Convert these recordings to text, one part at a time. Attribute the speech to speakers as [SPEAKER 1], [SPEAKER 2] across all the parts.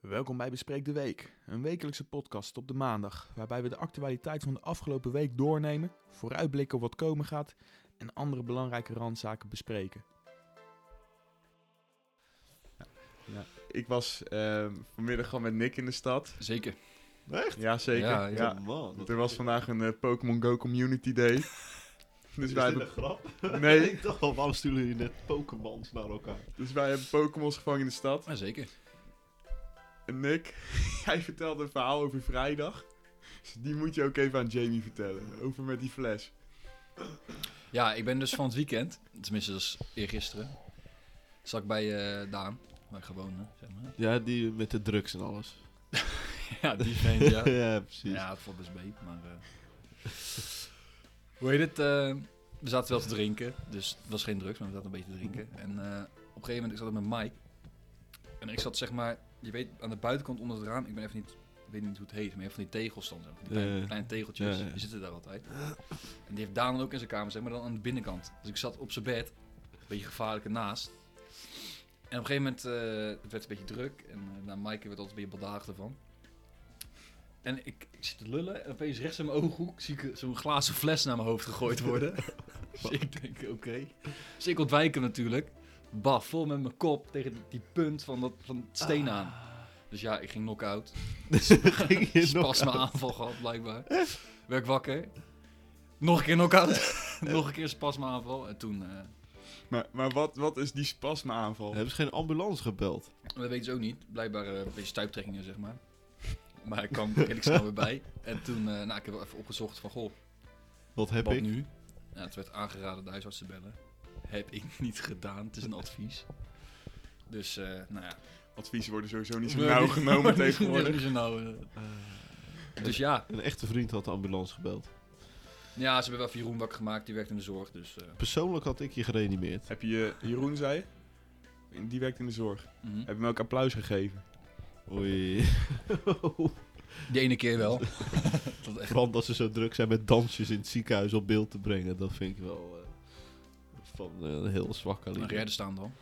[SPEAKER 1] Welkom bij Bespreek de Week, een wekelijkse podcast op de maandag, waarbij we de actualiteit van de afgelopen week doornemen, vooruitblikken op wat komen gaat en andere belangrijke randzaken bespreken.
[SPEAKER 2] Ja. Ik was eh, vanmiddag gewoon met Nick in de stad.
[SPEAKER 3] Zeker.
[SPEAKER 2] Ja, zeker.
[SPEAKER 3] Ja,
[SPEAKER 2] Ja,
[SPEAKER 3] ja.
[SPEAKER 4] man.
[SPEAKER 2] Er was vandaag een eh, Pokémon Go Community Day. Dus wij, hebben,
[SPEAKER 4] grap?
[SPEAKER 2] Nee.
[SPEAKER 4] ik dacht al, waarom sturen jullie net Pokémons naar elkaar?
[SPEAKER 2] dus wij hebben Pokémons gevangen in de stad.
[SPEAKER 3] Ja, zeker.
[SPEAKER 2] En Nick, hij vertelde een verhaal over vrijdag. Dus die moet je ook even aan Jamie vertellen. Over met die fles.
[SPEAKER 3] Ja, ik ben dus van het weekend, tenminste dat is eergisteren, zat ik bij eh, Daan, waar ik gewoon, zeg maar.
[SPEAKER 4] Ja, die met de drugs en alles.
[SPEAKER 3] Ja, die vent, ja.
[SPEAKER 4] precies.
[SPEAKER 3] ja, het valt best mee, maar... eh, Hoe heet het? eh, we zaten wel te drinken, dus het was geen drugs, maar we zaten een beetje te drinken. En eh, op een gegeven moment, ik zat ook met Mike. En ik zat zeg maar, je weet, aan de buitenkant onder het raam, ik ben even niet, ik weet niet hoe het heet, maar je hebt van die tegels dan, zo, van die kleine,
[SPEAKER 4] Ja, ja.
[SPEAKER 3] kleine tegeltjes,
[SPEAKER 4] Ja, ja.
[SPEAKER 3] die zitten daar altijd. En die heeft Daan dan ook in zijn kamer, zeg maar, dan aan de binnenkant. Dus ik zat op zijn bed, een beetje gevaarlijk ernaast. En op een gegeven moment, eh, het werd een beetje druk. En eh, nou, Maaike werd altijd een beetje baldaagd ervan. En ik, ik zit te lullen en opeens rechts in mijn ooghoek zie ik zo'n glazen fles naar mijn hoofd gegooid worden. dus ik denk, oké. Dus ik ontwijk hem natuurlijk. Bah, vol met mijn kop tegen die, die punt van, dat, van het
[SPEAKER 4] Ah.
[SPEAKER 3] steen aan. Dus ja, ik ging knock-out.
[SPEAKER 4] Ging je
[SPEAKER 3] Dus
[SPEAKER 4] nog
[SPEAKER 3] pas mijn aanval gehad, blijkbaar. Werd ik wakker. Nog een keer knock-out. Nog een keer pas mijn aanval. En toen, eh,
[SPEAKER 2] Maar, maar wat, wat is die spasma aanval?
[SPEAKER 4] Hebben ze geen ambulance gebeld?
[SPEAKER 3] Dat weten ze ook niet. Blijkbaar eh, een beetje stuiptrekkingen, zeg maar. Maar ik kwam redelijk snel weer bij. En toen, eh, nou, ik heb wel even opgezocht van, goh,
[SPEAKER 4] Wat heb
[SPEAKER 3] wat
[SPEAKER 4] ik?
[SPEAKER 3] nu? Ja, het werd aangeraden de huisarts te bellen. Heb ik niet gedaan, het is een advies. Dus, eh, nou ja.
[SPEAKER 2] Adviezen worden sowieso niet zo nauw genomen
[SPEAKER 3] Niet-
[SPEAKER 2] tegenwoordig.
[SPEAKER 3] niet zo nauw, eh. dus ja.
[SPEAKER 4] Een echte vriend had de ambulance gebeld.
[SPEAKER 3] ja, ze hebben wel even Jeroen wakker gemaakt, die werkt in de zorg. Dus, eh,
[SPEAKER 4] Persoonlijk had ik je gereanimeerd.
[SPEAKER 2] Heb je eh, Jeroen, zei je? Die werkt in de zorg.
[SPEAKER 3] mhm.
[SPEAKER 2] Heb je hem ook applaus gegeven?
[SPEAKER 4] Oei.
[SPEAKER 3] Die ene keer wel. dat echt...
[SPEAKER 4] Vooral dat ze zo druk zijn met dansjes in het ziekenhuis op beeld te brengen. Dat vind ik wel eh, van eh, een heel zwak
[SPEAKER 3] Mag jij er
[SPEAKER 4] kaliber.
[SPEAKER 3] staan dan?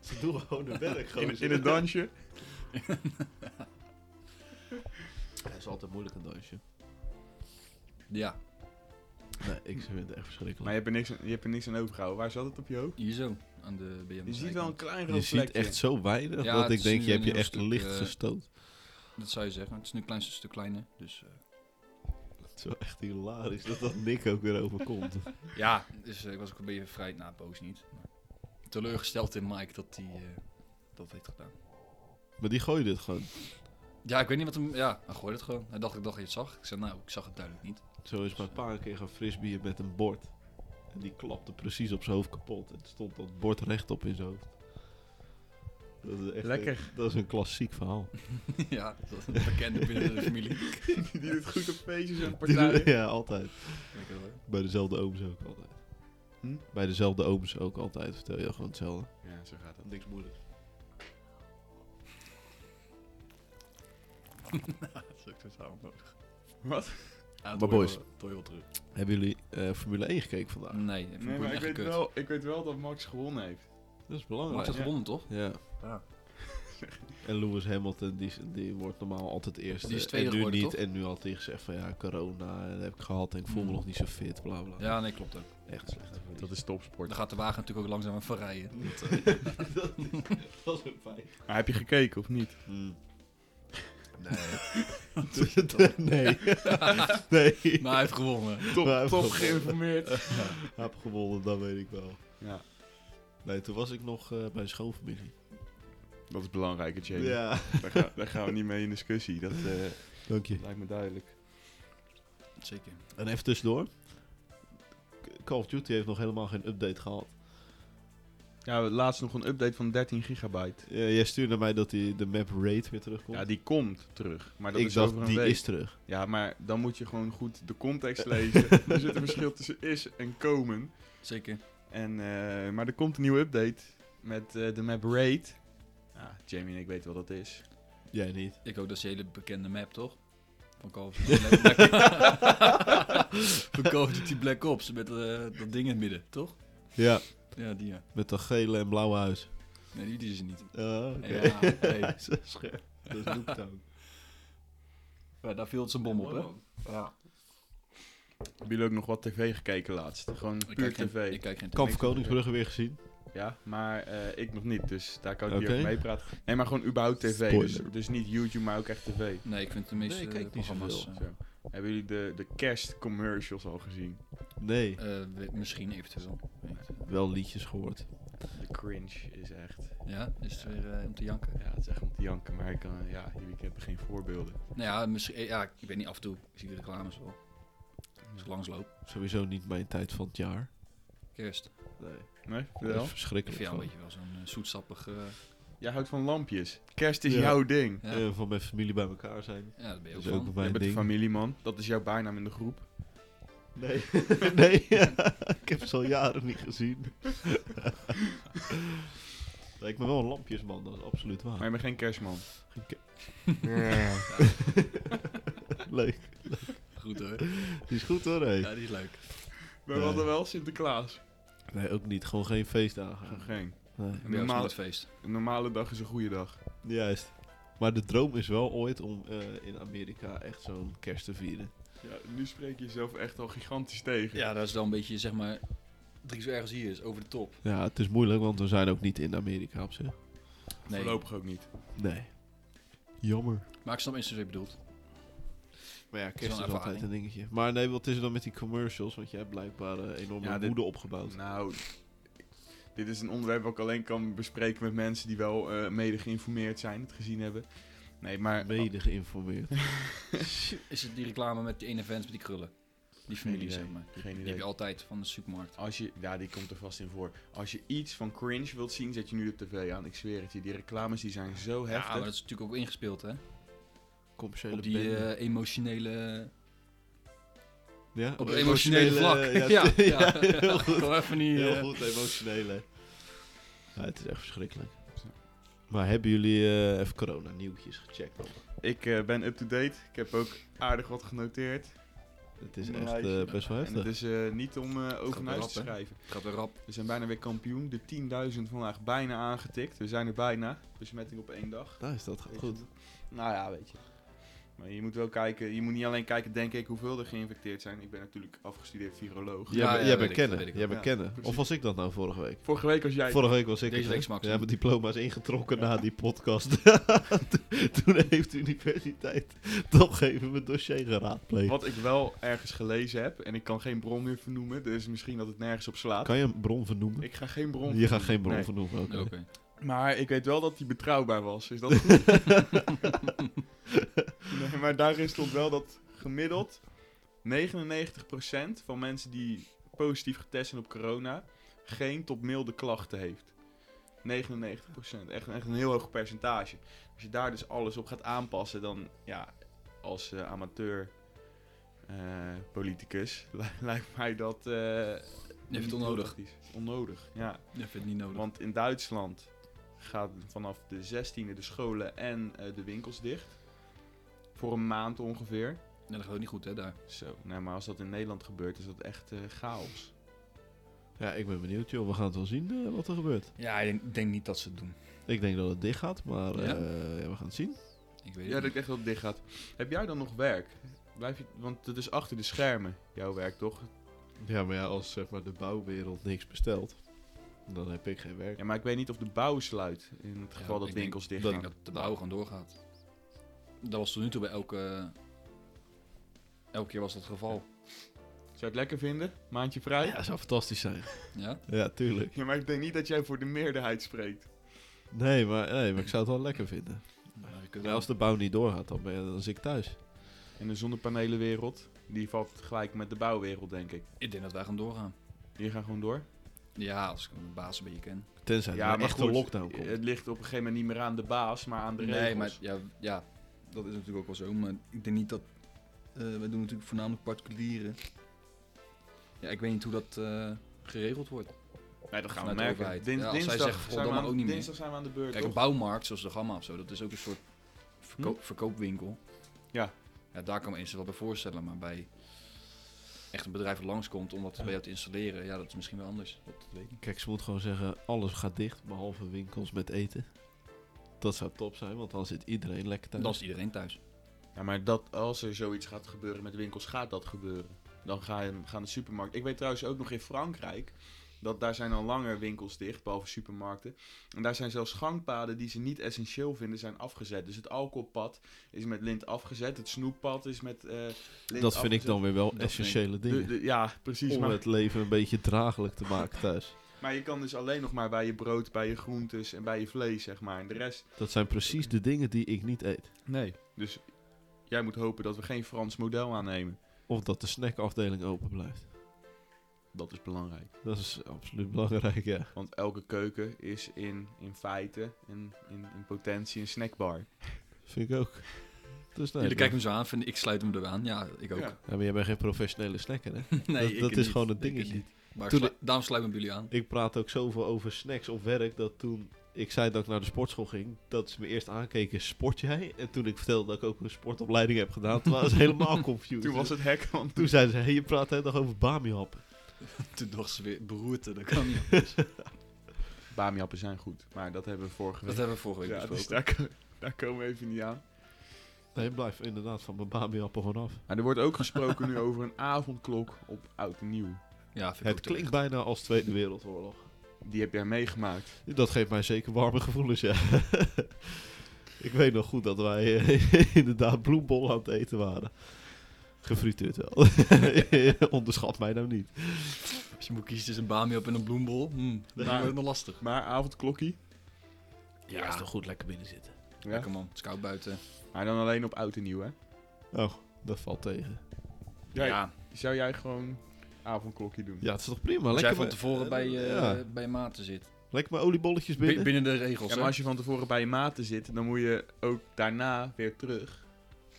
[SPEAKER 4] Ze doen gewoon hun werk.
[SPEAKER 2] In, in het dansje?
[SPEAKER 4] Dat is altijd moeilijk een dansje.
[SPEAKER 3] Ja,
[SPEAKER 4] Nee, ik vind het echt verschrikkelijk.
[SPEAKER 2] Maar je hebt, er niks, aan- je hebt er niks aan overgehouden. Waar zat het op je hoofd?
[SPEAKER 3] hier zo. Aan de, bij aan de
[SPEAKER 2] Je ziet wel
[SPEAKER 3] zijkant.
[SPEAKER 2] een klein
[SPEAKER 4] Je
[SPEAKER 2] rood
[SPEAKER 4] ziet
[SPEAKER 2] vlekje.
[SPEAKER 4] echt zo weinig
[SPEAKER 3] Ja,
[SPEAKER 4] dat
[SPEAKER 3] het
[SPEAKER 4] ik
[SPEAKER 3] is
[SPEAKER 4] denk,
[SPEAKER 3] nu
[SPEAKER 4] je hebt
[SPEAKER 3] een
[SPEAKER 4] je
[SPEAKER 3] heel
[SPEAKER 4] echt
[SPEAKER 3] stuk,
[SPEAKER 4] licht
[SPEAKER 3] eh,
[SPEAKER 4] gestoot.
[SPEAKER 3] Dat zou je zeggen. Het is nu een klein stuk kleiner, dus... eh,
[SPEAKER 4] Het is wel echt hilarisch dat dat Nick ook weer overkomt.
[SPEAKER 3] Ja, dus eh, ik was ook een beetje vrij na boos niet. Maar teleurgesteld in Mike dat hij eh, dat heeft gedaan.
[SPEAKER 4] maar die gooide het gewoon.
[SPEAKER 3] Ja, ik weet niet wat hem. Ja, hij gooide het gewoon. Hij dacht, ik dacht dat je het zag. Ik zei, nou, ik zag het duidelijk niet.
[SPEAKER 4] Zo is mijn pa een keer gaan frisbeeën met een bord. En die klapte precies op zijn hoofd kapot. En stond dat bord rechtop in zijn hoofd. Dat is echt
[SPEAKER 2] Lekker.
[SPEAKER 4] dat is een klassiek verhaal.
[SPEAKER 3] ja, dat is een bekende binnen de familie.
[SPEAKER 2] Die doet goed op feestjes en
[SPEAKER 4] Die doen-
[SPEAKER 2] partijen.
[SPEAKER 4] ja, altijd.
[SPEAKER 3] Lekker hoor.
[SPEAKER 4] Bij dezelfde ooms ook altijd.
[SPEAKER 2] Hm?
[SPEAKER 4] Bij dezelfde ooms ook altijd. Vertel je gewoon hetzelfde.
[SPEAKER 2] Ja, zo gaat dat.
[SPEAKER 4] Niks moeilijks.
[SPEAKER 3] Dat is ook zo samen nodig.
[SPEAKER 2] Wat?
[SPEAKER 3] Ja,
[SPEAKER 4] Maar boys.
[SPEAKER 3] Toy terug.
[SPEAKER 4] Hebben jullie eh, Formule 1 gekeken vandaag?
[SPEAKER 3] Nee, dat
[SPEAKER 2] Nee,
[SPEAKER 3] vind
[SPEAKER 2] maar
[SPEAKER 3] ik
[SPEAKER 2] ik weet,
[SPEAKER 3] echt kut.
[SPEAKER 2] wel, ik weet wel dat Max gewonnen heeft.
[SPEAKER 4] Dat is
[SPEAKER 3] Max
[SPEAKER 4] belangrijk.
[SPEAKER 3] had
[SPEAKER 2] Ja.
[SPEAKER 3] gewonnen, toch?
[SPEAKER 4] Ja.
[SPEAKER 3] Ja.
[SPEAKER 4] En Lewis Hamilton, die, die wordt normaal altijd eerst.
[SPEAKER 3] Die is tweede
[SPEAKER 4] en nu
[SPEAKER 3] geworden,
[SPEAKER 4] niet.
[SPEAKER 3] toch?
[SPEAKER 4] En nu had hij gezegd van ja, corona en dat heb ik gehad en ik voel me
[SPEAKER 3] Mm.
[SPEAKER 4] nog niet zo fit, bla bla.
[SPEAKER 3] Ja, nee, klopt ook.
[SPEAKER 4] Echt slecht.
[SPEAKER 2] Dat is topsport.
[SPEAKER 3] Daar gaat de wagen natuurlijk ook langzaam aan verrijden.
[SPEAKER 4] dat, is, dat is een feit.
[SPEAKER 2] Maar heb je gekeken of niet?
[SPEAKER 4] Nee. Mm. nee. nee.
[SPEAKER 3] Maar hij heeft gewonnen.
[SPEAKER 2] Top,
[SPEAKER 4] Maar hij
[SPEAKER 2] top
[SPEAKER 4] heeft
[SPEAKER 2] geïnformeerd.
[SPEAKER 4] Hij heeft gewonnen, dat weet ik wel.
[SPEAKER 2] Ja,
[SPEAKER 4] Nee, toen was ik nog eh, bij schoonfamilie.
[SPEAKER 2] dat is belangrijk, hè, Jamie.
[SPEAKER 4] Ja.
[SPEAKER 2] Daar, ga- daar gaan we niet mee in discussie. Dat eh,
[SPEAKER 4] Dank je.
[SPEAKER 2] lijkt me duidelijk.
[SPEAKER 3] Zeker.
[SPEAKER 4] En even tussendoor. Call of Duty heeft nog helemaal geen update gehad.
[SPEAKER 2] Ja, laatst nog een update van 13 gigabyte.
[SPEAKER 4] Eh, jij stuurde mij dat die, de map Raid weer terugkomt.
[SPEAKER 2] Ja, die komt terug. Maar dat
[SPEAKER 4] ik
[SPEAKER 2] is
[SPEAKER 4] dacht,
[SPEAKER 2] over een
[SPEAKER 4] die
[SPEAKER 2] week.
[SPEAKER 4] is terug.
[SPEAKER 2] Ja, maar dan moet je gewoon goed de context lezen. er zit een verschil tussen is en komen.
[SPEAKER 3] Zeker.
[SPEAKER 2] En, eh, maar er komt een nieuwe update met eh, de map Raid. Ja, Jamie en ik weten wat dat is.
[SPEAKER 4] Jij niet.
[SPEAKER 3] Ik ook, dat is een hele bekende map, toch? Van Call of Duty Black Ops. Van Call of Duty Black Ops, met eh, dat ding in het midden, toch?
[SPEAKER 4] Ja,
[SPEAKER 3] Ja, die ja.
[SPEAKER 4] met dat gele en blauwe huis.
[SPEAKER 3] Nee, die, die is er niet.
[SPEAKER 4] Ah, oké.
[SPEAKER 3] Ja, nee.
[SPEAKER 4] Zo scherp. Dat is Looptown.
[SPEAKER 3] Maar daar viel het zijn bom op, hè? Ja.
[SPEAKER 2] Hebben jullie ook nog wat tv gekeken laatst? Gewoon
[SPEAKER 3] Ik
[SPEAKER 2] puur
[SPEAKER 3] kijk geen,
[SPEAKER 2] tv.
[SPEAKER 3] ik kijk geen tv.
[SPEAKER 4] Kamp van Koningsbrugge weer gezien.
[SPEAKER 2] Ja, maar eh, ik nog niet, dus daar kan ik
[SPEAKER 4] Oké.
[SPEAKER 2] niet over meepraten. Nee, maar gewoon überhaupt tv. Dus,
[SPEAKER 4] Spoiler.
[SPEAKER 2] dus niet YouTube, maar ook echt tv.
[SPEAKER 3] Nee, ik vind de meeste
[SPEAKER 4] Nee, ik kijk
[SPEAKER 3] eh,
[SPEAKER 4] niet
[SPEAKER 3] programma's... eh,
[SPEAKER 2] Zo. Hebben jullie de, de kerstcommercials al gezien?
[SPEAKER 3] eh,
[SPEAKER 4] Nee,
[SPEAKER 3] we- misschien eventueel. Weet je.
[SPEAKER 4] wel liedjes gehoord.
[SPEAKER 2] De cringe is echt...
[SPEAKER 3] Ja, is het weer eh, om te janken?
[SPEAKER 2] Ja, het is echt om te janken, maar ik kan... Ja, jullie hebben geen voorbeelden.
[SPEAKER 3] Nou ja, misschien, eh, ja, ik weet niet, af en toe zie ik de reclames wel. Als ik langsloop.
[SPEAKER 4] Sowieso niet mijn tijd van het jaar.
[SPEAKER 3] Kerst.
[SPEAKER 4] Nee.
[SPEAKER 2] Nee,
[SPEAKER 4] Dat
[SPEAKER 2] vertel.
[SPEAKER 4] is
[SPEAKER 3] Ik
[SPEAKER 4] verschrikkelijk.
[SPEAKER 3] vind jou
[SPEAKER 4] van.
[SPEAKER 3] een beetje wel zo'n eh, zoetsappig... eh,
[SPEAKER 2] Jij houdt van lampjes. Kerst is
[SPEAKER 4] Ja.
[SPEAKER 2] jouw ding.
[SPEAKER 3] ja.
[SPEAKER 4] Eh, van mijn familie bij elkaar zijn.
[SPEAKER 3] ja, dat ben je
[SPEAKER 4] Dat
[SPEAKER 3] ook
[SPEAKER 4] is ook
[SPEAKER 3] van.
[SPEAKER 4] mijn
[SPEAKER 2] Je bent
[SPEAKER 4] ding. Ah.
[SPEAKER 2] familieman. Dat is jouw bijnaam in de groep.
[SPEAKER 4] Nee, nee ik heb ze al jaren niet gezien. Lijkt me wel een lampjesman, dat is absoluut waar.
[SPEAKER 2] Maar je bent geen kerstman.
[SPEAKER 4] Leuk.
[SPEAKER 3] Goed hoor.
[SPEAKER 4] Die is goed hoor, hé.
[SPEAKER 3] Ja, die is leuk.
[SPEAKER 2] We
[SPEAKER 4] Nee.
[SPEAKER 2] hadden wel Sinterklaas.
[SPEAKER 4] Nee, ook niet. Gewoon geen feestdagen.
[SPEAKER 2] Geen.
[SPEAKER 4] Nee.
[SPEAKER 3] Bij jou is
[SPEAKER 2] Normaal-
[SPEAKER 3] het feest.
[SPEAKER 2] Een normale dag is een goede dag.
[SPEAKER 4] Juist. Maar de droom is wel ooit om eh, in Amerika echt zo'n kerst te vieren.
[SPEAKER 2] Ja, nu spreek je jezelf echt al gigantisch tegen.
[SPEAKER 3] Ja, dat is dan een beetje, zeg maar, drie zo ergens hier is, over de top.
[SPEAKER 4] Ja, het is moeilijk, want we zijn ook niet in Amerika op zich.
[SPEAKER 3] Nee.
[SPEAKER 2] Voorlopig ook niet.
[SPEAKER 4] Nee. Jammer.
[SPEAKER 3] Maar ik snap eens wat je bedoelt.
[SPEAKER 4] Maar ja,
[SPEAKER 3] wel
[SPEAKER 4] kerst
[SPEAKER 3] een
[SPEAKER 4] is altijd
[SPEAKER 3] ervaring.
[SPEAKER 4] een dingetje. Maar nee, wat is er dan met die commercials? Want jij hebt blijkbaar eh, enorme
[SPEAKER 2] Ja, dit-
[SPEAKER 4] woede opgebouwd.
[SPEAKER 2] Nou, dit is een onderwerp wat ik alleen kan bespreken met mensen die wel eh, mede geïnformeerd zijn, het gezien hebben. Nee, maar...
[SPEAKER 4] Mede geïnformeerd.
[SPEAKER 3] Is het die reclame met die ene vent met die krullen? Die familie,
[SPEAKER 2] idee.
[SPEAKER 3] zeg maar. Die,
[SPEAKER 2] Geen
[SPEAKER 3] die
[SPEAKER 2] idee.
[SPEAKER 3] heb je altijd van de supermarkt.
[SPEAKER 2] Als je, ja, die komt er vast in voor. Als je iets van cringe wilt zien, zet je nu de tv aan. Ik zweer het je, die reclames die zijn zo
[SPEAKER 3] Ja,
[SPEAKER 2] heftig.
[SPEAKER 3] maar dat is natuurlijk ook ingespeeld, hè?
[SPEAKER 4] Commerciële
[SPEAKER 3] Op die
[SPEAKER 4] bende.
[SPEAKER 3] eh, emotionele...
[SPEAKER 4] ja?
[SPEAKER 3] Op het emotionele vlak. Ja,
[SPEAKER 4] t-
[SPEAKER 3] ja.
[SPEAKER 4] heel
[SPEAKER 3] Ik
[SPEAKER 4] goed.
[SPEAKER 3] kan even niet...
[SPEAKER 4] Heel
[SPEAKER 3] eh,
[SPEAKER 4] goed, emotionele. Ja, het is echt verschrikkelijk. Maar hebben jullie eh, even corona-nieuwtjes gecheckt? nog?
[SPEAKER 2] Ik eh, ben up-to-date. Ik heb ook aardig wat genoteerd.
[SPEAKER 4] Het is
[SPEAKER 2] Een
[SPEAKER 4] echt
[SPEAKER 2] lijstje.
[SPEAKER 4] eh, best wel
[SPEAKER 2] En het
[SPEAKER 4] heftig.
[SPEAKER 2] is eh, niet om eh over naar huis
[SPEAKER 3] wel rap,
[SPEAKER 2] te
[SPEAKER 3] hè?
[SPEAKER 2] schrijven.
[SPEAKER 3] Gaat weer rap.
[SPEAKER 2] We zijn bijna weer kampioen. De 10.000 vandaag bijna aangetikt. We zijn er bijna. Besmetting op één dag.
[SPEAKER 4] Nou, is dat
[SPEAKER 2] Weet je
[SPEAKER 4] goed.
[SPEAKER 2] dat? Nou ja, weet je. Maar je moet wel kijken. Je moet niet alleen kijken, denk ik, hoeveel er geïnfecteerd zijn. Ik ben natuurlijk afgestudeerd viroloog.
[SPEAKER 4] Jij,
[SPEAKER 3] Ja,
[SPEAKER 4] bent-
[SPEAKER 3] ja, dat
[SPEAKER 4] jij bent
[SPEAKER 3] weet ik,
[SPEAKER 4] kennen.
[SPEAKER 3] dat weet ik
[SPEAKER 4] jij
[SPEAKER 2] wel.
[SPEAKER 4] bent
[SPEAKER 2] Ja,
[SPEAKER 4] kennen.
[SPEAKER 2] precies.
[SPEAKER 4] Of was ik dat nou vorige week?
[SPEAKER 2] Vorige week was jij.
[SPEAKER 4] Vorige week was ik.
[SPEAKER 3] Deze
[SPEAKER 4] het,
[SPEAKER 3] week
[SPEAKER 4] hè?
[SPEAKER 3] is Max.
[SPEAKER 4] Ja, mijn diploma is ingetrokken na die podcast. Toen heeft de universiteit toch even mijn dossier geraadpleegd.
[SPEAKER 2] Wat ik wel ergens gelezen heb, en ik kan geen bron meer vernoemen, dus misschien dat het nergens op slaat.
[SPEAKER 4] Kan je een bron vernoemen?
[SPEAKER 2] Ik ga geen bron
[SPEAKER 4] Je gaat
[SPEAKER 2] vernoemen.
[SPEAKER 4] geen bron
[SPEAKER 2] Nee.
[SPEAKER 4] vernoemen. oké.
[SPEAKER 3] Oké.
[SPEAKER 2] Maar ik weet wel dat hij betrouwbaar was. Is dat goed? nee, maar daarin stond wel dat gemiddeld 99% van mensen die positief getest zijn op corona geen tot milde klachten heeft. 99%. Echt, echt een heel hoog percentage. Als je daar dus alles op gaat aanpassen, dan ja, als eh, amateur eh, politicus li- lijkt mij dat. eh
[SPEAKER 3] vindt het
[SPEAKER 2] niet
[SPEAKER 3] onnodig.
[SPEAKER 2] praktisch. Onnodig, ja.
[SPEAKER 3] Dat vind ik niet nodig.
[SPEAKER 2] Want in Duitsland gaan vanaf de 16e de scholen en eh, de winkels dicht. Voor een maand ongeveer.
[SPEAKER 3] Nee, dat gaat ook niet goed, hè, daar.
[SPEAKER 2] Zo. Nee, maar als dat in Nederland gebeurt, is dat echt eh, chaos.
[SPEAKER 4] Ja, ik ben benieuwd, joh. We gaan het wel zien eh, wat er gebeurt.
[SPEAKER 3] Ja, ik denk, denk niet dat ze het doen.
[SPEAKER 4] Ik denk dat het dicht gaat, maar eh,
[SPEAKER 3] Ja?
[SPEAKER 4] ja, we gaan het zien.
[SPEAKER 3] Ik weet
[SPEAKER 2] Ja,
[SPEAKER 3] het
[SPEAKER 2] dat ik echt dat het dicht gaat. Heb jij dan nog werk? Blijf je, want het is achter de schermen, jouw werk toch?
[SPEAKER 4] Ja, maar ja, als zeg maar, de bouwwereld niks bestelt, dan heb ik geen werk.
[SPEAKER 2] Ja, maar ik weet niet of de bouw sluit. In het
[SPEAKER 3] Ja,
[SPEAKER 2] geval dat
[SPEAKER 3] ik denk-
[SPEAKER 2] winkels dicht
[SPEAKER 3] Ik
[SPEAKER 2] gaan.
[SPEAKER 3] denk dat de bouw gewoon doorgaat. Dat was tot nu toe bij elke... Elke keer was dat het geval.
[SPEAKER 2] Zou je het lekker vinden? Maandje vrij?
[SPEAKER 4] Ja, zou fantastisch zijn.
[SPEAKER 3] Ja?
[SPEAKER 4] Ja, tuurlijk.
[SPEAKER 2] Ja, maar ik denk niet dat jij voor de meerderheid spreekt.
[SPEAKER 4] Nee, maar, nee, maar ik zou het wel lekker vinden.
[SPEAKER 3] Maar je kunt
[SPEAKER 4] Maar
[SPEAKER 3] wel-
[SPEAKER 4] als de bouw niet doorgaat, dan, ben, dan zit ik thuis.
[SPEAKER 2] En de zonnepanelenwereld, die valt gelijk met de bouwwereld, denk ik.
[SPEAKER 3] Ik denk dat wij gaan doorgaan.
[SPEAKER 2] Die gaan gewoon door.
[SPEAKER 3] Ja, als ik mijn baas een beetje ken.
[SPEAKER 4] Tenzij er een echte
[SPEAKER 2] goed, eh,
[SPEAKER 4] lockdown komt.
[SPEAKER 2] Het ligt op een gegeven moment niet meer aan de baas, maar aan de
[SPEAKER 3] Nee,
[SPEAKER 2] regels.
[SPEAKER 3] maar ja, ja, dat is natuurlijk ook wel zo. Maar ik denk niet dat... eh wij doen natuurlijk voornamelijk particulieren. Ja, ik weet niet hoe dat eh, geregeld wordt.
[SPEAKER 2] Nee, dat gaan we
[SPEAKER 3] Vanuit de
[SPEAKER 2] merken.
[SPEAKER 3] overheid.
[SPEAKER 2] Din-
[SPEAKER 3] Ja, als zij
[SPEAKER 2] dinsdag,
[SPEAKER 3] zeggen,
[SPEAKER 2] zijn we
[SPEAKER 3] verdomme,
[SPEAKER 2] aan,
[SPEAKER 3] ook niet meer.
[SPEAKER 2] dinsdag zijn we aan de beurt,
[SPEAKER 3] Kijk, een
[SPEAKER 2] toch?
[SPEAKER 3] bouwmarkt, zoals de Gamma of zo, dat is ook een soort Hm? verkoop- verkoopwinkel.
[SPEAKER 2] Ja.
[SPEAKER 3] ja. Daar kan ik me eens wat bij voorstellen, maar bij echt een bedrijf langskomt om dat bij jou te installeren, ja, dat is misschien wel anders. Dat weet ik niet.
[SPEAKER 4] Kijk, ze moet gewoon zeggen, alles gaat dicht, behalve winkels met eten. Dat zou top zijn, want dan zit iedereen lekker thuis.
[SPEAKER 3] Dan is iedereen thuis.
[SPEAKER 2] Ja, maar dat, als er zoiets gaat gebeuren met winkels, gaat dat gebeuren. Dan ga je, gaan de supermarkten... Ik weet trouwens ook nog in Frankrijk... dat daar zijn al langer winkels dicht, behalve supermarkten. En daar zijn zelfs gangpaden die ze niet essentieel vinden, zijn afgezet. Dus het alcoholpad is met lint afgezet. Het snoeppad is met eh, lint
[SPEAKER 4] dat vind ik
[SPEAKER 2] afgezet.
[SPEAKER 4] dan weer wel
[SPEAKER 3] Dat
[SPEAKER 4] essentiële dingen.
[SPEAKER 2] De- de- ja, precies.
[SPEAKER 4] om
[SPEAKER 2] Maar,
[SPEAKER 4] het leven een beetje draaglijk te maken thuis.
[SPEAKER 2] maar je kan dus alleen nog maar bij je brood, bij je groentes en bij je vlees, zeg maar. En de rest...
[SPEAKER 4] Dat zijn precies de dingen die ik niet eet.
[SPEAKER 2] Nee. Dus jij moet hopen dat we geen Frans model aannemen.
[SPEAKER 4] Of dat de snackafdeling open blijft.
[SPEAKER 2] Dat is belangrijk.
[SPEAKER 4] Dat is absoluut belangrijk, ja.
[SPEAKER 2] Want elke keuken is in, in feite, in, in, in potentie, een snackbar.
[SPEAKER 4] Vind ik ook. Dus nee,
[SPEAKER 3] Jullie kijken
[SPEAKER 4] maar-
[SPEAKER 3] me zo aan, vind ik, ik sluit hem er aan. Ja, ik ook.
[SPEAKER 2] Ja.
[SPEAKER 4] Ja, maar jij bent geen professionele snacker, hè?
[SPEAKER 3] Nee,
[SPEAKER 4] dat
[SPEAKER 3] ik
[SPEAKER 4] dat
[SPEAKER 3] niet.
[SPEAKER 4] is gewoon het
[SPEAKER 3] Ik
[SPEAKER 4] dingetje.
[SPEAKER 3] niet. Maar
[SPEAKER 4] Toen
[SPEAKER 3] slu- daarom sluit ik me bij jullie aan.
[SPEAKER 4] Ik praat ook zoveel over snacks op werk dat toen ik zei dat ik naar de sportschool ging, dat ze me eerst aankeken, sport jij? En toen ik vertelde dat ik ook een sportopleiding heb gedaan, toen waren ze helemaal confused.
[SPEAKER 2] Toen was het hek, want
[SPEAKER 4] Toen zeiden ze, hey, je praat de hele dag over bamihappen.
[SPEAKER 3] Toen dacht ze weer beroerte, dat kan niet.
[SPEAKER 2] Bamiappen zijn goed, maar dat hebben we vorige
[SPEAKER 3] Dat
[SPEAKER 2] week.
[SPEAKER 3] hebben we vorige week
[SPEAKER 2] ja, dus
[SPEAKER 3] besproken.
[SPEAKER 2] daar, ko- daar komen we even niet aan.
[SPEAKER 4] Nee, blijf inderdaad van mijn bamihappen vanaf.
[SPEAKER 2] Maar er wordt ook gesproken nu over een avondklok op Oud en Nieuw.
[SPEAKER 3] Ja, vind ik
[SPEAKER 4] Het
[SPEAKER 3] ook terecht.
[SPEAKER 4] klinkt bijna als Tweede Wereldoorlog.
[SPEAKER 2] Die heb jij meegemaakt.
[SPEAKER 4] Dat geeft mij zeker warme gevoelens, ja. ik weet nog goed dat wij eh, inderdaad bloembollen aan het eten waren. Gefrituurd wel. Onderschat mij nou niet.
[SPEAKER 3] Als je moet kiezen tussen een bami op en een bloembol, hm, dan
[SPEAKER 2] Maar-
[SPEAKER 3] wordt het nog lastig.
[SPEAKER 2] Maar avondklokkie?
[SPEAKER 3] Ja, is toch
[SPEAKER 4] goed lekker binnen zitten.
[SPEAKER 2] Ja.
[SPEAKER 3] Lekker man, het is koud buiten.
[SPEAKER 2] Maar dan alleen op Oud en Nieuw, hè?
[SPEAKER 4] Oh, dat valt tegen.
[SPEAKER 2] Jij-
[SPEAKER 3] ja,
[SPEAKER 2] Zou jij gewoon avondklokkie doen?
[SPEAKER 4] Ja, het is toch prima.
[SPEAKER 3] als jij
[SPEAKER 4] lekker
[SPEAKER 3] van
[SPEAKER 4] met-
[SPEAKER 3] tevoren bij, eh
[SPEAKER 4] ja,
[SPEAKER 3] bij maten zit.
[SPEAKER 4] Lekker maar oliebolletjes
[SPEAKER 3] Bi-
[SPEAKER 4] binnen.
[SPEAKER 3] binnen de regels,
[SPEAKER 2] Ja,
[SPEAKER 3] hè?
[SPEAKER 2] maar als je van tevoren bij je maten zit, dan moet je ook daarna weer terug.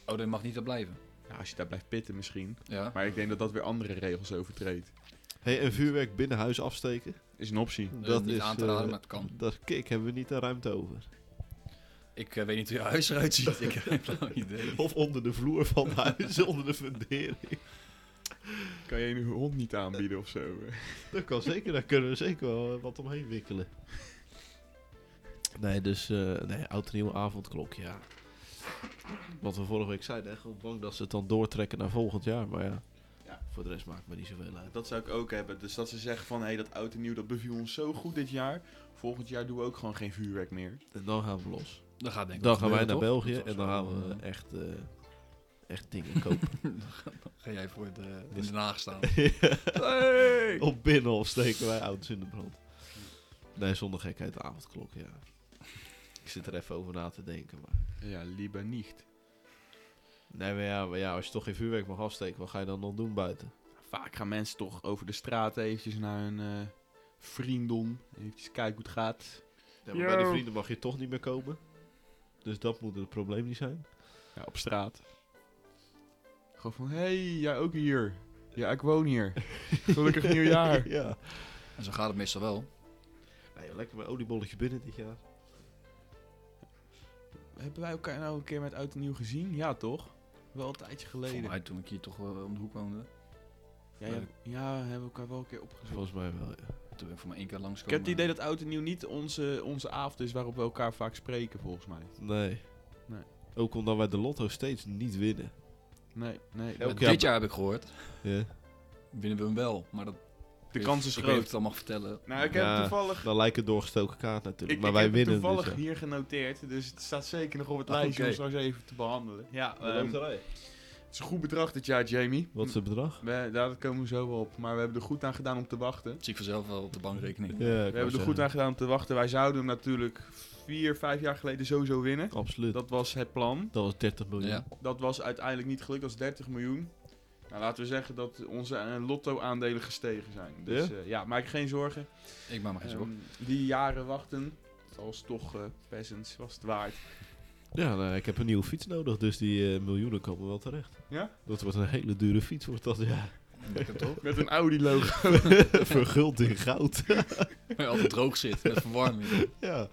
[SPEAKER 3] Oh, dat mag niet daar blijven.
[SPEAKER 2] Nou, als je daar blijft pitten misschien.
[SPEAKER 3] Ja.
[SPEAKER 2] Maar ik denk dat dat weer andere regels overtreedt.
[SPEAKER 4] hey, en vuurwerk binnen huis afsteken.
[SPEAKER 2] Is een optie.
[SPEAKER 3] Dat,
[SPEAKER 4] dat
[SPEAKER 3] is niet
[SPEAKER 4] is,
[SPEAKER 3] aan te raden,
[SPEAKER 4] eh,
[SPEAKER 3] maar het kan.
[SPEAKER 4] Dat kik hebben we niet de ruimte over.
[SPEAKER 3] Ik eh, weet niet hoe je huis eruit ziet. ik heb geen flauw idee.
[SPEAKER 4] Of onder de vloer van huis, onder de fundering.
[SPEAKER 2] Kan je een hond niet aanbieden of zo?
[SPEAKER 4] Dat kan zeker, daar kunnen we zeker wel eh, wat omheen wikkelen. Nee, dus eh nee, oud en nieuw avondklok, ja. Wat we vorige week zeiden, hè, gewoon bang dat ze het dan doortrekken naar volgend jaar. Maar ja,
[SPEAKER 2] Ja.
[SPEAKER 4] voor de rest maakt me niet zoveel uit.
[SPEAKER 2] Dat zou ik ook hebben. Dus dat ze zeggen van, hé, hey, dat oud en nieuw, dat beviel ons zo goed dit jaar. Volgend jaar doen we ook gewoon geen vuurwerk meer.
[SPEAKER 4] En dan gaan we los.
[SPEAKER 3] Dan gaat denk ik
[SPEAKER 4] Dan
[SPEAKER 3] wat
[SPEAKER 4] gaan wij naar
[SPEAKER 3] gebeuren, toch? Dat
[SPEAKER 4] België
[SPEAKER 3] was
[SPEAKER 4] en dan
[SPEAKER 3] wel,
[SPEAKER 4] gaan we
[SPEAKER 3] eh,
[SPEAKER 4] echt, eh, echt dingen kopen.
[SPEAKER 3] Ga jij voor de, in Den Haag staan.
[SPEAKER 4] Op binnenhof steken wij ouders in de brand. Nee, zonder gekheid, de avondklok, ja. Ik zit er even over na te denken, maar...
[SPEAKER 2] Ja, lieber niet.
[SPEAKER 4] Nee, maar ja, maar ja, als je toch geen vuurwerk mag afsteken, wat ga je dan nog doen buiten?
[SPEAKER 2] Vaak gaan mensen toch over de straat eventjes naar hun eh vriendom. Eventjes kijken hoe het gaat.
[SPEAKER 4] Ja, maar bij de vrienden mag je toch niet meer komen. Dus dat moet het probleem niet zijn.
[SPEAKER 2] Ja, op straat. Gewoon van, hé, hey, jij ook hier. Ja, ik woon hier. Gelukkig nieuwjaar.
[SPEAKER 4] ja.
[SPEAKER 3] En zo gaat het meestal wel.
[SPEAKER 4] Nee, lekker mijn oliebolletje binnen dit jaar.
[SPEAKER 2] Hebben wij elkaar nou een keer met Oud en Nieuw gezien? Ja, toch? Wel een tijdje
[SPEAKER 3] Volgens
[SPEAKER 2] geleden.
[SPEAKER 3] mij toen ik hier toch eh, om de hoek woonde.
[SPEAKER 2] Ja, ja, ja, hebben we elkaar wel een keer opgezocht.
[SPEAKER 4] Volgens mij wel, ja.
[SPEAKER 3] Toen ben ik voor maar één keer
[SPEAKER 2] Ik
[SPEAKER 3] langskomen.
[SPEAKER 2] heb het idee dat Oud en Nieuw niet onze, onze avond is waarop we elkaar vaak spreken, volgens mij.
[SPEAKER 4] Nee.
[SPEAKER 2] Nee.
[SPEAKER 4] Ook omdat wij de lotto steeds niet winnen.
[SPEAKER 2] Nee, nee.
[SPEAKER 4] Elk
[SPEAKER 2] dat-
[SPEAKER 4] jaar-
[SPEAKER 3] Dit jaar heb ik gehoord.
[SPEAKER 4] Ja.
[SPEAKER 3] Winnen we hem wel. Maar dat,
[SPEAKER 2] De kans is
[SPEAKER 3] ik weet niet of ik
[SPEAKER 2] groot.
[SPEAKER 3] het al mag vertellen.
[SPEAKER 2] Nou, ik heb
[SPEAKER 4] Ja.
[SPEAKER 2] toevallig...
[SPEAKER 4] Dan lijkt het doorgestoken kaart natuurlijk,
[SPEAKER 2] Ik,
[SPEAKER 4] maar
[SPEAKER 2] ik
[SPEAKER 4] wij
[SPEAKER 2] heb het
[SPEAKER 4] winnen
[SPEAKER 2] toevallig
[SPEAKER 4] dus, ja.
[SPEAKER 2] hier genoteerd, dus het staat zeker nog op het
[SPEAKER 3] Ah,
[SPEAKER 2] lijstje
[SPEAKER 3] oké.
[SPEAKER 2] om straks even te behandelen. Ja,
[SPEAKER 4] De
[SPEAKER 2] ehm,
[SPEAKER 4] loterij.
[SPEAKER 2] het is een goed bedrag dit jaar, Jamie.
[SPEAKER 4] Wat is het bedrag?
[SPEAKER 2] We, daar dat komen we zo wel op, maar we hebben er goed aan gedaan om te wachten.
[SPEAKER 3] Dat zie ik vanzelf wel op de bankrekening.
[SPEAKER 4] Ja,
[SPEAKER 2] We hebben er goed aan gedaan om te wachten. Wij zouden hem natuurlijk vier, vijf jaar geleden sowieso winnen.
[SPEAKER 4] Absoluut. Dat,
[SPEAKER 2] Dat was het plan.
[SPEAKER 4] was 30 miljoen.
[SPEAKER 3] Ja.
[SPEAKER 2] Dat was uiteindelijk niet gelukt, dat was 30 miljoen. Nou, laten we zeggen dat onze eh, lotto-aandelen gestegen zijn. Dus ja, ja maak je geen zorgen.
[SPEAKER 3] Ik maak me geen zorgen.
[SPEAKER 2] Ehm, die jaren wachten, als toch eh peasants, was het waard.
[SPEAKER 4] Ja, nou, ik heb een nieuwe fiets nodig, dus die eh, miljoenen komen wel terecht.
[SPEAKER 2] Ja?
[SPEAKER 4] Dat wordt een hele dure fiets, wordt dat, ja.
[SPEAKER 3] Lekker toch?
[SPEAKER 2] Met een Audi-logo.
[SPEAKER 4] Verguld in goud.
[SPEAKER 3] Maar je altijd droog zit met verwarming.
[SPEAKER 4] ja.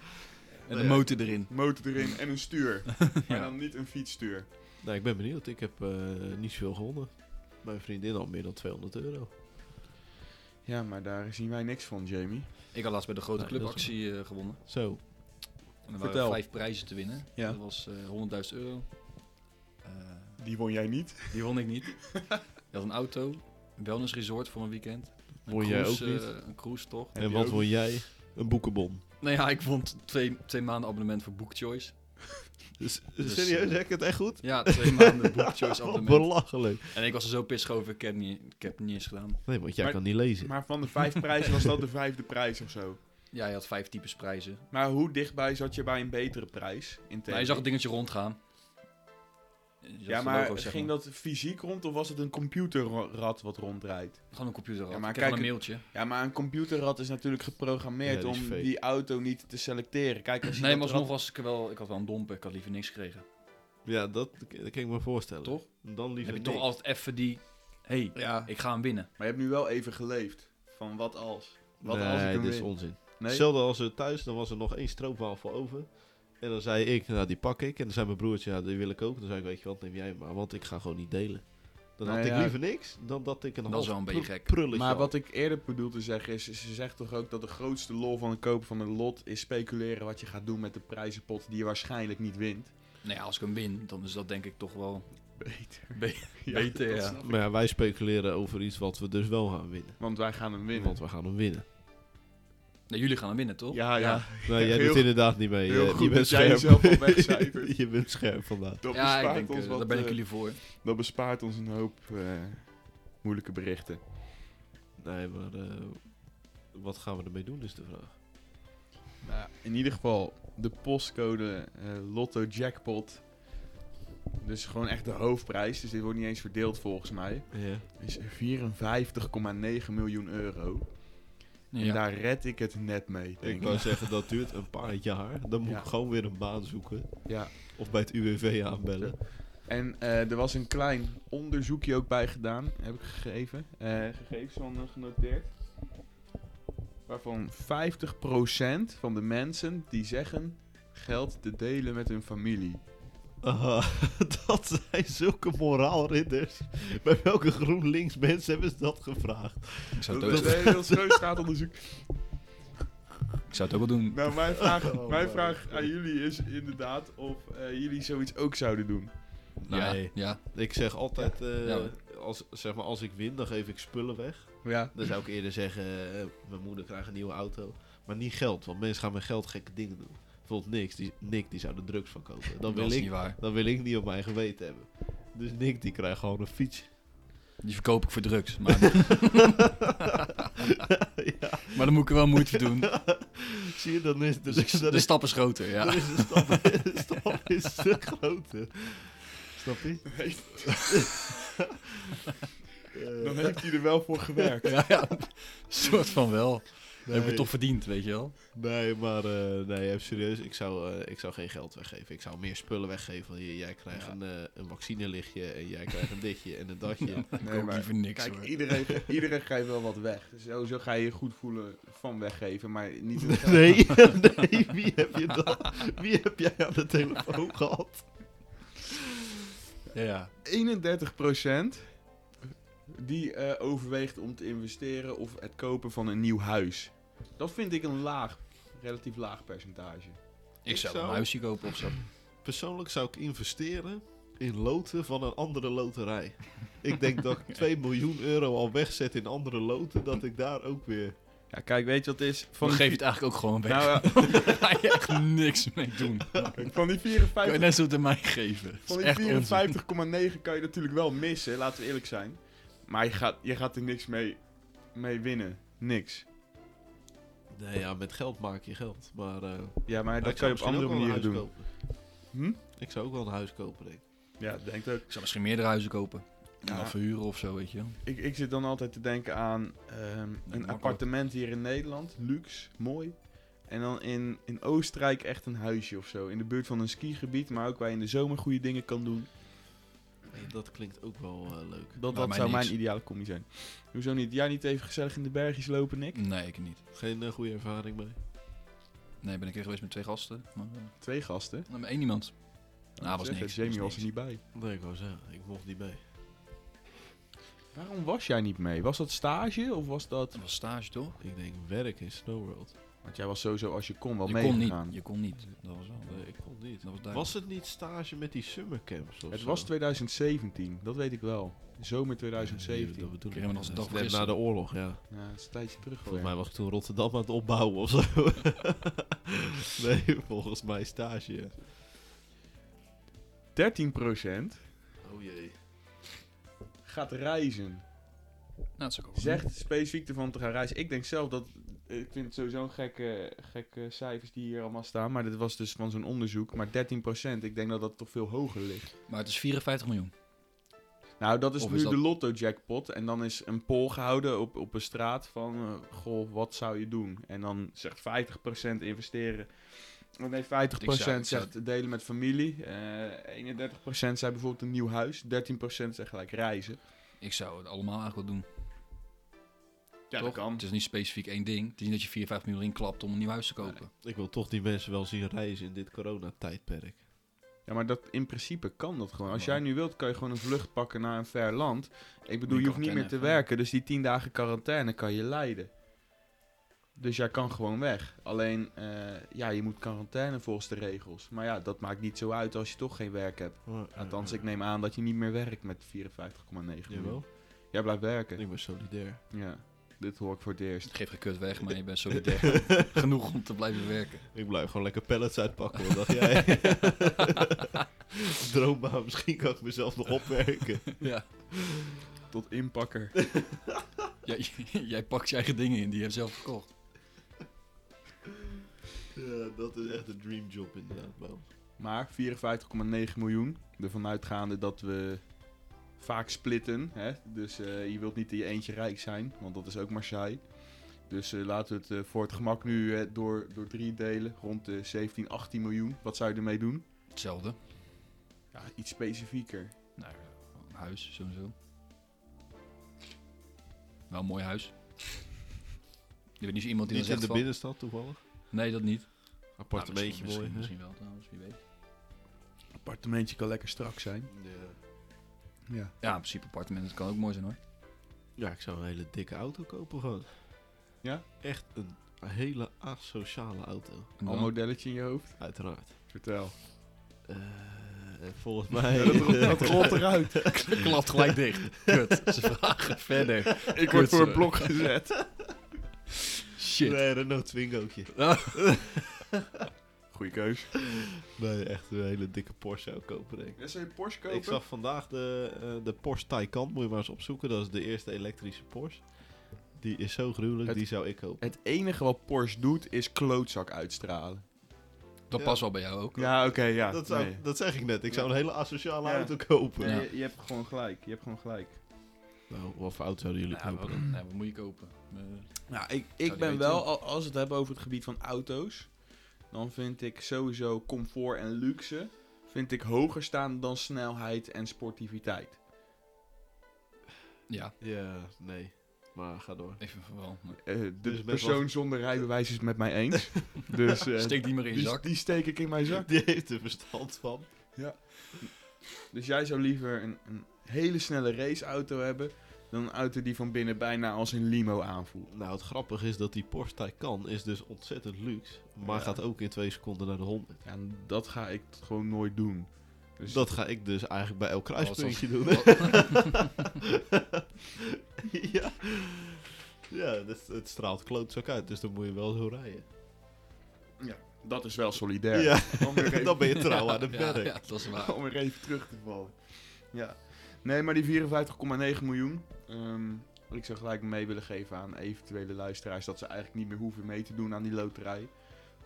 [SPEAKER 3] En de motor erin.
[SPEAKER 2] motor erin en een stuur. Maar
[SPEAKER 3] Ja.
[SPEAKER 2] dan niet een fietsstuur.
[SPEAKER 4] Nou, ik ben benieuwd. Ik heb eh, niet veel gewonnen. Mijn vriendin al meer dan 200 euro.
[SPEAKER 2] Ja, maar daar zien wij niks van, Jamie.
[SPEAKER 3] Ik had laatst bij de grote
[SPEAKER 4] Nee,
[SPEAKER 3] clubactie eh, gewonnen.
[SPEAKER 4] Zo.
[SPEAKER 3] En er
[SPEAKER 2] Vertel.
[SPEAKER 3] waren vijf prijzen te winnen.
[SPEAKER 2] Ja.
[SPEAKER 3] Dat was eh 100.000 euro. Eh,
[SPEAKER 2] Die won jij niet.
[SPEAKER 3] die won ik niet. Je had een auto, een wellnessresort voor een weekend. Een
[SPEAKER 4] Won jij
[SPEAKER 3] cruise,
[SPEAKER 4] ook niet?
[SPEAKER 3] eh, een cruise toch?
[SPEAKER 2] Heb
[SPEAKER 4] en
[SPEAKER 2] je
[SPEAKER 4] wat
[SPEAKER 2] ook-
[SPEAKER 4] wil jij? Een boekenbon.
[SPEAKER 3] Nou ja, ik vond twee, twee maanden abonnement voor Bookchoice.
[SPEAKER 4] Dus,
[SPEAKER 3] Dus,
[SPEAKER 4] serieus,
[SPEAKER 3] eh,
[SPEAKER 4] zeg ik het echt goed?
[SPEAKER 3] Ja, twee maanden Bookchoice
[SPEAKER 4] Wat
[SPEAKER 3] abonnement.
[SPEAKER 4] belachelijk.
[SPEAKER 3] En ik was er zo pissig over, ik heb, niet, ik heb het niet eens gedaan.
[SPEAKER 4] Nee, want jij
[SPEAKER 2] Maar-
[SPEAKER 4] kan niet lezen.
[SPEAKER 2] Maar van de vijf prijzen was dat de vijfde prijs of zo.
[SPEAKER 3] Ja, je had vijf types prijzen.
[SPEAKER 2] Maar hoe dichtbij zat je bij een betere prijs? In
[SPEAKER 3] Maar je zag het dingetje rondgaan. Je zag
[SPEAKER 2] ja,
[SPEAKER 3] de
[SPEAKER 2] maar
[SPEAKER 3] logo's, zeg
[SPEAKER 2] ging
[SPEAKER 3] maar.
[SPEAKER 2] dat fysiek rond of was het een computerrad wat rondrijdt?
[SPEAKER 3] Gewoon een computer had.
[SPEAKER 2] Ja, maar
[SPEAKER 3] ik kreeg wel
[SPEAKER 2] kijk,
[SPEAKER 3] een mailtje.
[SPEAKER 2] Ja, maar een computerrad is natuurlijk geprogrammeerd
[SPEAKER 4] Ja, die
[SPEAKER 2] om
[SPEAKER 4] is fake.
[SPEAKER 2] die auto niet te selecteren. Kijk, als je
[SPEAKER 3] Nee,
[SPEAKER 2] dat
[SPEAKER 3] maar alsnog
[SPEAKER 2] rad-
[SPEAKER 3] was ik er wel... Ik had wel een domper, ik had liever niks gekregen.
[SPEAKER 4] Ja, dat, dat kan ik me voorstellen.
[SPEAKER 3] Toch?
[SPEAKER 4] Dan
[SPEAKER 3] Dan
[SPEAKER 4] liever
[SPEAKER 3] heb je toch
[SPEAKER 4] niks.
[SPEAKER 3] altijd even die... hey,
[SPEAKER 2] Ja,
[SPEAKER 3] ik ga hem winnen.
[SPEAKER 2] maar je hebt nu wel even geleefd. Van wat als? Wat
[SPEAKER 4] nee,
[SPEAKER 2] als ik hem
[SPEAKER 4] dit is
[SPEAKER 2] win?
[SPEAKER 4] onzin.
[SPEAKER 2] Nee?
[SPEAKER 4] Hetzelfde als eh, thuis, dan was er nog één stroopwafel voor over. En dan zei ik, nou die pak ik. En dan zei mijn broertje, ja die wil ik ook. Dan zei ik, weet je wat, neem jij maar, want ik ga gewoon niet delen. Dan
[SPEAKER 2] Nou
[SPEAKER 4] had ik
[SPEAKER 2] ja.
[SPEAKER 4] liever niks, dan dat ik een
[SPEAKER 3] Dat is
[SPEAKER 4] half
[SPEAKER 3] wel een beetje
[SPEAKER 4] pru-
[SPEAKER 3] gek.
[SPEAKER 4] prulletje
[SPEAKER 2] Maar
[SPEAKER 4] had.
[SPEAKER 2] wat ik eerder bedoel te zeggen is, ze zegt toch ook dat de grootste lol van het kopen van een lot is speculeren wat je gaat doen met de prijzenpot die je waarschijnlijk niet wint.
[SPEAKER 3] Nou ja, als ik hem win, dan is dat denk ik toch wel...
[SPEAKER 2] Beter.
[SPEAKER 3] Be-
[SPEAKER 2] Ja,
[SPEAKER 3] Beter,
[SPEAKER 2] dat
[SPEAKER 3] ja.
[SPEAKER 2] snap ik.
[SPEAKER 4] Maar ja, wij speculeren over iets wat we dus wel gaan winnen.
[SPEAKER 2] Want wij gaan hem winnen.
[SPEAKER 4] Want we gaan hem winnen.
[SPEAKER 3] Nee, jullie gaan hem winnen, toch?
[SPEAKER 2] Ja, ja.
[SPEAKER 4] Nou, jij
[SPEAKER 2] Heel-
[SPEAKER 4] doet inderdaad niet mee.
[SPEAKER 2] heel
[SPEAKER 4] eh,
[SPEAKER 2] goed
[SPEAKER 4] je bent
[SPEAKER 2] dat jij
[SPEAKER 4] scherp.
[SPEAKER 2] jezelf al wegcijfert.
[SPEAKER 4] je bent scherp vandaag.
[SPEAKER 2] Dat
[SPEAKER 3] Ja,
[SPEAKER 2] bespaart
[SPEAKER 3] ik denk,
[SPEAKER 2] ons
[SPEAKER 3] eh,
[SPEAKER 2] wat,
[SPEAKER 3] daar ben ik
[SPEAKER 2] eh,
[SPEAKER 3] jullie voor.
[SPEAKER 2] Dat bespaart ons een hoop eh, moeilijke berichten.
[SPEAKER 4] Nee, maar eh, wat gaan we ermee doen is de vraag.
[SPEAKER 2] Nou, in ieder geval de postcode eh, Lotto Jackpot. Dus gewoon echt de hoofdprijs. Dus dit wordt niet eens verdeeld volgens mij.
[SPEAKER 4] Ja.
[SPEAKER 2] Is 54,9 miljoen euro. En
[SPEAKER 3] Ja.
[SPEAKER 2] daar red ik het net mee, denk
[SPEAKER 4] Ik
[SPEAKER 2] ik.
[SPEAKER 4] wou zeggen, dat duurt een paar jaar. Dan moet
[SPEAKER 2] Ja.
[SPEAKER 4] ik gewoon weer een baan zoeken.
[SPEAKER 2] Ja.
[SPEAKER 4] Of bij het UWV aanbellen.
[SPEAKER 2] En eh, er was een klein onderzoekje ook bij gedaan, heb ik gegeven. eh, gegevens van eh, genoteerd. Waarvan 50% van de mensen die zeggen geld te delen met hun familie.
[SPEAKER 4] Ah, dat zijn zulke moraalridders. Bij welke GroenLinks mensen hebben ze dat gevraagd?
[SPEAKER 3] Ik zou,
[SPEAKER 2] Dat
[SPEAKER 3] het ook,
[SPEAKER 2] is een heel groot staatonderzoek.
[SPEAKER 3] ik zou het ook wel doen.
[SPEAKER 2] Nou, mijn vraag,
[SPEAKER 4] Oh,
[SPEAKER 2] mijn
[SPEAKER 4] man.
[SPEAKER 2] vraag aan jullie is inderdaad of eh, jullie zoiets ook zouden doen.
[SPEAKER 3] Nou,
[SPEAKER 4] Nee.
[SPEAKER 3] Ja.
[SPEAKER 4] Ik zeg altijd, eh,
[SPEAKER 3] Ja, Nou.
[SPEAKER 4] als, zeg maar, als ik win, dan geef ik spullen weg.
[SPEAKER 2] Ja.
[SPEAKER 4] Dan zou ik eerder zeggen, eh, mijn moeder krijgt een nieuwe auto. Maar niet geld, want mensen gaan met geld gekke dingen doen. Bijvoorbeeld Nick, die, Nick, die zou er drugs van kopen. Dan
[SPEAKER 3] dat
[SPEAKER 4] wil,
[SPEAKER 3] is
[SPEAKER 4] ik,
[SPEAKER 3] niet waar.
[SPEAKER 4] dan wil ik niet op mijn geweten hebben. Dus Nick, die krijgt gewoon een fiets.
[SPEAKER 3] Die verkoop ik voor drugs. Maar, maar dan moet ik er wel moeite voor doen.
[SPEAKER 4] Zie je, dan is, dan is, dan
[SPEAKER 3] De
[SPEAKER 4] is,
[SPEAKER 3] stap is groter,
[SPEAKER 4] dan
[SPEAKER 3] ja.
[SPEAKER 4] is de stap, de stap is een stuk groter. Snap je? Eh,
[SPEAKER 2] Dan heeft hij er wel voor gewerkt.
[SPEAKER 3] ja, ja. soort van wel. Dat heb ik
[SPEAKER 4] nee,
[SPEAKER 3] het toch verdiend, weet je wel.
[SPEAKER 4] Nee, maar eh, nee, even serieus. Ik zou, eh, ik zou geen geld weggeven. Ik zou meer spullen weggeven. Want j- jij krijgt
[SPEAKER 2] Ja.
[SPEAKER 4] een, eh, een vaccinelichtje en jij krijgt een ditje en een datje.
[SPEAKER 3] Nee, ik
[SPEAKER 2] maar-
[SPEAKER 3] liever niks
[SPEAKER 2] Kijk,
[SPEAKER 3] hoor.
[SPEAKER 2] iedereen, iedereen geeft wel wat weg. Dus sowieso ga je je goed voelen van weggeven, maar niet... in het geld.
[SPEAKER 4] Nee, nee, wie heb je dat? Wie heb jij aan de telefoon gehad?
[SPEAKER 3] Ja, ja.
[SPEAKER 2] 31% die eh, overweegt om te investeren of het kopen van een nieuw huis. Dat vind ik een laag, relatief laag percentage.
[SPEAKER 3] Ik zou
[SPEAKER 4] zou-
[SPEAKER 3] een huisje kopen of zo.
[SPEAKER 4] Persoonlijk zou ik investeren in loten van een andere loterij. Ik denk dat ik 2 miljoen euro al wegzet in andere loten, dat ik daar ook weer...
[SPEAKER 2] Ja, kijk, weet je wat het is?
[SPEAKER 3] Dan
[SPEAKER 2] Van
[SPEAKER 3] geef je
[SPEAKER 2] die,
[SPEAKER 3] het eigenlijk ook gewoon weg.
[SPEAKER 2] nou, ja,
[SPEAKER 3] Daar ga je echt niks mee doen.
[SPEAKER 2] van die
[SPEAKER 3] Kan je
[SPEAKER 2] 54
[SPEAKER 3] net zo aan mij geven. Dat
[SPEAKER 2] van
[SPEAKER 3] is
[SPEAKER 2] die
[SPEAKER 3] echt onzin.
[SPEAKER 2] 54,9 kan je natuurlijk wel missen, laten we eerlijk zijn. Maar je gaat, je gaat er niks mee, mee winnen. Niks.
[SPEAKER 4] Nee, ja, met geld maak je geld. Maar eh,
[SPEAKER 2] Ja, maar dat
[SPEAKER 4] ik
[SPEAKER 2] kan
[SPEAKER 4] zou
[SPEAKER 2] je op
[SPEAKER 4] misschien
[SPEAKER 2] andere
[SPEAKER 4] ook wel een
[SPEAKER 2] manieren
[SPEAKER 4] huis
[SPEAKER 2] doen.
[SPEAKER 4] kopen.
[SPEAKER 2] Hm?
[SPEAKER 4] Ik zou ook wel een huis kopen, denk ik.
[SPEAKER 2] Ja, denk ook.
[SPEAKER 3] Ik zou misschien meerdere huizen kopen. En
[SPEAKER 2] Ja.
[SPEAKER 3] dan verhuren of zo, weet je wel.
[SPEAKER 2] Ik, ik zit dan altijd te denken aan ehm, een
[SPEAKER 3] makkelijk.
[SPEAKER 2] appartement hier in Nederland. Luxe, mooi. En dan in, in Oostenrijk echt een huisje of zo. In de buurt van een skigebied, maar ook waar je in de zomer goede dingen kan doen.
[SPEAKER 4] Dat klinkt ook wel eh, leuk.
[SPEAKER 2] Dat,
[SPEAKER 3] mij
[SPEAKER 2] dat zou
[SPEAKER 3] niks.
[SPEAKER 2] mijn ideale combi zijn. Hoezo niet? Jij niet even gezellig in de bergjes lopen, Nick?
[SPEAKER 3] Nee, ik niet.
[SPEAKER 4] Geen eh, goede ervaring mee.
[SPEAKER 3] Nee, ben ik er geweest met twee gasten. Maar, eh,
[SPEAKER 2] Twee gasten.
[SPEAKER 3] nou, met één iemand. Nou, was
[SPEAKER 2] Zeg het,
[SPEAKER 3] niks.
[SPEAKER 2] Jamie
[SPEAKER 3] was
[SPEAKER 2] was er
[SPEAKER 3] niks.
[SPEAKER 2] niet bij.
[SPEAKER 4] Nee, ik wou zeggen, ik mocht niet mee.
[SPEAKER 2] Waarom was jij niet mee? Was dat stage of was dat...
[SPEAKER 3] Dat was stage toch?
[SPEAKER 4] Ik denk werk in Snow World.
[SPEAKER 2] Want jij was sowieso als je kon wel
[SPEAKER 3] je kon niet.
[SPEAKER 2] meegegaan.
[SPEAKER 3] Je kon niet. Nou, Dat was wel.
[SPEAKER 4] Nee, ik kon niet.
[SPEAKER 3] Dat was duidelijk.
[SPEAKER 4] Was het niet stage met die summercamps of
[SPEAKER 2] Het
[SPEAKER 4] zo?
[SPEAKER 2] was 2017, dat weet ik wel. Zomer
[SPEAKER 4] Ja, dat
[SPEAKER 2] 2017.
[SPEAKER 4] bedoel ik.
[SPEAKER 3] Kregen we nog eens een
[SPEAKER 4] Dat
[SPEAKER 3] dag
[SPEAKER 4] is net na
[SPEAKER 3] gisteren.
[SPEAKER 4] de oorlog, ja.
[SPEAKER 2] Ja, dat is een tijdje terug
[SPEAKER 4] Volgens
[SPEAKER 2] alweer.
[SPEAKER 4] mij was ik toen Rotterdam aan het opbouwen of zo. nee, volgens mij stage. ja.
[SPEAKER 2] 13%
[SPEAKER 4] Oh jee.
[SPEAKER 2] gaat reizen.
[SPEAKER 3] Nou, dat is ook wel
[SPEAKER 2] Zegt specifiek ervan te gaan reizen. Ik denk zelf dat... Ik vind het sowieso een gekke, gekke cijfers die hier allemaal staan. Maar dit was dus van zo'n onderzoek. Maar 13%, ik denk dat dat toch veel hoger ligt.
[SPEAKER 3] Maar het is 54 miljoen.
[SPEAKER 2] Nou, dat is
[SPEAKER 3] Of
[SPEAKER 2] nu
[SPEAKER 3] is dat-
[SPEAKER 2] de lotto-jackpot. En dan is een poll gehouden op, op een straat van... eh, goh, wat zou je doen? En dan zegt 50% investeren. Oh, Nee, 50%
[SPEAKER 3] Ik zou- ik zou-
[SPEAKER 2] zegt delen met familie. Eh 31% zei bijvoorbeeld een nieuw huis. 13% zegt gelijk reizen.
[SPEAKER 3] Ik zou het allemaal eigenlijk wel doen.
[SPEAKER 2] Ja,
[SPEAKER 3] toch? Het is niet specifiek één ding. Het is niet dat je 4, 5 miljoen inklapt om een nieuw huis te kopen.
[SPEAKER 4] Ik wil toch die mensen wel zien reizen in dit coronatijdperk.
[SPEAKER 2] Ja, maar dat, in principe kan dat gewoon. Als
[SPEAKER 3] Ja.
[SPEAKER 2] jij nu wilt, kan je gewoon een vlucht pakken naar een ver land. Ik bedoel,
[SPEAKER 3] Die
[SPEAKER 2] je hoeft niet meer te
[SPEAKER 3] quarantaine,
[SPEAKER 2] werken. Dus die tien dagen quarantaine kan je leiden. Dus jij kan gewoon weg. Alleen, eh, ja, je moet quarantaine volgens de regels. Maar ja, dat maakt niet zo uit als je toch geen werk hebt.
[SPEAKER 3] Oh,
[SPEAKER 2] Althans, ik neem aan dat je niet meer werkt met 54,9 miljoen.
[SPEAKER 4] Jawel,
[SPEAKER 2] Jij blijft werken.
[SPEAKER 4] ik ben solidair.
[SPEAKER 2] Ja, dit hoor ik voor het eerst.
[SPEAKER 3] Het geeft geen kut weg, maar je bent solidair genoeg om te blijven werken.
[SPEAKER 4] Ik blijf gewoon lekker pallets uitpakken, wat dacht jij? Droombaan, misschien kan ik mezelf nog opwerken.
[SPEAKER 3] Ja.
[SPEAKER 2] Tot inpakker.
[SPEAKER 3] Jij, jij pakt je eigen dingen in die je hebt zelf verkocht.
[SPEAKER 4] Ja, dat is echt een dreamjob inderdaad, man.
[SPEAKER 2] Maar 54,9 miljoen. Ervan uitgaande dat we vaak splitten. Hè? Dus eh, je wilt niet in je eentje rijk zijn, want dat is ook maar saai. Dus eh, laten we het eh, voor het gemak nu eh, door, door drie delen. Rond de 17, 18 miljoen. Wat zou je ermee doen?
[SPEAKER 3] Hetzelfde.
[SPEAKER 2] Ja, iets specifieker.
[SPEAKER 3] Nou, een huis, sowieso. Wel een mooi huis. Je bent niet zo iemand die
[SPEAKER 4] Niet
[SPEAKER 3] dan
[SPEAKER 4] in de
[SPEAKER 3] zegt van...
[SPEAKER 4] binnenstad toevallig.
[SPEAKER 3] Nee, dat niet.
[SPEAKER 4] Appartementje
[SPEAKER 3] Nou, misschien, Misschien,
[SPEAKER 4] mooi.
[SPEAKER 3] misschien wel trouwens, wie weet.
[SPEAKER 2] Appartementje kan lekker strak zijn.
[SPEAKER 4] hè? Ja.
[SPEAKER 2] Ja.
[SPEAKER 3] Ja, in principe appartement, dat kan ook mooi zijn hoor.
[SPEAKER 4] Ja, ik zou een hele dikke auto kopen gewoon.
[SPEAKER 2] Ja?
[SPEAKER 4] Echt een hele asociale auto,
[SPEAKER 3] En
[SPEAKER 2] Al
[SPEAKER 3] dan-
[SPEAKER 2] een modelletje in je hoofd?
[SPEAKER 4] uiteraard.
[SPEAKER 2] Vertel.
[SPEAKER 4] Eh, en volgens mij...
[SPEAKER 2] Ja, dat, rolt, dat rolt eruit.
[SPEAKER 3] Klapt gelijk dicht. Kut. Ze vragen verder.
[SPEAKER 2] Ik word
[SPEAKER 3] Kut,
[SPEAKER 2] voor
[SPEAKER 3] eh.
[SPEAKER 2] het blok gezet.
[SPEAKER 3] Shit.
[SPEAKER 4] Nee, Renault Twingootje.
[SPEAKER 2] Goeie keus.
[SPEAKER 4] Nee, echt een hele dikke Porsche zou ik kopen, denk ik.
[SPEAKER 2] Ja, zou je Porsche kopen?
[SPEAKER 4] Ik zag vandaag de, eh, de Porsche Taycan, moet je maar eens opzoeken. Dat is de eerste elektrische Porsche. Die is zo gruwelijk,
[SPEAKER 2] Het-
[SPEAKER 4] die zou ik kopen.
[SPEAKER 2] Het enige wat Porsche doet is klootzak uitstralen.
[SPEAKER 3] Dat
[SPEAKER 4] Ja.
[SPEAKER 3] past wel bij jou ook.
[SPEAKER 2] Ja, oké, ja.
[SPEAKER 4] dat, zou,
[SPEAKER 2] nee.
[SPEAKER 4] dat zeg ik net, ik zou
[SPEAKER 2] Ja.
[SPEAKER 4] een hele asociale
[SPEAKER 2] Ja.
[SPEAKER 4] auto kopen.
[SPEAKER 2] Nee,
[SPEAKER 3] Ja.
[SPEAKER 2] je, je hebt gewoon gelijk. Je hebt gewoon gelijk.
[SPEAKER 4] Nou, wat voor auto zouden jullie
[SPEAKER 3] Ja,
[SPEAKER 4] kopen
[SPEAKER 3] wat,
[SPEAKER 4] dan?
[SPEAKER 3] ja, wat moet je kopen? Eh,
[SPEAKER 2] Nou, ik,
[SPEAKER 3] die
[SPEAKER 2] ik ben
[SPEAKER 3] weten.
[SPEAKER 2] wel, al- als we het hebben over het gebied van auto's, dan vind ik sowieso comfort en luxe vind ik hoger staan dan snelheid en sportiviteit.
[SPEAKER 3] ja,
[SPEAKER 4] Ja, nee. Maar ga door.
[SPEAKER 3] even van wel. maar
[SPEAKER 2] Eh, de
[SPEAKER 4] Dus best
[SPEAKER 2] persoon
[SPEAKER 4] wel-
[SPEAKER 2] zonder rijbewijs is het met mij eens. dus eh,
[SPEAKER 3] Steek die maar in je
[SPEAKER 2] die,
[SPEAKER 3] zak.
[SPEAKER 2] die steek ik in mijn zak.
[SPEAKER 4] Die heeft er verstand van.
[SPEAKER 2] Dus jij zou liever een, een hele snelle raceauto hebben dan een auto die van binnen bijna als een limo aanvoelt.
[SPEAKER 4] Nou, het grappige is dat die Porsche Taycan is dus ontzettend luxe. Maar
[SPEAKER 2] Ja.
[SPEAKER 4] gaat ook in twee seconden naar de 100.
[SPEAKER 2] Ja, en dat ga ik t- gewoon nooit doen. Dus
[SPEAKER 4] Dat ga ik dus eigenlijk bij elk kruispuntje doen. ja, ja dat, het straalt klootzak uit, dus dan moet je wel zo rijden.
[SPEAKER 2] dat is wel solidair.
[SPEAKER 4] Ja,
[SPEAKER 2] Dan weer even-
[SPEAKER 4] dan ben je trouw aan de Oh,
[SPEAKER 3] ja,
[SPEAKER 4] berg.
[SPEAKER 3] ja, dat is waar.
[SPEAKER 2] Om er even terug te vallen. Ja. Nee, maar die 54,9 miljoen. ehm, ik zou gelijk mee willen geven aan eventuele luisteraars dat ze eigenlijk niet meer hoeven mee te doen aan die loterij.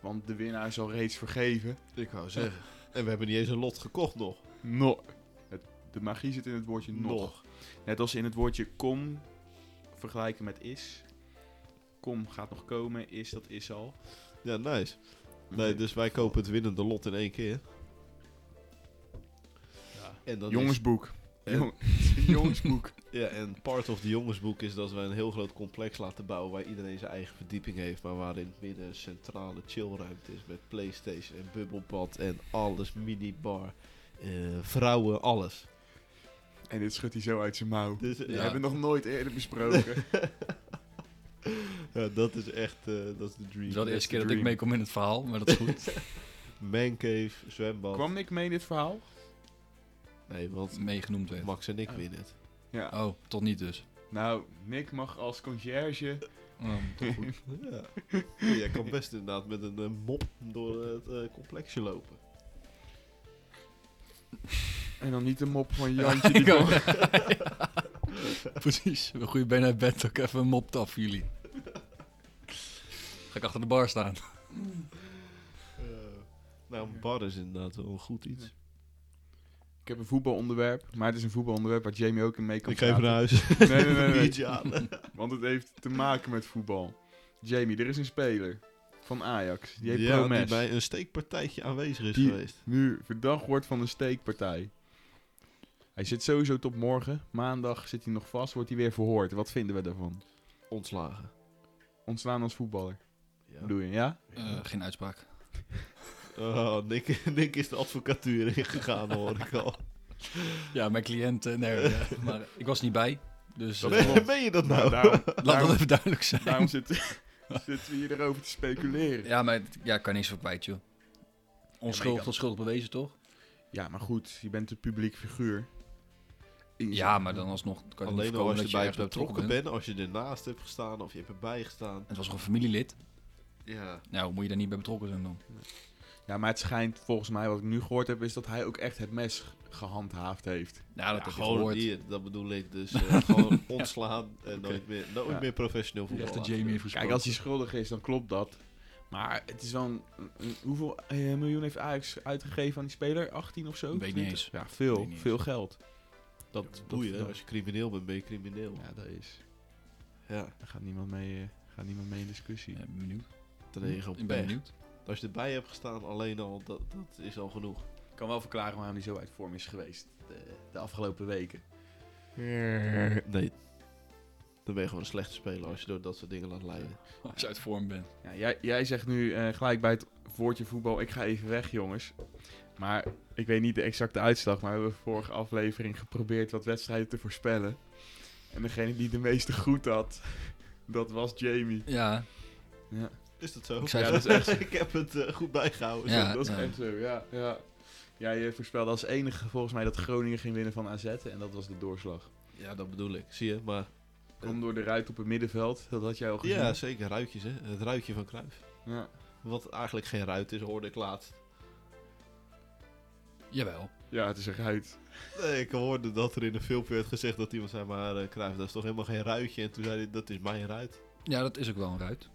[SPEAKER 2] Want de winnaar is al reeds vergeven.
[SPEAKER 4] Ik wou zeggen. En we hebben niet eens een lot gekocht nog.
[SPEAKER 2] Nog. Het, de magie zit in het woordje nog. Net als in het woordje kom vergelijken met is. Kom gaat nog komen, is dat is al.
[SPEAKER 4] Ja, nice.
[SPEAKER 2] Mhm.
[SPEAKER 4] Nee, dus wij kopen het winnende lot in één keer.
[SPEAKER 2] Ja.
[SPEAKER 4] En dan is-
[SPEAKER 2] Jongensboek. Jong- Jongensboek.
[SPEAKER 4] ja, en part of de jongensboek is dat wij een heel groot complex laten bouwen waar iedereen zijn eigen verdieping heeft, maar waar in het midden een centrale chillruimte is met Playstation en bubbelbad en alles, minibar, eh, vrouwen, alles.
[SPEAKER 2] En dit schudt hij zo uit zijn mouw.
[SPEAKER 4] Dus,
[SPEAKER 2] We
[SPEAKER 4] eh,
[SPEAKER 3] Ja.
[SPEAKER 2] hebben het nog nooit eerder besproken.
[SPEAKER 4] ja, dat is echt, eh, dat is de
[SPEAKER 3] Het
[SPEAKER 4] dream.
[SPEAKER 3] is wel de eerste keer dat ik
[SPEAKER 2] dream.
[SPEAKER 3] meekom in het verhaal, maar dat is goed.
[SPEAKER 4] Mancave, zwembad.
[SPEAKER 2] Kwam Nick mee in dit verhaal?
[SPEAKER 4] Nee, want
[SPEAKER 3] Meegenoemd werd.
[SPEAKER 4] Max en ik
[SPEAKER 2] Oh.
[SPEAKER 4] winnen het.
[SPEAKER 2] Ja.
[SPEAKER 3] Oh, tot niet dus.
[SPEAKER 2] Nou, Nick mag als conciërge.
[SPEAKER 3] Oh, toch goed.
[SPEAKER 4] Ja. Ja, Jij kan best inderdaad met een eh, mop door het eh, complexje lopen.
[SPEAKER 2] En dan niet de mop van
[SPEAKER 3] Ja,
[SPEAKER 2] Jantje. Die
[SPEAKER 3] ik ook.
[SPEAKER 2] kon-
[SPEAKER 3] Precies. Een goede ben uit bed ook even een mop af voor jullie. Ga ik achter de bar staan.
[SPEAKER 4] Eh, nou, een bar is inderdaad wel een goed iets.
[SPEAKER 2] Ik heb een voetbalonderwerp, maar het is een voetbalonderwerp waar Jamie ook in mee kan
[SPEAKER 4] Ik ga even naar
[SPEAKER 2] praten.
[SPEAKER 4] huis.
[SPEAKER 2] Nee, nee, nee, nee.
[SPEAKER 4] Biertje aan.
[SPEAKER 2] Want het heeft te maken met voetbal. Jamie, er is een speler van Ajax. Die heet
[SPEAKER 4] ja,
[SPEAKER 2] Promes.
[SPEAKER 4] die bij een steekpartijtje aanwezig is
[SPEAKER 2] Die-
[SPEAKER 4] geweest.
[SPEAKER 2] Nu verdacht wordt van een steekpartij. Hij zit sowieso tot morgen. Maandag zit hij nog vast, wordt hij weer verhoord. Wat vinden we daarvan?
[SPEAKER 4] Ontslagen.
[SPEAKER 2] Ontslaan als voetballer.
[SPEAKER 4] Ja.
[SPEAKER 2] Bedoel je, ja?
[SPEAKER 3] Eh, geen uitspraak.
[SPEAKER 4] Oh, Nick, Nick is de advocatuur ingegaan, hoor ik al.
[SPEAKER 3] Ja, mijn cliënt. eh, nee, ja. maar ik was niet bij. Dus
[SPEAKER 2] Dat
[SPEAKER 3] eh,
[SPEAKER 2] klopt.
[SPEAKER 4] Ben je dat
[SPEAKER 2] Nou,
[SPEAKER 4] nou?
[SPEAKER 2] daarom,
[SPEAKER 3] laat dat
[SPEAKER 2] daarom,
[SPEAKER 3] even duidelijk zijn.
[SPEAKER 2] daarom zitten, zitten we hier erover te speculeren.
[SPEAKER 3] Ja, maar het- ja, ik kan niks voor kwijt, joh.
[SPEAKER 2] Ja, maar je
[SPEAKER 3] Onschuldig
[SPEAKER 2] kan-
[SPEAKER 3] tot schuldig bewezen, toch?
[SPEAKER 2] Ja, maar goed, je bent een publiek figuur.
[SPEAKER 3] Ja, maar dan alsnog kan je niet
[SPEAKER 4] Alleen al
[SPEAKER 3] voorkomen
[SPEAKER 4] als
[SPEAKER 3] dat
[SPEAKER 4] je
[SPEAKER 3] je
[SPEAKER 4] bij
[SPEAKER 3] ergens bij
[SPEAKER 4] betrokken
[SPEAKER 3] betrokken bent.
[SPEAKER 4] bent, als je ernaast hebt gestaan of je hebt erbij gestaan.
[SPEAKER 3] Het was gewoon een familielid.
[SPEAKER 4] Ja.
[SPEAKER 3] Nou, moet je daar niet bij betrokken zijn dan? Nou,
[SPEAKER 2] Ja, maar het schijnt volgens mij, wat ik nu gehoord heb, is dat hij ook echt het mes ge- gehandhaafd heeft.
[SPEAKER 3] Ja, dat
[SPEAKER 4] Ja,
[SPEAKER 3] heb je
[SPEAKER 4] gewoon
[SPEAKER 3] gehoord.
[SPEAKER 4] die, dat bedoel ik dus. eh, gewoon ontslaan en nooit meer, nooit
[SPEAKER 2] Ja.
[SPEAKER 4] meer professioneel voetbal.
[SPEAKER 3] Rechter Jamie heeft gesproken.
[SPEAKER 2] Kijk, als hij schuldig is, dan klopt dat. Maar het is wel een, een- hoeveel eh, miljoen heeft Ajax uitgegeven aan die speler? 18 of zo?
[SPEAKER 3] Weet niet
[SPEAKER 2] 20?
[SPEAKER 3] eens.
[SPEAKER 2] Ja, veel,
[SPEAKER 3] Weet niet
[SPEAKER 2] veel geld. Dat,
[SPEAKER 4] Dat
[SPEAKER 2] dat-
[SPEAKER 4] boeien,
[SPEAKER 2] dat-
[SPEAKER 4] als je crimineel bent, ben je crimineel.
[SPEAKER 2] Ja, dat is.
[SPEAKER 4] Ja,
[SPEAKER 2] Daar gaat niemand mee, eh, gaat niemand mee in discussie.
[SPEAKER 3] Ja, ben benieuwd.
[SPEAKER 4] dan ben je
[SPEAKER 3] Ik
[SPEAKER 4] op
[SPEAKER 3] ben
[SPEAKER 4] weg.
[SPEAKER 3] benieuwd.
[SPEAKER 4] Als je erbij hebt gestaan, alleen al, dat, dat is al genoeg.
[SPEAKER 2] Ik kan wel verklaren waarom hij zo uit vorm is geweest de, de afgelopen weken.
[SPEAKER 4] Nee. Dan ben je gewoon een slechte speler als je door dat soort dingen laat leiden.
[SPEAKER 3] Als je uit vorm bent.
[SPEAKER 2] Ja, jij, jij zegt nu eh, gelijk bij het woordje voetbal, ik ga even weg jongens. Maar ik weet niet de exacte uitslag, maar we hebben vorige aflevering geprobeerd wat wedstrijden te voorspellen. En degene die de meeste goed had, dat was Jamie.
[SPEAKER 3] Ja,
[SPEAKER 2] Ja,
[SPEAKER 4] Is dat zo?
[SPEAKER 3] Ik zei
[SPEAKER 2] Ja,
[SPEAKER 3] het.
[SPEAKER 2] dat is echt-
[SPEAKER 4] ik heb het eh, goed bijgehouden.
[SPEAKER 3] Ja.
[SPEAKER 2] dat is
[SPEAKER 3] nou.
[SPEAKER 2] echt zo, ja. ja. Ja, je voorspelde als enige volgens mij dat Groningen ging winnen van AZ en dat was de doorslag.
[SPEAKER 4] Ja, dat bedoel ik. Zie je, maar...
[SPEAKER 2] Kom door de ruit op het middenveld, dat had jij al gezien.
[SPEAKER 4] Ja, zeker. Ruitjes, hè. Het ruitje van Cruijff.
[SPEAKER 2] Ja.
[SPEAKER 4] Wat eigenlijk geen ruit is, hoorde ik laatst.
[SPEAKER 3] jawel.
[SPEAKER 2] Ja, het is een ruit.
[SPEAKER 4] Nee, ik hoorde dat er in een filmpje werd gezegd dat iemand zei... Maar eh Cruijff, dat is toch helemaal geen ruitje? En toen zei hij, dat is mijn ruit.
[SPEAKER 3] Ja, dat is ook wel een ruit.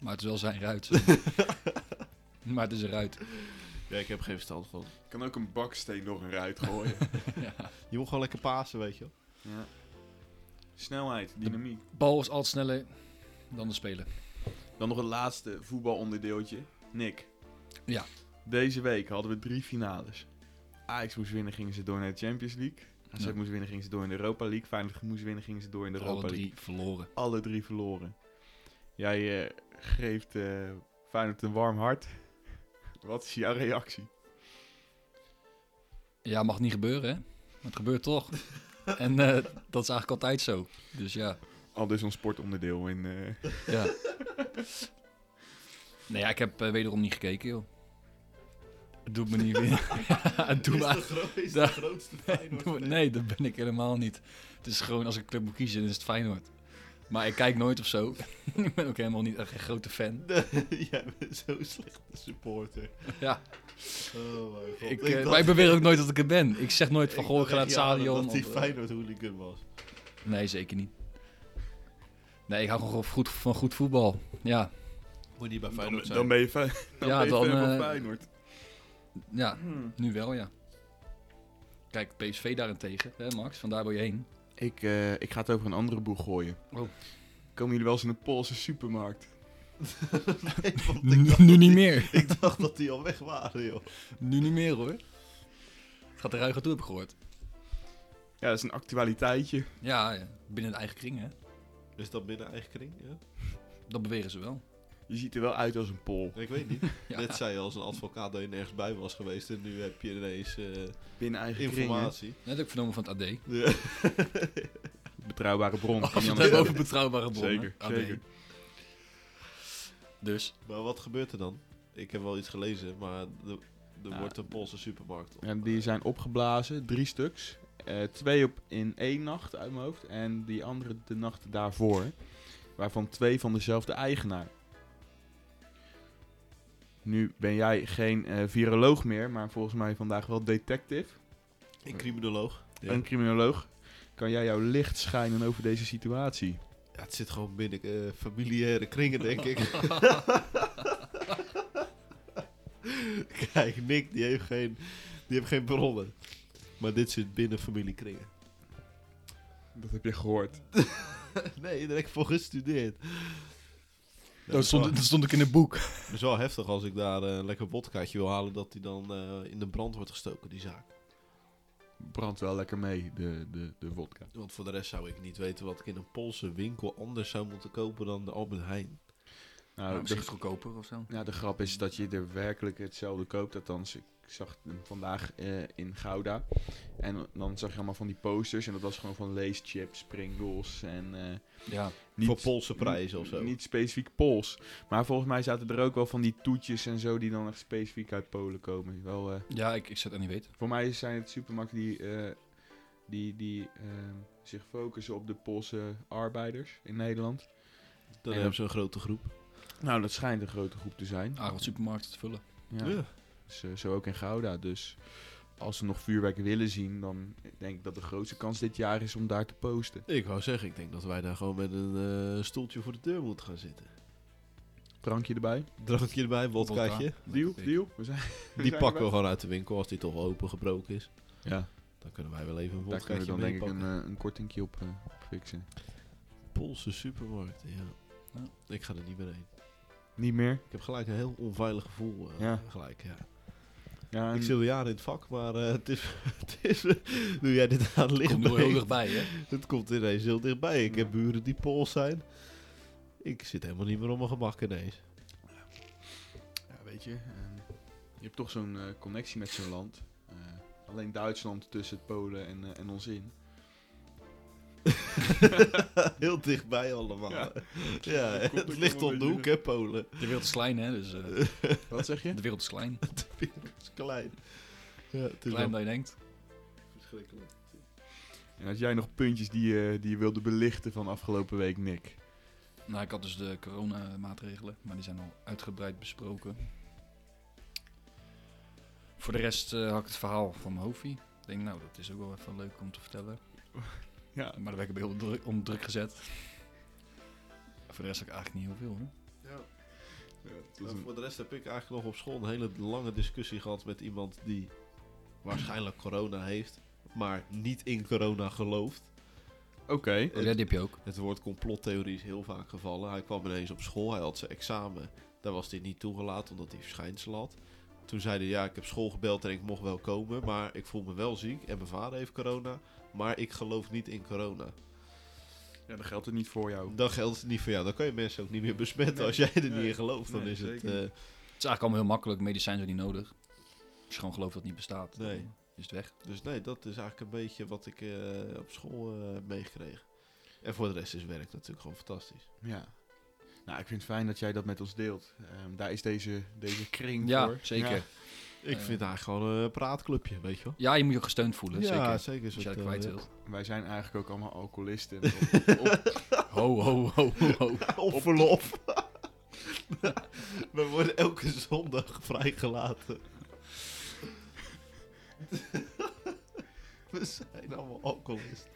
[SPEAKER 3] Maar het is wel zijn ruit. maar het is een ruit.
[SPEAKER 4] Ja, ik heb geen verstand van.
[SPEAKER 2] Ik kan ook een baksteen door een ruit gooien.
[SPEAKER 3] Ja.
[SPEAKER 4] Je moet gewoon lekker pasen, weet je wel.
[SPEAKER 2] ja. Snelheid, dynamiek.
[SPEAKER 3] Bal is altijd sneller dan de speler.
[SPEAKER 2] Dan nog het laatste voetbalonderdeeltje. Nick.
[SPEAKER 3] Ja.
[SPEAKER 2] Deze week hadden we drie finales. Ajax moest winnen, gingen ze door naar de Champions League. AZ
[SPEAKER 3] Ja.
[SPEAKER 2] moest winnen, gingen ze door in de Europa League. Feyenoord moest winnen, gingen ze door in de Europa
[SPEAKER 3] Alle
[SPEAKER 2] League.
[SPEAKER 3] drie verloren.
[SPEAKER 2] Alle drie verloren. Jij eh, geeft eh, Feyenoord een warm hart. Wat is jouw reactie?
[SPEAKER 3] Ja, mag niet gebeuren, hè? Maar het gebeurt toch. en eh, dat is eigenlijk altijd zo. Dus ja.
[SPEAKER 2] Al dus ons sportonderdeel in... eh,
[SPEAKER 3] ja. Nee, ja, ik heb eh, wederom niet gekeken, joh. Het doet me niet weer. het doet me
[SPEAKER 4] is de,
[SPEAKER 3] eigenlijk-
[SPEAKER 4] gro- is
[SPEAKER 3] Da-
[SPEAKER 4] de grootste Feyenoord.
[SPEAKER 3] Doe- Nee, dat ben ik helemaal niet. Het is gewoon, als ik een club moet kiezen, dan is het Feyenoord. Maar ik kijk nooit of zo. ik ben ook helemaal niet echt een grote fan.
[SPEAKER 4] Nee, jij bent zo'n slechte supporter.
[SPEAKER 3] Ja.
[SPEAKER 4] Oh mijn god.
[SPEAKER 3] Ik, eh,
[SPEAKER 4] dacht-
[SPEAKER 3] maar ik beweer ook nooit dat ik er ben. Ik zeg nooit van,
[SPEAKER 4] Ik
[SPEAKER 3] goh, ik
[SPEAKER 4] dacht
[SPEAKER 3] ga naar het
[SPEAKER 4] echt, ja,
[SPEAKER 3] stadion.
[SPEAKER 4] Dat hij
[SPEAKER 3] of- eh,
[SPEAKER 4] Feyenoord hooligan was.
[SPEAKER 3] Nee, zeker niet. Nee, ik hou gewoon van goed, van goed voetbal. Ja,
[SPEAKER 4] Moet niet bij
[SPEAKER 2] dan,
[SPEAKER 4] Feyenoord
[SPEAKER 2] dan
[SPEAKER 4] zijn.
[SPEAKER 2] ben je, fan- dan
[SPEAKER 3] Ja,
[SPEAKER 2] ben je
[SPEAKER 3] dan,
[SPEAKER 2] fan van
[SPEAKER 3] eh,
[SPEAKER 2] Feyenoord.
[SPEAKER 3] ja nu wel, ja. Kijk, PSV daarentegen, hè Max? Vandaar wil je heen.
[SPEAKER 2] Ik, eh, ik ga het over een andere boeg gooien.
[SPEAKER 3] Oh.
[SPEAKER 2] Komen jullie wel eens in een Poolse supermarkt?
[SPEAKER 4] Nee, want ik
[SPEAKER 3] Nu,
[SPEAKER 4] dacht
[SPEAKER 3] nu
[SPEAKER 4] dat
[SPEAKER 3] niet
[SPEAKER 4] die-
[SPEAKER 3] meer.
[SPEAKER 4] Ik dacht dat die al weg waren, joh.
[SPEAKER 3] Nu niet meer, hoor. Het gaat er ruiger toe, heb ik gehoord.
[SPEAKER 2] Ja, dat is een actualiteitje.
[SPEAKER 3] Ja, ja, binnen de eigen kring, hè.
[SPEAKER 4] Is dat binnen eigen kring? Ja?
[SPEAKER 3] Dat beweren ze wel.
[SPEAKER 2] Je ziet er wel uit als een pol.
[SPEAKER 4] Ik weet niet.
[SPEAKER 3] Ja.
[SPEAKER 4] Net zei je als een advocaat dat je nergens bij was geweest en nu heb je ineens eh,
[SPEAKER 2] Binnen eigen kringen.
[SPEAKER 4] informatie.
[SPEAKER 3] Net ook vernomen van het AD.
[SPEAKER 4] Ja.
[SPEAKER 2] Betrouwbare bron.
[SPEAKER 3] Als
[SPEAKER 2] kan
[SPEAKER 3] we
[SPEAKER 2] je anders
[SPEAKER 3] het hebben
[SPEAKER 2] zeggen.
[SPEAKER 3] over betrouwbare bronnen.
[SPEAKER 2] Zeker,
[SPEAKER 3] AD.
[SPEAKER 2] zeker.
[SPEAKER 3] Dus,
[SPEAKER 4] Maar wat gebeurt er dan? Ik heb wel iets gelezen, maar er, er
[SPEAKER 2] Ja.
[SPEAKER 4] wordt een Poolse supermarkt. op- eh,
[SPEAKER 2] Ja, die zijn opgeblazen, drie stuks. Eh, twee op in één nacht uit mijn hoofd en die andere de nacht daarvoor. Waarvan twee van dezelfde eigenaar. Nu ben jij geen eh, viroloog meer, maar volgens mij vandaag wel detective.
[SPEAKER 4] Een criminoloog. Ja.
[SPEAKER 2] Een criminoloog. Kan jij jouw licht schijnen over deze situatie?
[SPEAKER 4] Ja, het zit gewoon binnen eh, familiaire kringen, denk ik. Kijk, Nick, die heeft, geen, die heeft geen bronnen. Maar dit zit binnen familiekringen.
[SPEAKER 2] Dat heb je gehoord.
[SPEAKER 4] Nee, daar heb ik voor gestudeerd.
[SPEAKER 3] dat, stond, dat stond ik in het boek.
[SPEAKER 4] Het is wel heftig als ik daar eh, een lekker vodkaatje wil halen, dat die dan eh, in de brand wordt gestoken, die zaak.
[SPEAKER 2] Brandt wel lekker mee, de, de, de vodka.
[SPEAKER 4] Want voor de rest zou ik niet weten wat ik in een Poolse winkel anders zou moeten kopen dan de Albert Heijn.
[SPEAKER 2] Nou, de,
[SPEAKER 3] misschien goedkoper of zo.
[SPEAKER 2] ja, de grap is dat je er werkelijk hetzelfde koopt. Althans, ik zag hem vandaag eh, in Gouda. En dan zag je allemaal van die posters. En dat was gewoon van leeschips, Pringles en eh,
[SPEAKER 3] Ja,
[SPEAKER 2] niet,
[SPEAKER 4] voor Poolse prijzen of zo.
[SPEAKER 2] Niet specifiek Pools. Maar volgens mij zaten er ook wel van die toetjes en zo die dan echt specifiek uit Polen komen. Wel, eh,
[SPEAKER 3] ja ik, ik zou het niet weten.
[SPEAKER 2] Voor mij zijn het supermarkten die, eh, die, die ehm, zich focussen op de Poolse arbeiders in Nederland.
[SPEAKER 4] Dan
[SPEAKER 2] Ja.
[SPEAKER 4] hebben ze een grote groep.
[SPEAKER 2] Nou, dat schijnt een grote groep te zijn.
[SPEAKER 3] Aardig supermarkten te vullen.
[SPEAKER 2] Ja. Dus, eh, zo ook in Gouda. Dus als ze nog vuurwerk willen zien, dan denk ik dat de grootste kans dit jaar is om daar te posten.
[SPEAKER 4] Ik wou zeggen, ik denk dat wij daar gewoon met een eh, stoeltje voor de deur moeten gaan zitten.
[SPEAKER 2] Drankje erbij.
[SPEAKER 4] Drankje erbij, wodkaatje.
[SPEAKER 3] Vodka.
[SPEAKER 2] Deal,
[SPEAKER 3] Lekker.
[SPEAKER 2] deal. We zijn,
[SPEAKER 4] Die
[SPEAKER 2] zijn
[SPEAKER 4] pakken we
[SPEAKER 2] erbij.
[SPEAKER 4] gewoon uit de winkel als die toch opengebroken is.
[SPEAKER 2] Ja,
[SPEAKER 4] Dan kunnen wij wel even een
[SPEAKER 2] daar kunnen we
[SPEAKER 4] wodkaatje
[SPEAKER 2] dan denk ik een,
[SPEAKER 4] meepakken.
[SPEAKER 2] eh, een kortingje op, eh, op fixen.
[SPEAKER 4] Poolse supermarkt, ja.
[SPEAKER 3] Ja.
[SPEAKER 4] Ik ga er niet meer heen.
[SPEAKER 2] Niet meer.
[SPEAKER 4] Ik heb gelijk een heel onveilig gevoel. eh,
[SPEAKER 2] Ja.
[SPEAKER 4] Gelijk, ja.
[SPEAKER 2] Ja,
[SPEAKER 4] Ik
[SPEAKER 2] en-
[SPEAKER 4] zit al jaren in het vak, maar eh, het is... Het is nu jij dit aan het licht
[SPEAKER 3] Komt er heel
[SPEAKER 4] brengt,
[SPEAKER 3] dichtbij, hè?
[SPEAKER 4] het komt ineens heel dichtbij. Ik heb buren die Pools zijn. Ik zit helemaal niet meer op mijn gemak ineens.
[SPEAKER 2] Ja, weet je, ehm, je hebt toch zo'n eh, connectie met zo'n land. Eh, alleen Duitsland tussen Polen en, eh, en ons in.
[SPEAKER 4] heel dichtbij allemaal. Ja,
[SPEAKER 2] Ja. Dat komt
[SPEAKER 4] het
[SPEAKER 2] ook
[SPEAKER 4] ligt
[SPEAKER 2] wel
[SPEAKER 4] om de
[SPEAKER 2] een
[SPEAKER 4] hoek, hè, Polen.
[SPEAKER 3] De wereld is klein, hè? Dus, eh,
[SPEAKER 2] Wat zeg je?
[SPEAKER 3] de wereld is klein.
[SPEAKER 4] Het is klein. Ja, het is
[SPEAKER 3] Klein
[SPEAKER 4] wel
[SPEAKER 3] dan je denkt.
[SPEAKER 4] verschrikkelijk.
[SPEAKER 2] En had jij nog puntjes die, je- die je wilde belichten van afgelopen week, Nick?
[SPEAKER 3] Nou, ik had dus de coronamaatregelen, maar die zijn al uitgebreid besproken. Voor de rest eh, had ik het verhaal van Hofi. Ik denk, nou, dat is ook wel even leuk om te vertellen.
[SPEAKER 2] Ja.
[SPEAKER 3] Maar daar werd ik heel druk, onder druk gezet. Voor de rest had ik eigenlijk niet heel veel, hè?
[SPEAKER 4] En Voor de rest heb ik eigenlijk nog op school een hele lange discussie gehad met iemand die waarschijnlijk corona heeft, maar niet in corona gelooft.
[SPEAKER 2] Oké.
[SPEAKER 4] Oh, ja,
[SPEAKER 3] die heb je ook.
[SPEAKER 4] Het woord complottheorie is heel vaak gevallen. Hij kwam ineens op school, hij had zijn examen. Daar was hij niet toegelaten omdat hij verschijnsel had. Toen zei hij, ja, ik heb school gebeld en ik mocht wel komen, maar ik voel me wel ziek en mijn vader heeft corona, maar ik geloof niet in corona.
[SPEAKER 2] Ja, dan geldt het niet voor jou.
[SPEAKER 4] Dan geldt het niet voor jou, dan kan je mensen ook niet meer besmetten
[SPEAKER 2] Nee,
[SPEAKER 4] als jij er niet
[SPEAKER 2] nee,
[SPEAKER 4] in gelooft. Dan
[SPEAKER 2] nee,
[SPEAKER 4] is het...
[SPEAKER 2] zeker.
[SPEAKER 4] eh,
[SPEAKER 3] Het is eigenlijk allemaal heel makkelijk. Medicijnen zijn niet nodig. Als je gewoon gelooft dat het niet bestaat,
[SPEAKER 4] Nee.
[SPEAKER 3] dan is het weg.
[SPEAKER 4] Dus nee, dat is eigenlijk een beetje wat ik eh, op school eh, heb meegekregen. En voor de rest is werk natuurlijk gewoon fantastisch.
[SPEAKER 2] Ja. Nou, ik vind het fijn dat jij dat met ons deelt. Ehm, daar is deze, deze kring
[SPEAKER 3] Ja,
[SPEAKER 2] voor.
[SPEAKER 3] zeker.
[SPEAKER 2] Ja.
[SPEAKER 3] Ja.
[SPEAKER 4] Ik
[SPEAKER 3] Eh.
[SPEAKER 4] vind het eigenlijk gewoon een praatclubje, weet je wel.
[SPEAKER 3] je moet je ook gesteund voelen,
[SPEAKER 4] ja,
[SPEAKER 3] zeker.
[SPEAKER 4] zeker. is
[SPEAKER 3] Als je
[SPEAKER 4] het,
[SPEAKER 3] dat
[SPEAKER 4] eh,
[SPEAKER 3] kwijt wilt.
[SPEAKER 2] Wij zijn eigenlijk ook allemaal alcoholisten. Op- op-
[SPEAKER 3] Ho, ho, ho, ho, ho.
[SPEAKER 4] Op verlof. We worden elke zondag vrijgelaten. We zijn allemaal alcoholisten.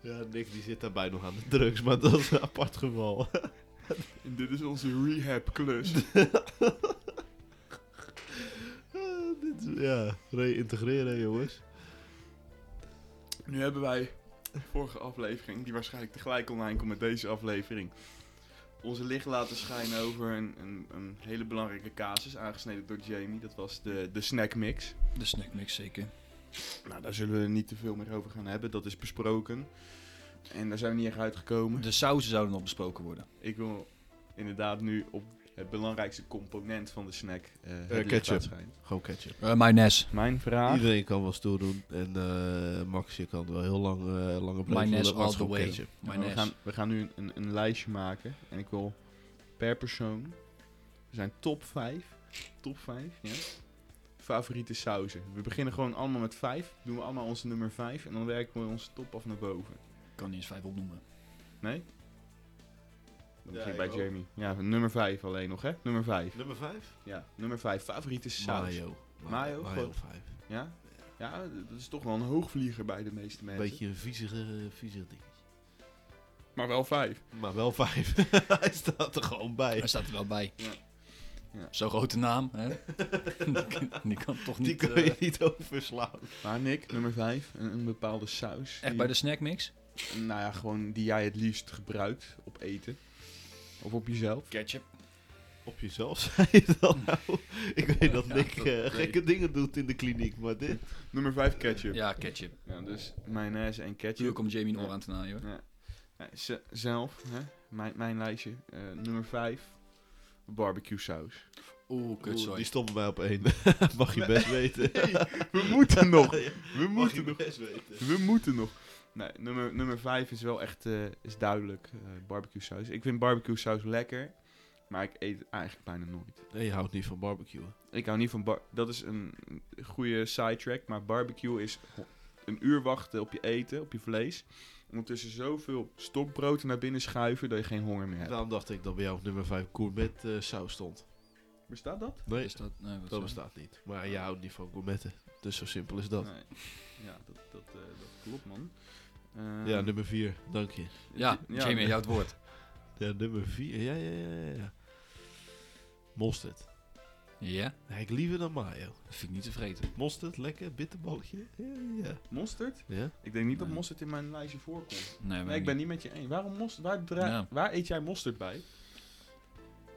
[SPEAKER 4] Ja, Nick die zit daarbij nog aan de drugs, maar dat is een apart geval.
[SPEAKER 2] en dit is onze rehab-klus.
[SPEAKER 4] Eh, dit is- ja, reïntegreren jongens.
[SPEAKER 2] Nu hebben wij de vorige aflevering, die waarschijnlijk tegelijk online komt met deze aflevering, onze licht laten schijnen over een, een, een hele belangrijke casus, aangesneden door Jamie. Dat was de, de snackmix.
[SPEAKER 3] De snackmix, zeker.
[SPEAKER 2] Nou, daar zullen we niet te veel meer over gaan hebben. Dat is besproken. En daar zijn we niet echt uitgekomen.
[SPEAKER 3] De sauzen zouden nog besproken worden.
[SPEAKER 2] Ik wil inderdaad nu op het belangrijkste component van de snack. eh, het licht
[SPEAKER 4] ketchup.
[SPEAKER 2] laat schijnen.
[SPEAKER 4] Gewoon ketchup.
[SPEAKER 3] Eh, mayonaise.
[SPEAKER 2] Mijn vraag.
[SPEAKER 4] Iedereen kan wel stoer doen. En eh, Max, je kan wel heel lang, eh lange blijven.
[SPEAKER 3] Mayonaise
[SPEAKER 4] doen,
[SPEAKER 3] all
[SPEAKER 4] maar het is
[SPEAKER 3] the
[SPEAKER 4] gewoon
[SPEAKER 3] way.
[SPEAKER 4] ketchup.
[SPEAKER 2] we, gaan, we gaan nu een, een, een lijstje maken. En ik wil per persoon. Er zijn top 5. Top 5, ja. Favoriete sauzen. We beginnen gewoon allemaal met 5. Doen we allemaal onze nummer 5. En dan werken we onze top af naar boven.
[SPEAKER 3] kan niet eens vijf opnoemen.
[SPEAKER 2] Nee? Dan
[SPEAKER 4] Ja,
[SPEAKER 2] begin ik
[SPEAKER 4] ik
[SPEAKER 2] bij
[SPEAKER 4] ook.
[SPEAKER 2] Jamie. Ja, nummer 5 alleen nog, hè? Nummer 5.
[SPEAKER 4] Nummer 5?
[SPEAKER 2] Ja, nummer 5. Favoriete saus.
[SPEAKER 4] Mayo.
[SPEAKER 2] Mayo,
[SPEAKER 4] Mayo
[SPEAKER 2] gewoon.
[SPEAKER 4] 5.
[SPEAKER 2] Ja? Ja, dat is toch wel een hoogvlieger bij de meeste
[SPEAKER 4] Een
[SPEAKER 2] mensen.
[SPEAKER 4] beetje een viezige, viezige ding.
[SPEAKER 2] Maar wel 5.
[SPEAKER 4] Maar wel 5. Hij staat er gewoon bij.
[SPEAKER 3] Hij staat er wel bij.
[SPEAKER 2] Ja. Ja.
[SPEAKER 3] Zo'n grote naam, hè? die kan toch
[SPEAKER 4] Die
[SPEAKER 3] niet...
[SPEAKER 4] kun je
[SPEAKER 3] eh,
[SPEAKER 4] niet overslaan.
[SPEAKER 2] Maar Nick, nummer 5. Een, een bepaalde saus.
[SPEAKER 3] echt
[SPEAKER 2] die-
[SPEAKER 3] bij de snackmix?
[SPEAKER 2] Nou ja, gewoon die jij het liefst gebruikt op eten. Of op jezelf.
[SPEAKER 3] Ketchup.
[SPEAKER 4] Op jezelf zei je dan nou. Ik weet dat
[SPEAKER 3] Ja,
[SPEAKER 4] Nick
[SPEAKER 3] dat
[SPEAKER 4] eh,
[SPEAKER 3] weet
[SPEAKER 4] gekke dingen doet in de kliniek, maar dit...
[SPEAKER 2] Nummer 5, ketchup. Ja.
[SPEAKER 3] Ja, ketchup.
[SPEAKER 2] dus mayonaise en
[SPEAKER 3] Tuurlijk
[SPEAKER 2] ketchup.
[SPEAKER 3] komt Jamie een oor aan te naaien, hoor.
[SPEAKER 2] Ja, ze- zelf, hè? Mijn, mijn lijstje. eh, nummer 5, barbecue saus.
[SPEAKER 3] Oeh, kut,
[SPEAKER 4] Oeh, die
[SPEAKER 3] sorry.
[SPEAKER 4] stond bij mij op één. Mag je best weten.
[SPEAKER 2] We moeten nog. We
[SPEAKER 4] Mag je
[SPEAKER 2] moeten nog.
[SPEAKER 4] best weten.
[SPEAKER 2] We moeten nog. Nee, nummer, nummer 5 is wel echt eh, is duidelijk. eh barbecue saus. Ik vind barbecue saus lekker. Maar ik eet het eigenlijk bijna nooit.
[SPEAKER 4] Nee, je houdt niet van barbecue.
[SPEAKER 2] Ik hou niet van bar. Dat is een goede sidetrack. Maar barbecue is ho- een uur wachten op je eten, op je vlees. Ondertussen zoveel stokbrood naar binnen schuiven dat je geen honger meer hebt.
[SPEAKER 4] Daarom dacht ik dat bij jou op nummer 5 gourmet eh, saus stond.
[SPEAKER 2] Bestaat dat?
[SPEAKER 4] Nee,
[SPEAKER 3] Is dat... Nee, wat
[SPEAKER 4] dat
[SPEAKER 3] zo.
[SPEAKER 4] bestaat niet. Maar je houdt niet van gourmetten. Dus zo simpel is dat.
[SPEAKER 2] Nee. Ja, dat, dat, eh, dat klopt man. Ehm,
[SPEAKER 4] Ja, nummer 4. Dank je.
[SPEAKER 3] Ja, Jamie, jouw het woord.
[SPEAKER 4] Ja, nummer 4. Ja, ja, ja, ja, ja. Mosterd.
[SPEAKER 3] Ja?
[SPEAKER 4] Nee, ik liever dan mayo.
[SPEAKER 3] Dat vind ik niet te vreten.
[SPEAKER 4] Mosterd, lekker, bitterballetje. Ja, ja.
[SPEAKER 2] Mosterd?
[SPEAKER 4] ja.
[SPEAKER 2] Ik denk niet dat
[SPEAKER 3] Nee.
[SPEAKER 2] mosterd in mijn lijstje voorkomt.
[SPEAKER 3] Nee,
[SPEAKER 2] Nee, ik ben niet met je eens. Waarom mosterd? Waar, dra-
[SPEAKER 3] Ja.
[SPEAKER 2] waar eet jij mosterd bij?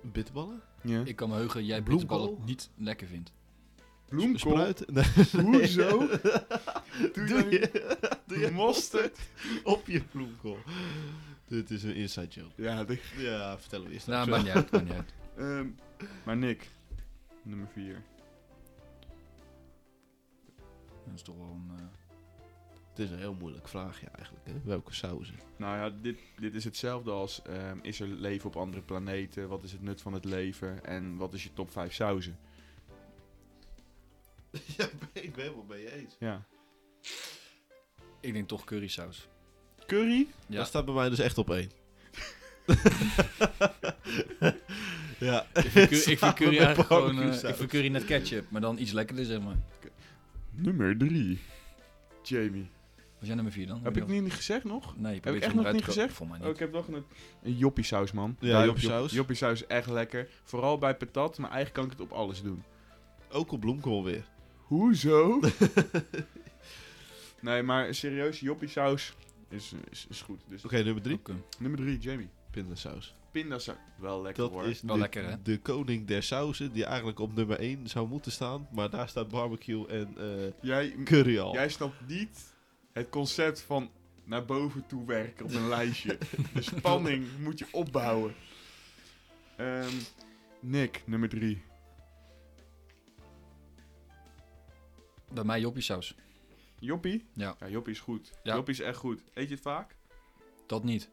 [SPEAKER 4] Bitterballen?
[SPEAKER 2] Ja.
[SPEAKER 3] Ik kan me heugen, jij
[SPEAKER 4] Bloemkool?
[SPEAKER 3] bitterballen niet lekker vindt.
[SPEAKER 2] Bloemkool?
[SPEAKER 4] Spruit? Nee,
[SPEAKER 2] Hoezo?
[SPEAKER 4] doe,
[SPEAKER 2] je-
[SPEAKER 4] je, doe je
[SPEAKER 2] mosterd?
[SPEAKER 4] op je bloemkool. Dit is een inside joke.
[SPEAKER 2] Ja, de-
[SPEAKER 4] Ja, vertel hem eerst.
[SPEAKER 3] Nou,
[SPEAKER 4] maar
[SPEAKER 3] maakt niet uit, maakt niet uit.
[SPEAKER 2] ehm, maar Nick, nummer 4.
[SPEAKER 3] Dat is toch wel een... eh,
[SPEAKER 4] Het is een heel moeilijk vraagje eigenlijk. Hè? Welke sauzen?
[SPEAKER 2] Nou ja, dit, dit is hetzelfde als: ehm, is er leven op andere planeten? Wat is het nut van het leven? En wat is je top 5 sauzen?
[SPEAKER 4] ja, ik ben helemaal mee eens.
[SPEAKER 2] Ja.
[SPEAKER 3] Ik denk toch currysaus.
[SPEAKER 2] Curry?
[SPEAKER 3] Ja.
[SPEAKER 4] Dat staat bij mij dus echt op één. ja.
[SPEAKER 3] Ik vind, cur- ik vind
[SPEAKER 4] Samen
[SPEAKER 3] curry
[SPEAKER 4] met
[SPEAKER 3] eigenlijk gewoon... eh,
[SPEAKER 4] barbecuesaus.
[SPEAKER 3] ik vind curry net ketchup, maar dan iets lekkerder, zeg maar.
[SPEAKER 2] Nummer 3. Jamie.
[SPEAKER 3] Was jij nummer vier dan?
[SPEAKER 2] Heb ik niet gezegd nog?
[SPEAKER 3] Nee,
[SPEAKER 2] Heb ik echt nog niet gezegd? Oh, ik heb nog een, een joppie saus, man.
[SPEAKER 4] Ja,
[SPEAKER 2] Duidelijk,
[SPEAKER 4] joppie saus.
[SPEAKER 2] Joppie saus is echt lekker. Vooral bij patat, maar eigenlijk kan ik het op alles doen.
[SPEAKER 4] Ook op bloemkool weer.
[SPEAKER 2] Hoezo? nee, maar serieus, joppie saus is, is, is goed. Dus
[SPEAKER 4] Oké, nummer drie.
[SPEAKER 2] nummer 3, Jamie.
[SPEAKER 4] Pindasaus.
[SPEAKER 2] Pindasaus. Wel lekker
[SPEAKER 4] Dat
[SPEAKER 2] hoor.
[SPEAKER 4] is
[SPEAKER 3] Wel
[SPEAKER 4] de,
[SPEAKER 3] lekker, hè?
[SPEAKER 4] de koning der sauzen die eigenlijk op nummer 1 zou moeten staan. Maar daar staat barbecue en eh,
[SPEAKER 2] Jij,
[SPEAKER 4] curry al.
[SPEAKER 2] jij snapt niet het concept van naar boven toe werken op een lijstje. De spanning moet je opbouwen. Ehm, Nick, nummer 3.
[SPEAKER 3] eh, Bij mij joppiesaus.
[SPEAKER 2] Joppie?
[SPEAKER 3] Ja.
[SPEAKER 2] Ja, Joppie is goed.
[SPEAKER 3] Ja.
[SPEAKER 2] Joppie is echt goed. Eet je het vaak?
[SPEAKER 3] Dat niet.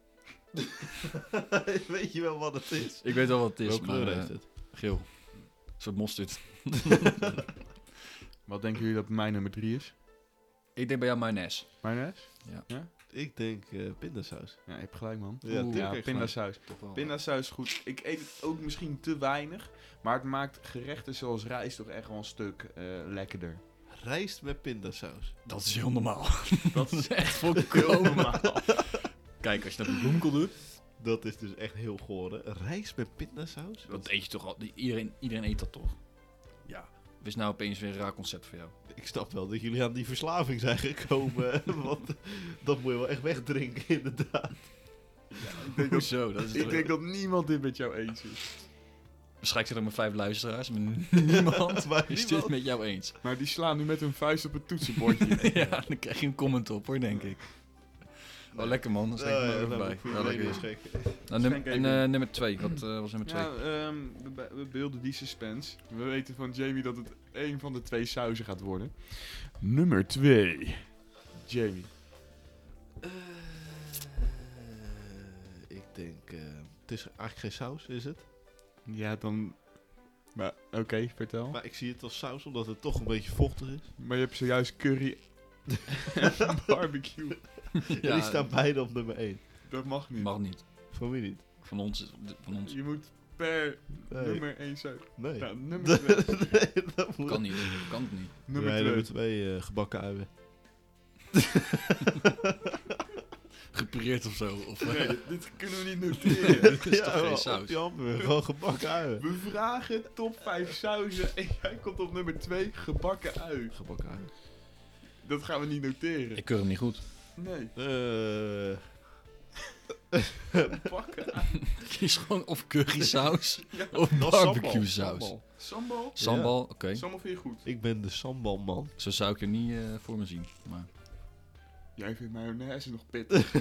[SPEAKER 4] Weet je wel wat het is?
[SPEAKER 3] Ik weet wel wat het is,
[SPEAKER 4] Welke
[SPEAKER 3] maar...
[SPEAKER 4] kleur
[SPEAKER 3] eh,
[SPEAKER 4] heeft het?
[SPEAKER 3] Geel. Een soort mosterd.
[SPEAKER 2] Wat denken jullie dat mijn nummer 3 is?
[SPEAKER 3] Ik denk bij jou mayonaise.
[SPEAKER 2] Mayonaise?
[SPEAKER 4] Ik denk eh pindasaus.
[SPEAKER 2] Ja, je hebt gelijk man.
[SPEAKER 4] Ja,
[SPEAKER 3] Oeh.
[SPEAKER 4] Dirk
[SPEAKER 2] Ja,
[SPEAKER 4] heeft
[SPEAKER 2] pindasaus.
[SPEAKER 3] Toch wel.
[SPEAKER 2] Pindasaus is goed. Ik eet het ook misschien te weinig. Maar het maakt gerechten zoals rijst toch echt wel een stuk eh, lekkerder.
[SPEAKER 4] gelijk. Rijst met pindasaus.
[SPEAKER 3] Dat is heel normaal. Dat is echt volkomen Kijk, als je dat met bloemkool doet,
[SPEAKER 4] Dat is dus echt heel goor. hè? Rijst met pindasaus?
[SPEAKER 3] dat eet je toch al. Iedereen, iedereen eet dat toch? Ja. Is nou opeens weer een raar concept voor jou?
[SPEAKER 4] Ik snap wel dat jullie aan die verslaving zijn gekomen. want dat moet je wel echt wegdrinken, inderdaad.
[SPEAKER 2] ik, denk dat,
[SPEAKER 3] Hoezo? Dat is
[SPEAKER 2] ik denk dat niemand dit met jou eens is.
[SPEAKER 3] Waarschijnlijk zijn er maar vijf luisteraars, maar niemand
[SPEAKER 4] Maar
[SPEAKER 3] is dit
[SPEAKER 4] niemand-
[SPEAKER 3] met jou eens.
[SPEAKER 2] Maar die slaan nu met hun vuist op het toetsenbordje.
[SPEAKER 3] ja, dan krijg je een comment op hoor, denk ik. Oh, lekker man. Dan steek ik me
[SPEAKER 4] Ja, nou,
[SPEAKER 3] er
[SPEAKER 4] ja,
[SPEAKER 3] even
[SPEAKER 4] leuk.
[SPEAKER 3] bij.
[SPEAKER 4] Voor je
[SPEAKER 3] Ja,
[SPEAKER 4] baby
[SPEAKER 3] lekker.
[SPEAKER 4] is gek.
[SPEAKER 3] Nou, nummer-
[SPEAKER 2] Schenk
[SPEAKER 3] en
[SPEAKER 2] even.
[SPEAKER 3] eh, nummer 2, wat eh, was nummer 2?
[SPEAKER 2] Ja, ehm, we, be- we beelden die suspense. We weten van Jamie dat het één van de twee sauzen gaat worden. Nummer 2. Jamie.
[SPEAKER 4] Eh, ik denk, eh, het is eigenlijk geen saus, is het?
[SPEAKER 2] Ja, dan... Maar oké, vertel.
[SPEAKER 4] Maar ik zie het als saus omdat het toch een beetje vochtig is.
[SPEAKER 2] Maar je hebt zojuist curry en barbecue.
[SPEAKER 4] Ja, die staan beide op nummer 1.
[SPEAKER 2] Dat mag niet.
[SPEAKER 3] Mag niet.
[SPEAKER 4] Voor wie niet?
[SPEAKER 3] Van ons. Van ons.
[SPEAKER 2] Je moet per
[SPEAKER 4] Nee.
[SPEAKER 2] nummer 1 saus.
[SPEAKER 4] Nee.
[SPEAKER 2] Nou, nummer 2.
[SPEAKER 4] nee, dat moet.
[SPEAKER 3] Kan niet. Kan het niet.
[SPEAKER 4] nummer
[SPEAKER 2] Nummer
[SPEAKER 4] nee, nummer
[SPEAKER 2] 2.
[SPEAKER 4] 2 eh, gebakken uien.
[SPEAKER 3] Gepureerd of zo. Of, eh,
[SPEAKER 2] Nee, dit- dit kunnen we niet noteren.
[SPEAKER 3] dit is toch geen
[SPEAKER 4] Op
[SPEAKER 3] saus?
[SPEAKER 4] die hamburger, gewoon gebakken uien.
[SPEAKER 2] We vragen top 5 sauzen en jij komt op nummer 2 gebakken ui.
[SPEAKER 4] Gebakken uien.
[SPEAKER 2] Dat gaan we niet noteren.
[SPEAKER 3] Ik keur hem niet goed.
[SPEAKER 2] Nee,
[SPEAKER 4] Eh,
[SPEAKER 2] gebakken
[SPEAKER 3] Kies gewoon of curry saus
[SPEAKER 2] Ja.
[SPEAKER 3] of
[SPEAKER 4] dat is
[SPEAKER 3] barbecue saus.
[SPEAKER 4] sambal.
[SPEAKER 2] Sambal?
[SPEAKER 3] Sambal, oké.
[SPEAKER 2] Sambal vind je goed.
[SPEAKER 4] Ik ben de sambalman.
[SPEAKER 3] Zo zou ik er niet eh, voor me zien. Maar,
[SPEAKER 2] Jij vindt mayonaise nog pittig.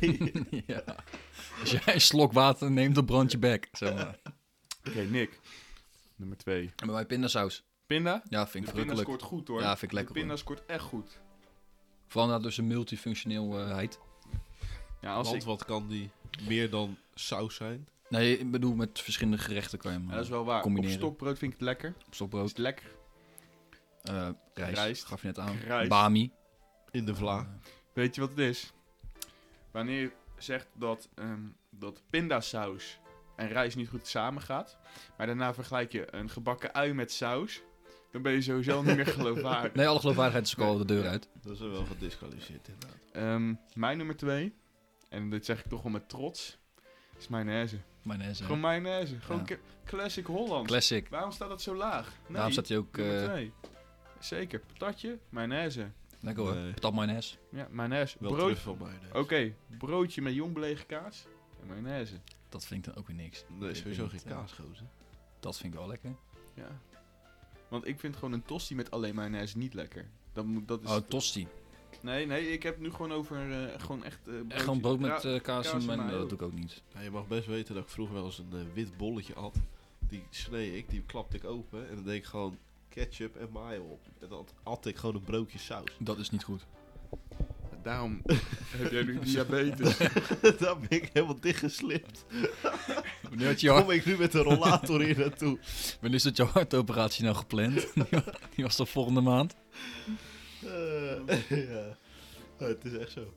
[SPEAKER 4] nee.
[SPEAKER 3] ja. Als jij een slok water neemt, dan brand je bek. Zeg maar.
[SPEAKER 2] Oké, Nick. Nummer 2.
[SPEAKER 3] En bij mij pindasaus.
[SPEAKER 2] Pinda?
[SPEAKER 3] Ja, vind
[SPEAKER 2] De
[SPEAKER 3] ik
[SPEAKER 2] pinda
[SPEAKER 3] verrukkelijk.
[SPEAKER 2] scoort goed hoor.
[SPEAKER 3] Ja, vind ik lekker,
[SPEAKER 2] De pinda scoort echt goed.
[SPEAKER 3] Vooral dat dus eh, een multifunctioneelheid.
[SPEAKER 2] Ja, als
[SPEAKER 4] Want
[SPEAKER 2] ik...
[SPEAKER 4] wat kan die meer dan saus zijn?
[SPEAKER 3] Nee, ik bedoel, met verschillende gerechten kan je hem
[SPEAKER 2] Ja,
[SPEAKER 3] eh,
[SPEAKER 2] dat is wel waar.
[SPEAKER 3] Combineren.
[SPEAKER 2] Op stokbrood vind ik het lekker.
[SPEAKER 3] op
[SPEAKER 2] Is
[SPEAKER 3] stokbrood.
[SPEAKER 2] het lekker?
[SPEAKER 3] eh, rijst,
[SPEAKER 2] Rijst.
[SPEAKER 3] gaf je net aan.
[SPEAKER 2] Rijst.
[SPEAKER 3] Bami. Eh,
[SPEAKER 4] In de vla.
[SPEAKER 2] Weet je wat het is? Wanneer je zegt dat, ehm, dat pindasaus en rijst niet goed samengaat, maar daarna vergelijk je een gebakken ui met saus, dan ben je sowieso al niet meer geloofwaardig.
[SPEAKER 3] Nee, alle geloofwaardigheid is ook al de deur uit.
[SPEAKER 4] Dat is wel gedisqualificeerd inderdaad.
[SPEAKER 2] Ehm, mijn nummer 2, en dit zeg ik toch wel met trots, is mayonaise.
[SPEAKER 3] Mayonaise.
[SPEAKER 2] Gewoon mayonaise. Gewoon
[SPEAKER 3] Ja.
[SPEAKER 2] ke- classic Holland.
[SPEAKER 3] Classic.
[SPEAKER 2] Waarom staat dat zo laag? Nee,
[SPEAKER 3] Daarom staat hij ook...
[SPEAKER 2] nummer
[SPEAKER 3] eh
[SPEAKER 2] twee. Zeker. Patatje, mayonaise.
[SPEAKER 3] lekker hoor.
[SPEAKER 4] Nee.
[SPEAKER 3] Patat mayonaise.
[SPEAKER 2] Ja, mayonaise.
[SPEAKER 4] Wel
[SPEAKER 2] Brood.
[SPEAKER 4] terug van mij. nee.
[SPEAKER 2] Oké, broodje met jongbelegen kaas en mayonaise.
[SPEAKER 3] Dat vind ik dan ook weer niks.
[SPEAKER 4] Nee, is
[SPEAKER 3] Ik
[SPEAKER 4] sowieso
[SPEAKER 3] weet
[SPEAKER 4] geen
[SPEAKER 3] niet, eh,
[SPEAKER 4] kaasgozen.
[SPEAKER 3] Dat vind ik wel lekker.
[SPEAKER 2] Ja. Want ik vind gewoon een tosti met alleen mayonaise niet lekker. Dat moet, dat is...
[SPEAKER 3] Oh, tosti.
[SPEAKER 2] nee, nee, ik heb het nu gewoon over eh, gewoon echt... eh,
[SPEAKER 3] Echt gewoon brood met
[SPEAKER 2] Ja,
[SPEAKER 3] eh, kaas en
[SPEAKER 2] kaas en
[SPEAKER 3] mayo.
[SPEAKER 2] mayo.
[SPEAKER 3] Dat doe ik ook niet.
[SPEAKER 4] Ja, Nou, je mag best weten dat ik vroeger wel eens een eh, wit bolletje had. Die snee ik, die klapte ik open en dan deed ik gewoon ketchup en mayo op. En dan at ik gewoon een broodje saus.
[SPEAKER 3] Dat is niet goed.
[SPEAKER 2] daarom heb jij nu diabetes.
[SPEAKER 4] Daar ben ik helemaal dichtgeslipt.
[SPEAKER 3] Wanneer, had je hart-
[SPEAKER 4] Kom ik nu met de rollator hier naartoe.
[SPEAKER 3] wanneer is dat jouw hartoperatie nou gepland? Die wa- Die was toch volgende maand?
[SPEAKER 4] Eh, ja. Ja, het is echt zo.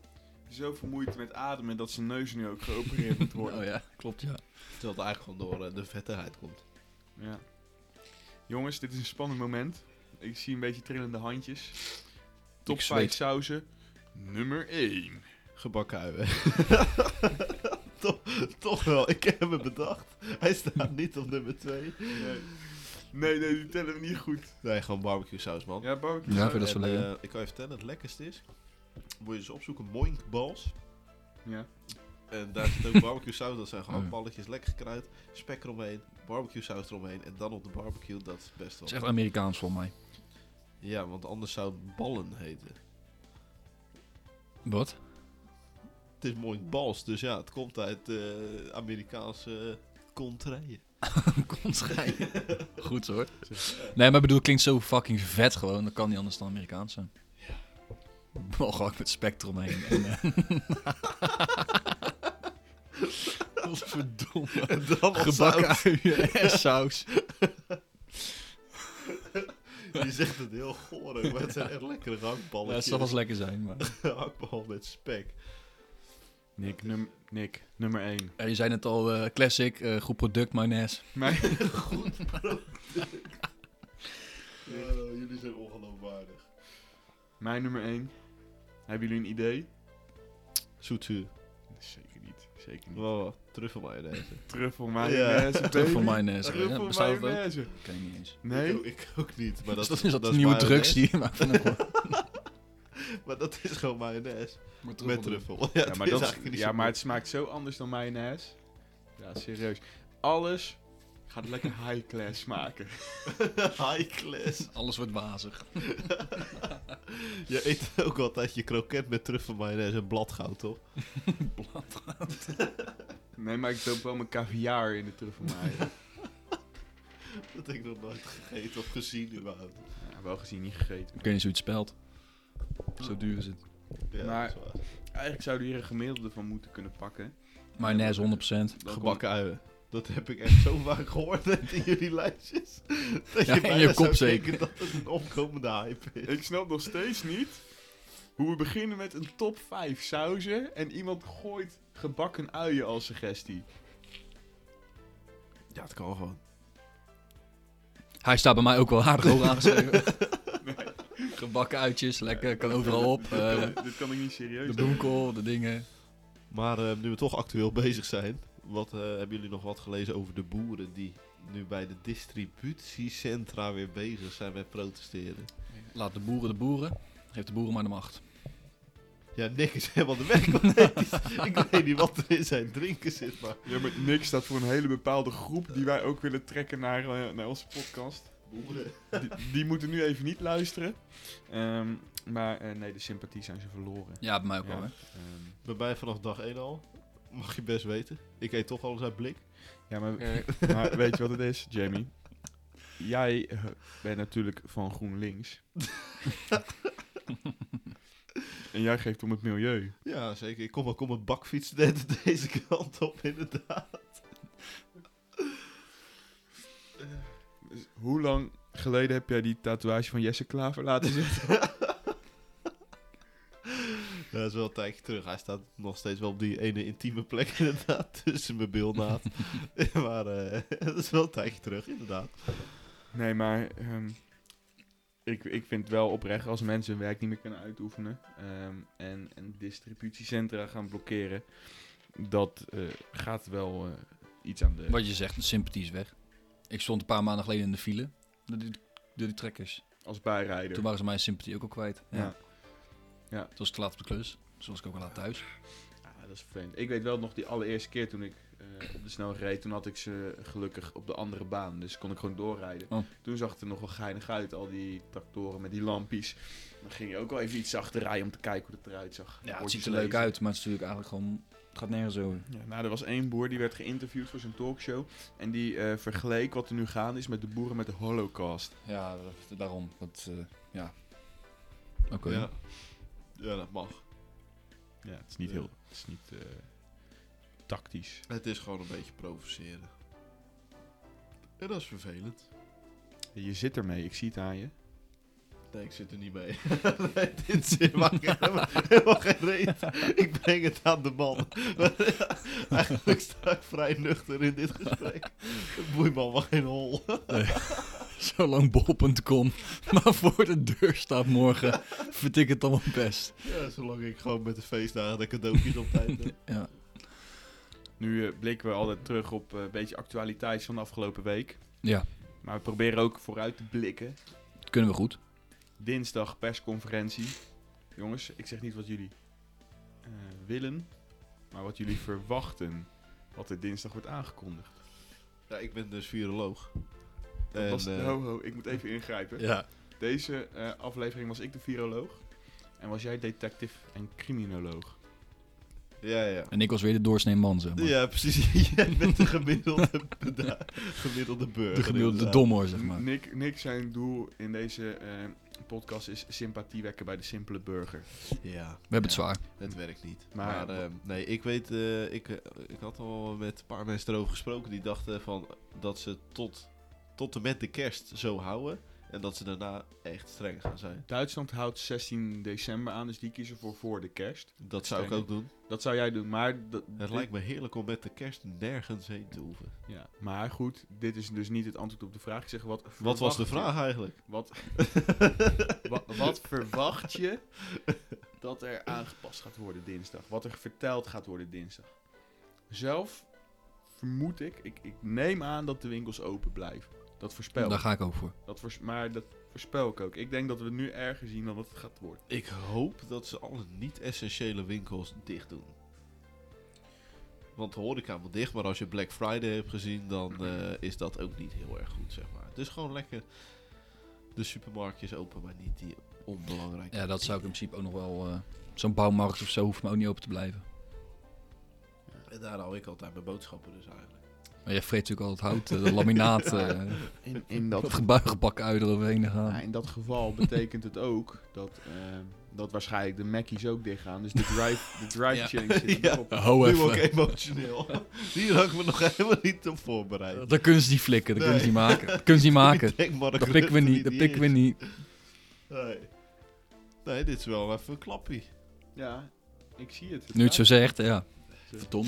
[SPEAKER 2] zo vermoeid met ademen dat zijn neus nu ook geopereerd moet worden.
[SPEAKER 3] Oh ja, klopt ja.
[SPEAKER 4] Terwijl het eigenlijk gewoon door eh, de vettigheid komt.
[SPEAKER 2] Ja. Jongens, dit is een spannend moment. Ik zie een beetje trillende handjes. Top 5
[SPEAKER 3] Ik zweet.
[SPEAKER 2] sauzen. Nummer 1.
[SPEAKER 4] Gebakken uien. toch, toch wel, ik heb hem bedacht. Hij staat niet op nummer 2.
[SPEAKER 2] Nee. nee, nee, die tellen we niet goed.
[SPEAKER 4] Nee, gewoon barbecue saus, man.
[SPEAKER 2] Ja, barbecue
[SPEAKER 3] Ja,
[SPEAKER 2] saus.
[SPEAKER 3] vind je dat zo
[SPEAKER 4] En,
[SPEAKER 3] lekker?
[SPEAKER 4] eh, ik kan je vertellen, het lekkerste is. Moet je eens opzoeken, moinkbals.
[SPEAKER 2] Ja.
[SPEAKER 4] En daar zit ook barbecue saus. Dat zijn gewoon
[SPEAKER 3] Oh ja.
[SPEAKER 4] balletjes, lekker gekruid, spek eromheen, barbecue saus eromheen en dan op de barbecue. Dat is best
[SPEAKER 3] Dat
[SPEAKER 4] wel.
[SPEAKER 3] is echt Amerikaans voor mij.
[SPEAKER 4] Ja, want anders zou het ballen heten.
[SPEAKER 3] Wat?
[SPEAKER 4] Het is moinkbals, dus ja, het komt uit eh, Amerikaanse uh,
[SPEAKER 3] Komt rijden. Goed hoor. Nee, maar ik bedoel, het klinkt zo fucking vet gewoon. Dat kan niet anders dan Amerikaans zijn. Wel gewoon met spectrum heen. En, eh, Godverdomme.
[SPEAKER 4] En dan als
[SPEAKER 3] Gebakken
[SPEAKER 4] saus.
[SPEAKER 3] uien en saus.
[SPEAKER 4] Je zegt het heel goor, maar het zijn echt lekkere
[SPEAKER 3] Ja,
[SPEAKER 4] hakballetjes.
[SPEAKER 3] het zal wel eens lekker zijn, maar...
[SPEAKER 4] Hakbal met spek.
[SPEAKER 2] Nick, num Nick, nummer 1.
[SPEAKER 3] Ja, je zei net al, eh, classic, eh, goed product, mayonaise.
[SPEAKER 2] Mijn,
[SPEAKER 4] Eh, jullie zijn ongeloofwaardig.
[SPEAKER 2] mijn nummer 1. Hebben jullie een idee?
[SPEAKER 4] Zoetzuur.
[SPEAKER 2] Zeker niet. Zeker niet.
[SPEAKER 4] Wow, wow. truffelmayonaise.
[SPEAKER 2] Truffel mayonaise. baby.
[SPEAKER 3] Truffel mayonaise. Ja,
[SPEAKER 2] Truffel
[SPEAKER 3] bestaat dat ook?
[SPEAKER 2] mayonaise.
[SPEAKER 3] Dat ken ik niet eens.
[SPEAKER 2] Nee?
[SPEAKER 4] Ik, ik ook niet, maar
[SPEAKER 3] Dat,
[SPEAKER 4] dat,
[SPEAKER 3] is, dat
[SPEAKER 4] is
[SPEAKER 3] een nieuwe
[SPEAKER 4] mayonaise.
[SPEAKER 3] drugs die je maakt van een woord.
[SPEAKER 4] Maar dat is gewoon mayonaise.
[SPEAKER 3] Met
[SPEAKER 4] Met truffel. Ja, het
[SPEAKER 2] Ja, maar,
[SPEAKER 4] is
[SPEAKER 2] dat is-
[SPEAKER 4] eigenlijk niet
[SPEAKER 2] ja,
[SPEAKER 4] zo
[SPEAKER 2] maar
[SPEAKER 4] goed.
[SPEAKER 2] het smaakt zo anders dan mayonaise. Ja, serieus. Alles ga het lekker high class maken.
[SPEAKER 4] High class.
[SPEAKER 3] Alles wordt wazig.
[SPEAKER 4] Je eet ook altijd je kroket met truffelmayonaise en bladgoud, toch?
[SPEAKER 2] Nee, maar ik doop wel mijn caviar in de truffelmaaien.
[SPEAKER 4] Dat heb ik nog nooit gegeten of gezien, überhaupt.
[SPEAKER 2] Ja, wel gezien, niet gegeten.
[SPEAKER 3] Ik weet niet zoiets spelt. Zo duur is het.
[SPEAKER 4] Ja,
[SPEAKER 2] Maar-
[SPEAKER 4] dat is waar.
[SPEAKER 2] Eigenlijk zouden we hier een gemiddelde van moeten kunnen pakken.
[SPEAKER 3] Mayonaise 100%.
[SPEAKER 2] Dan
[SPEAKER 4] Gebakken uien. Dat heb ik echt zo vaak gehoord net in jullie lijstjes. Dat
[SPEAKER 3] Ja, in
[SPEAKER 4] bijna
[SPEAKER 3] je
[SPEAKER 4] zou
[SPEAKER 3] kop zeker.
[SPEAKER 4] denken dat het een opkomende hype is.
[SPEAKER 2] komt- Ik snap nog steeds niet hoe we beginnen met een top 5 sauzen en iemand gooit gebakken uien als suggestie.
[SPEAKER 4] Ja, het kan gewoon.
[SPEAKER 3] Hij staat bij mij ook wel aardig hoog aangeschreven. Gebakken uitjes, lekker, kan overal op. Eh,
[SPEAKER 2] Dit kan- dit kan ik niet
[SPEAKER 3] de
[SPEAKER 2] serieus doen.
[SPEAKER 3] bloemkool, de dingen.
[SPEAKER 4] Maar eh, nu we toch actueel bezig zijn, wat, eh, hebben jullie nog wat gelezen over de boeren die nu bij de distributiecentra weer bezig zijn met protesteren?
[SPEAKER 3] Laat de boeren de boeren. Geef de boeren maar de macht.
[SPEAKER 4] Ja, Nick is helemaal de weg. kwijt. ik weet niet wat er in zijn drinken zit, maar...
[SPEAKER 2] Ja, maar niks staat voor een hele bepaalde groep die wij ook willen trekken naar, eh, naar onze podcast.
[SPEAKER 4] Boeren.
[SPEAKER 2] Die, die moeten nu even niet luisteren. Ehm, maar eh, nee, de sympathie zijn ze verloren.
[SPEAKER 3] Ja, bij mij ook wel.
[SPEAKER 2] Ja.
[SPEAKER 3] Hè?
[SPEAKER 2] Ehm,
[SPEAKER 4] Bij mij vanaf dag 1 al, mag je best weten. Ik eet toch alles uit blik.
[SPEAKER 2] ja, maar
[SPEAKER 3] Eh,
[SPEAKER 2] Maar weet je wat het is, Jamie? Jij eh, bent natuurlijk van GroenLinks. en jij geeft om het milieu.
[SPEAKER 4] Ja, zeker. Ik kom ook op mijn bakfiets net deze kant op, inderdaad.
[SPEAKER 2] Dus hoe lang geleden heb jij die tatoeage van Jesse Klaver laten zien?
[SPEAKER 4] Dat is wel een tijdje terug. Hij staat nog steeds wel op die ene intieme plek, inderdaad, tussen mijn bilnaad. maar eh, dat is wel een tijdje terug, inderdaad.
[SPEAKER 2] Nee, maar ehm, ik, ik vind het wel oprecht als mensen hun werk niet meer kunnen uitoefenen ehm, en, en distributiecentra gaan blokkeren. Dat eh, gaat wel eh, iets aan de.
[SPEAKER 3] Wat je zegt, de sympathie is weg. Ik stond een paar maanden geleden in de file. Door die, door die trekkers.
[SPEAKER 2] als bijrijder.
[SPEAKER 3] Toen waren ze mijn sympathie ook al kwijt. Ja.
[SPEAKER 2] Ja. Ja.
[SPEAKER 3] Toen was ik te laat op de klus. Toen was ik ook al laat thuis.
[SPEAKER 2] Ja, Ah, dat is vervelend. Ik weet wel nog die allereerste keer toen ik eh, op de snelweg reed, toen had ik ze gelukkig op de andere baan. Dus kon ik gewoon doorrijden.
[SPEAKER 3] Oh.
[SPEAKER 2] Toen zag het er nog wel geinig uit, al die tractoren met die lampjes. Dan ging je ook wel even iets zachter rijden om te kijken hoe het eruit zag.
[SPEAKER 3] Ja, het
[SPEAKER 2] Bordjes
[SPEAKER 3] ziet er leuk
[SPEAKER 2] lezen.
[SPEAKER 3] uit, maar het is natuurlijk eigenlijk gewoon... Het gaat nergens over.
[SPEAKER 2] Ja, nou, er was één boer die werd geïnterviewd voor zijn talkshow. En die eh, vergeleek wat er nu gaande is met de boeren met de holocaust.
[SPEAKER 3] Ja, dat- daarom. Dat, eh, ja. Oké.
[SPEAKER 4] Ja. ja, dat mag.
[SPEAKER 2] Ja, het is niet heel... Het is niet eh, tactisch.
[SPEAKER 4] Het is gewoon een beetje provoceren. En dat is vervelend.
[SPEAKER 2] Je zit ermee, ik zie het aan je.
[SPEAKER 4] Nee, ik zit er niet mee. nee, dit zit maakt helemaal, helemaal geen reet. Ik breng het aan de man. Eigenlijk sta ik vrij nuchter in dit gesprek. Boeiman mag geen hol.
[SPEAKER 3] Zolang bol.com maar voor de deur staat morgen, vind ik het allemaal best.
[SPEAKER 4] Ja, zolang ik gewoon met de feestdagen de cadeautjes op tijd heb.
[SPEAKER 3] Ja.
[SPEAKER 2] Nu eh, blikken we altijd terug op eh, een beetje actualiteit van de afgelopen week.
[SPEAKER 3] ja,
[SPEAKER 2] Maar we proberen ook vooruit te blikken.
[SPEAKER 3] dat kunnen we goed.
[SPEAKER 2] Dinsdag persconferentie. Jongens, ik zeg niet wat jullie eh, willen, maar wat jullie verwachten. Wat er dinsdag wordt aangekondigd.
[SPEAKER 4] Ja, ik ben dus viroloog.
[SPEAKER 2] Dat
[SPEAKER 4] En,
[SPEAKER 2] was, oh.
[SPEAKER 4] eh,
[SPEAKER 2] ho, ho, ik moet even ingrijpen.
[SPEAKER 3] Ja.
[SPEAKER 2] Deze eh, aflevering was ik de viroloog. En was jij detective en criminoloog.
[SPEAKER 4] Ja, ja.
[SPEAKER 3] En ik was weer de doorsnee man, zeg maar.
[SPEAKER 4] Ja, precies. Jij bent de gemiddelde, beda- gemiddelde burger.
[SPEAKER 3] de gemiddelde
[SPEAKER 4] inderdaad.
[SPEAKER 3] domhoor, zeg
[SPEAKER 4] Mm.
[SPEAKER 3] maar.
[SPEAKER 2] Nick, Nick zijn doel in deze eh, podcast is sympathie wekken bij de simpele burger.
[SPEAKER 4] Ja,
[SPEAKER 3] We hebben het zwaar.
[SPEAKER 4] het werkt niet.
[SPEAKER 2] Maar-
[SPEAKER 4] Maar, ehm, nee, ik weet, eh, ik, eh, ik had al met een paar mensen erover gesproken die dachten van dat ze tot, tot en met de kerst zo houden. En dat ze daarna echt streng gaan zijn.
[SPEAKER 2] Duitsland houdt 16 december aan, dus die kiezen voor voor de kerst.
[SPEAKER 4] Dat zou ik
[SPEAKER 2] Streng.
[SPEAKER 4] ook doen.
[SPEAKER 2] Dat zou jij doen, maar... Dat,
[SPEAKER 4] Het lijkt me heerlijk om met de kerst nergens heen te hoeven.
[SPEAKER 2] Ja, maar goed, dit is dus niet het antwoord op de vraag. Ik zeg, wat
[SPEAKER 4] Wat was de
[SPEAKER 2] verwacht je-
[SPEAKER 4] vraag eigenlijk?
[SPEAKER 2] Wat, wa- wat verwacht je dat er aangepast gaat worden dinsdag? Wat er verteld gaat worden dinsdag? Zelf vermoed ik, ik, ik neem aan dat de winkels open blijven. Dat voorspel
[SPEAKER 3] Daar ga ik ook voor.
[SPEAKER 2] dat voors- Maar dat voorspel ik ook. Ik denk dat we nu erger zien dan dat het gaat worden.
[SPEAKER 4] Ik hoop dat ze alle niet-essentiële winkels dicht doen. Want de horeca moet dicht, maar als je Black Friday hebt gezien, dan eh, is dat ook niet heel erg goed, zeg maar. Dus gewoon lekker de supermarktjes open, maar niet die onbelangrijke.
[SPEAKER 3] Ja, dat zou ik in principe ook nog wel... eh, Zo'n bouwmarkt of zo hoeft me ook niet open te blijven.
[SPEAKER 4] En daar haal ik altijd mijn boodschappen dus eigenlijk.
[SPEAKER 3] Maar jij vreet natuurlijk al het hout, eh, de laminaat, eh
[SPEAKER 2] In, in dat
[SPEAKER 3] dat gebuigenbak uit eroverheen gaan.
[SPEAKER 2] Ja, in dat geval betekent het ook dat, eh, dat waarschijnlijk de Mackies ook dichtgaan. Dus de drive, de drive
[SPEAKER 3] Ja.
[SPEAKER 2] chain zit
[SPEAKER 4] Ja.
[SPEAKER 2] erop.
[SPEAKER 3] Ho
[SPEAKER 4] Nu ook
[SPEAKER 3] Oh, even.
[SPEAKER 4] emotioneel. Hier had ik me nog helemaal niet op voorbereid.
[SPEAKER 3] Dat kunnen ze niet flikken, dat
[SPEAKER 4] Nee.
[SPEAKER 3] kunnen ze niet maken. Dat kunnen ze niet maken.
[SPEAKER 4] Ik denk maar
[SPEAKER 3] Dat pikken we
[SPEAKER 4] Rutte
[SPEAKER 3] niet, dat pikken we niet.
[SPEAKER 4] is. Nee. nee, dit is wel even een klappie.
[SPEAKER 2] Ja, ik zie het. Dus, Het
[SPEAKER 3] Nu het zo
[SPEAKER 2] gaat.
[SPEAKER 3] zegt, ja. Verdomme.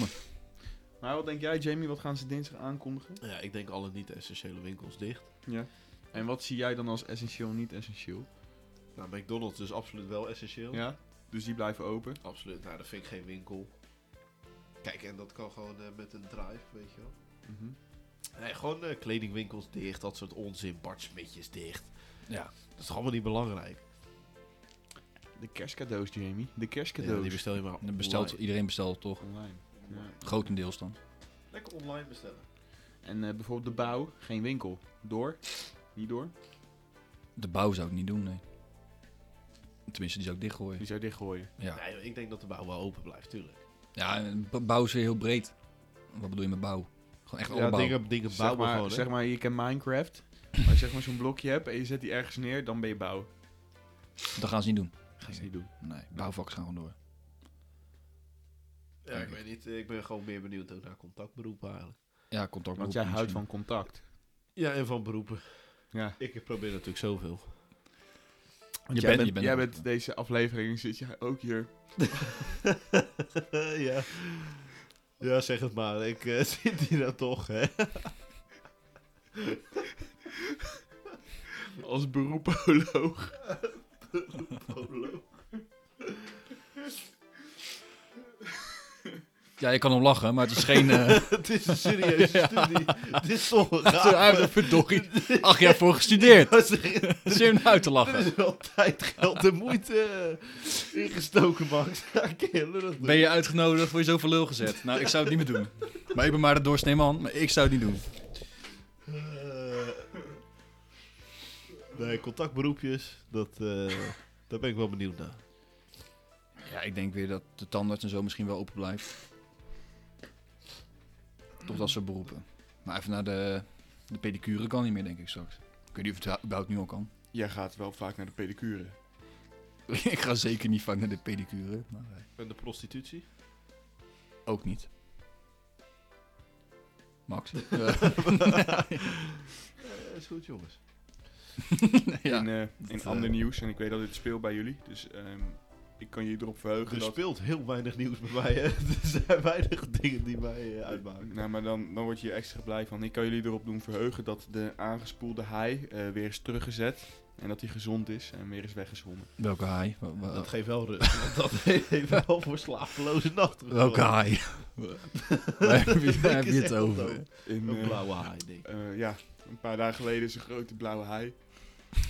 [SPEAKER 2] Maar Nou, wat denk jij, Jamie? Wat gaan ze dinsdag aankondigen?
[SPEAKER 4] Nou Ja, ik denk alle niet-essentiële winkels dicht.
[SPEAKER 2] Ja. En wat zie jij dan als essentieel en niet essentieel?
[SPEAKER 4] Nou, McDonald's dus absoluut wel essentieel.
[SPEAKER 2] Ja? Dus die blijven open.
[SPEAKER 4] Absoluut, nou dat vind ik geen winkel. Kijk, en dat kan gewoon eh, met een drive, weet je wel.
[SPEAKER 2] Mhm.
[SPEAKER 4] Nee, gewoon eh, kledingwinkels dicht, dat soort onzin, Bart Smitjes dicht.
[SPEAKER 3] Ja.
[SPEAKER 4] Dat is allemaal niet belangrijk.
[SPEAKER 2] De kerstcadeaus, Jamie. De
[SPEAKER 4] Ja, die
[SPEAKER 2] kerstcadeaus.
[SPEAKER 4] bestel je maar
[SPEAKER 3] En dan Bestelt,
[SPEAKER 4] online.
[SPEAKER 3] iedereen bestelt toch?
[SPEAKER 2] online. Ja.
[SPEAKER 3] Grotendeels dan.
[SPEAKER 4] Lekker online bestellen.
[SPEAKER 2] En eh, bijvoorbeeld de bouw, geen winkel. Door? Niet door?
[SPEAKER 3] De bouw zou ik niet doen, nee. Tenminste, die zou ik dichtgooien.
[SPEAKER 2] Die zou je dichtgooien.
[SPEAKER 3] Ja,
[SPEAKER 4] Nee, ik denk dat de bouw wel open blijft, tuurlijk.
[SPEAKER 3] ja en b- bouw is weer heel breed. Wat bedoel je met bouw? Gewoon echt alle
[SPEAKER 4] ja,
[SPEAKER 3] bouw.
[SPEAKER 4] dingen, dingen
[SPEAKER 2] Zeg
[SPEAKER 4] bouwen
[SPEAKER 2] maar,
[SPEAKER 4] gewoon, hè.
[SPEAKER 2] zeg maar, je kent Minecraft. Als je zeg maar zo'n blokje hebt en je zet die ergens neer, dan ben je bouw.
[SPEAKER 3] Dat gaan ze niet doen.
[SPEAKER 2] Gaan ze niet doen.
[SPEAKER 3] Nee, bouwvakkers gaan gewoon door.
[SPEAKER 4] Ja, ik weet niet, eh, ik ben gewoon meer benieuwd ook naar contactberoepen eigenlijk.
[SPEAKER 3] Ja, contact.
[SPEAKER 2] Want jij houdt van contact.
[SPEAKER 4] Ja, en van beroepen.
[SPEAKER 2] Ja.
[SPEAKER 4] Ik probeer natuurlijk zoveel.
[SPEAKER 2] Want
[SPEAKER 3] Je
[SPEAKER 2] jij
[SPEAKER 3] bent-
[SPEAKER 2] bent,
[SPEAKER 3] je bent
[SPEAKER 2] jij
[SPEAKER 3] ook-
[SPEAKER 2] bent deze aflevering zit jij ook hier.
[SPEAKER 4] ja. ja, zeg het maar. Ik eh, zit hier nou toch, hè.
[SPEAKER 2] Als beroepoloog.
[SPEAKER 3] Ja, je kan om lachen, maar het is geen... eh
[SPEAKER 4] het is een serieuze
[SPEAKER 3] Ja.
[SPEAKER 4] studie. Dit is toch een
[SPEAKER 3] ja.
[SPEAKER 4] gave.
[SPEAKER 3] Verdorie. Acht jaar voor gestudeerd.
[SPEAKER 4] Dat is echt-
[SPEAKER 3] Zit je hem uit te
[SPEAKER 4] Er
[SPEAKER 3] lachen?
[SPEAKER 4] is wel tijd, geld en moeite eh, ingestoken, Max. Ja, ik ken je dat
[SPEAKER 3] Ben je uitgenodigd, word je zo voor lul gezet? Nou, ik zou het niet meer doen. Maar ik ben maar de doorsnee man, maar ik zou het niet doen.
[SPEAKER 4] Eh, nee, contactberoepjes, dat, eh, daar ben ik wel benieuwd naar.
[SPEAKER 3] Ja, ik denk weer dat de tandarts en zo misschien wel open blijft. Toch dat soort beroepen. Maar even naar de, de pedicure kan niet meer, denk ik straks. Ik weet niet of het überhaupt nu al kan.
[SPEAKER 2] Jij gaat wel vaak naar de pedicure.
[SPEAKER 3] ik ga zeker niet vaak naar de pedicure. Maar, eh,
[SPEAKER 4] En de prostitutie?
[SPEAKER 3] ook niet. Max? Eh,
[SPEAKER 4] Eh, is goed, jongens.
[SPEAKER 3] ja.
[SPEAKER 2] In, eh, in
[SPEAKER 3] eh,
[SPEAKER 2] ander nieuws, en ik weet dat dit speelt bij jullie, dus ehm, ik kan je erop verheugen
[SPEAKER 4] Er
[SPEAKER 2] dat...
[SPEAKER 4] speelt heel weinig nieuws bij mij. Hè. Er zijn weinig dingen die mij eh, uitmaken.
[SPEAKER 2] Nou, maar dan, dan word je hier extra blij van. Ik kan jullie erop doen verheugen dat de aangespoelde haai eh, weer is teruggezet. En dat hij gezond is en weer is weggezwommen.
[SPEAKER 3] Welke haai? Wa- wa-
[SPEAKER 4] Dat geeft wel rust, want dat heeft wel voor slapeloze nachten.
[SPEAKER 3] Welke
[SPEAKER 4] gezorgd.
[SPEAKER 3] haai? Waar heb je, waar heb
[SPEAKER 4] Ik
[SPEAKER 3] je het
[SPEAKER 4] zeg
[SPEAKER 3] over?
[SPEAKER 4] ook.
[SPEAKER 2] In,
[SPEAKER 4] Een
[SPEAKER 2] eh,
[SPEAKER 4] blauwe haai, denk ik.
[SPEAKER 2] eh, ja, een paar dagen geleden is een grote blauwe haai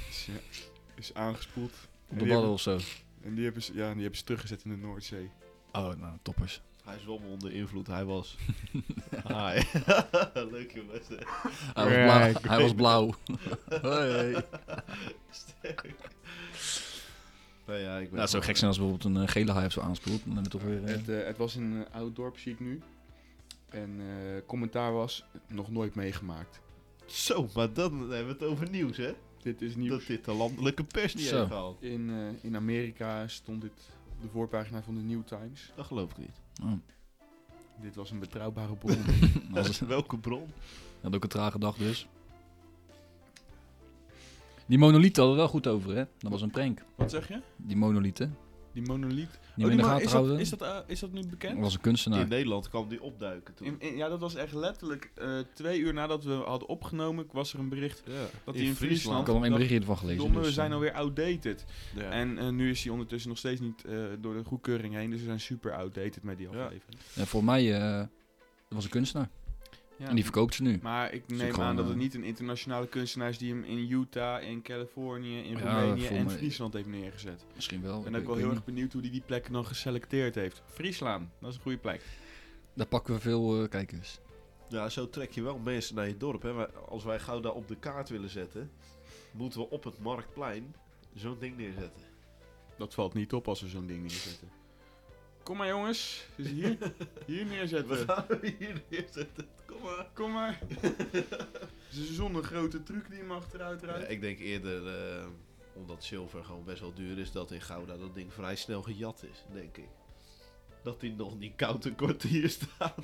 [SPEAKER 2] is, eh, is aangespoeld.
[SPEAKER 3] Op de ballen of zo?
[SPEAKER 2] En die hebben ze, ja, die hebben ze teruggezet in de Noordzee.
[SPEAKER 3] Oh, nou, toppers.
[SPEAKER 4] Hij zwom onder invloed, hij was. Hi. Leuk jongens.
[SPEAKER 3] Hij
[SPEAKER 4] hè.
[SPEAKER 3] was blauw. Hij was blauw. Hoi.
[SPEAKER 4] Sterk. Nou ja, ik ben
[SPEAKER 3] Nou, het zou gek zijn als bijvoorbeeld een eh, gele haai of zo aanspoelt. Dan hebben we toch weer... eh,
[SPEAKER 2] Het, eh, het was in een oud dorp, zie ik nu. En eh, commentaar was, nog nooit meegemaakt.
[SPEAKER 4] Zo, maar dan hebben we het over nieuws, hè?
[SPEAKER 2] Dit is nieuws.
[SPEAKER 4] Dat dit de landelijke pers niet
[SPEAKER 3] Zo.
[SPEAKER 4] heeft gehaald.
[SPEAKER 2] In, eh, in Amerika stond dit op de voorpagina van de New Times.
[SPEAKER 4] Dat geloof ik niet.
[SPEAKER 3] oh,
[SPEAKER 2] Dit was een betrouwbare bron.
[SPEAKER 3] dat was-
[SPEAKER 4] Welke bron?
[SPEAKER 3] Had ook een trage dag dus. Die monolieten hadden wel goed over, hè? Dat was een prank.
[SPEAKER 2] Wat zeg je?
[SPEAKER 3] Die monolieten.
[SPEAKER 2] Oh, Die monoliet.
[SPEAKER 3] Die we in de gaten
[SPEAKER 2] is, dat,
[SPEAKER 3] houden.
[SPEAKER 2] is, dat, eh, is dat nu
[SPEAKER 3] Dat
[SPEAKER 2] bekend?
[SPEAKER 3] was een kunstenaar.
[SPEAKER 4] In Nederland kwam die opduiken toen.
[SPEAKER 2] Nou. In- in- ja, dat was echt letterlijk eh, twee uur nadat we hadden opgenomen, was er een bericht.
[SPEAKER 4] ja.
[SPEAKER 2] dat die in
[SPEAKER 3] Ik
[SPEAKER 2] Friesland-
[SPEAKER 3] had al een
[SPEAKER 2] dat-
[SPEAKER 3] berichtje ervan gelezen.
[SPEAKER 2] Domme,
[SPEAKER 3] dus,
[SPEAKER 2] we
[SPEAKER 3] eh,
[SPEAKER 2] zijn alweer outdated.
[SPEAKER 4] Ja.
[SPEAKER 2] En eh, nu is hij ondertussen nog steeds niet eh, door de goedkeuring heen, dus we zijn super outdated met die aflevering.
[SPEAKER 3] en voor mij eh, dat was een kunstenaar.
[SPEAKER 2] Ja.
[SPEAKER 3] En die verkoopt ze nu.
[SPEAKER 2] Maar ik
[SPEAKER 3] is
[SPEAKER 2] neem
[SPEAKER 3] ook gewoon,
[SPEAKER 2] aan dat
[SPEAKER 3] eh,
[SPEAKER 2] het niet een internationale kunstenaar is die hem in Utah, in Californië, in
[SPEAKER 3] Ja,
[SPEAKER 2] Roemenië
[SPEAKER 3] voor
[SPEAKER 2] en
[SPEAKER 3] mij-
[SPEAKER 2] Friesland heeft neergezet.
[SPEAKER 3] Misschien wel.
[SPEAKER 2] Ik ben
[SPEAKER 3] ik
[SPEAKER 2] ook wel
[SPEAKER 3] weet-
[SPEAKER 2] heel
[SPEAKER 3] ik
[SPEAKER 2] erg benieuwd hoe hij die plekken dan geselecteerd heeft. Friesland, dat is een goede plek.
[SPEAKER 3] Daar pakken we veel eh, kijkers.
[SPEAKER 4] Ja, zo trek je wel mensen naar je dorp. Hè. Wij- Als wij Gouda op de kaart willen zetten, moeten we op het Marktplein zo'n ding neerzetten.
[SPEAKER 2] Dat valt niet op als we zo'n ding neerzetten. Kom maar jongens, dus hier, hier
[SPEAKER 4] We
[SPEAKER 2] neerzetten.
[SPEAKER 4] gaan hem hier neerzetten. Kom maar.
[SPEAKER 2] Kom maar. Het is zonder grote truc die hem achteruit
[SPEAKER 4] Ja,
[SPEAKER 2] rijdt.
[SPEAKER 4] ik denk eerder, eh, omdat zilver gewoon best wel duur is, dat in Gouda dat ding vrij snel gejat is, denk ik. Dat die nog niet koud een kwartier staat.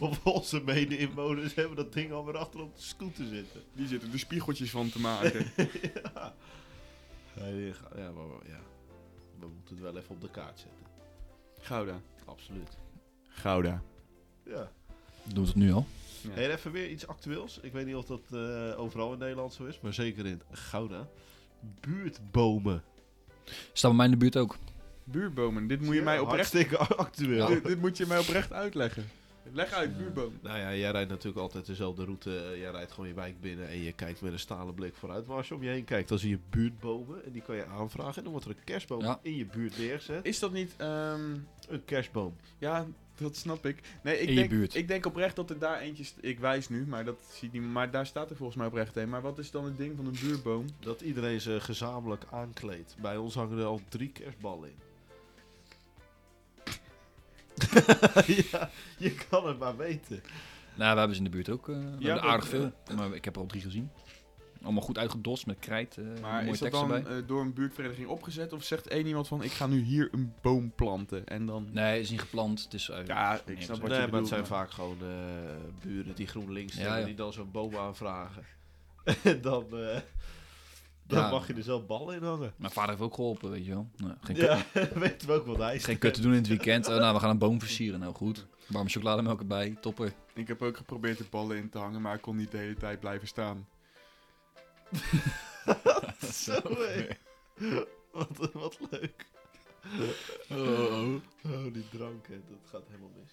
[SPEAKER 4] of onze mede-inwoners hebben dat ding alweer achter op de scooter zitten.
[SPEAKER 2] Die zitten er spiegeltjes van te maken.
[SPEAKER 4] ja. Ja, die ga- ja, maar maar- ja. We moeten het wel even op de kaart zetten.
[SPEAKER 2] Gouda.
[SPEAKER 4] Absoluut.
[SPEAKER 2] Gouda.
[SPEAKER 4] Ja.
[SPEAKER 3] Doen we het nu al?
[SPEAKER 2] Ja.
[SPEAKER 4] Hey, en even weer iets actueels. Ik weet niet of dat eh, overal in Nederland zo is, maar zeker in Gouda. Buurtbomen.
[SPEAKER 3] Staan bij mij in de buurt ook.
[SPEAKER 2] Buurbomen, dit moet je
[SPEAKER 4] Ja,
[SPEAKER 2] mij oprecht...
[SPEAKER 4] Hartstikke actueel.
[SPEAKER 2] Dit, dit moet je mij oprecht uitleggen. Leg uit,
[SPEAKER 3] Ja.
[SPEAKER 2] buurboom.
[SPEAKER 4] Nou ja, jij rijdt natuurlijk altijd dezelfde route. Jij rijdt gewoon je wijk binnen en je kijkt met een stalen blik vooruit. Maar als je om je heen kijkt, dan zie je buurtbomen. En die kan je aanvragen. En dan wordt er een kerstboom
[SPEAKER 3] Ja.
[SPEAKER 4] in je buurt neergezet.
[SPEAKER 2] Is dat niet... ehm,
[SPEAKER 4] Een kerstboom.
[SPEAKER 2] Ja, dat snap ik. Nee, ik
[SPEAKER 3] In je
[SPEAKER 2] denk,
[SPEAKER 3] buurt.
[SPEAKER 2] Ik denk oprecht dat er daar eentje... st- Ik wijs nu, maar, dat ziet niet, maar daar staat er volgens mij oprecht een. Maar wat is dan het ding van een buurboom?
[SPEAKER 4] Dat iedereen ze gezamenlijk aankleedt. Bij ons hangen er al drie kerstballen in. ja, je kan het maar weten.
[SPEAKER 3] Nou, we hebben ze in de buurt ook. eh, we hebben
[SPEAKER 2] dat-
[SPEAKER 3] er aardig veel. Maar ik heb er al drie gezien. Allemaal goed uitgedost met krijt. eh
[SPEAKER 2] Maar
[SPEAKER 3] mooie
[SPEAKER 2] is dat
[SPEAKER 3] tekst
[SPEAKER 2] dan
[SPEAKER 3] erbij.
[SPEAKER 2] eh, door een buurtvereniging opgezet? Of zegt één iemand van, ik ga nu hier een boom planten? En dan...
[SPEAKER 3] Nee, is niet gepland. Het is eh, uit.
[SPEAKER 2] Ja, ik
[SPEAKER 3] Nee,
[SPEAKER 2] snap
[SPEAKER 3] precies.
[SPEAKER 2] wat
[SPEAKER 4] nee,
[SPEAKER 2] je
[SPEAKER 4] maar
[SPEAKER 2] bedoelt.
[SPEAKER 4] het zijn vaak gewoon eh, buren die GroenLinks
[SPEAKER 3] Ja,
[SPEAKER 4] stemmen,
[SPEAKER 3] ja.
[SPEAKER 4] die dan zo'n boom aanvragen. en dan, eh, dan
[SPEAKER 3] Ja.
[SPEAKER 4] mag je er zelf ballen in hangen.
[SPEAKER 3] Mijn vader heeft ook geholpen, weet je wel. Nou, geen, kut,
[SPEAKER 4] Ja, weten we ook wat hij is.
[SPEAKER 3] geen kut te doen in het weekend. Eh, nou, we gaan een boom versieren. Nou goed. Warme chocolademelk erbij. Topper.
[SPEAKER 2] Ik heb ook geprobeerd de ballen in te hangen, maar ik kon niet de hele tijd blijven staan.
[SPEAKER 4] Zo, hé. wat, wat leuk.
[SPEAKER 3] Oh.
[SPEAKER 4] Oh, die drank, hè, dat gaat helemaal mis.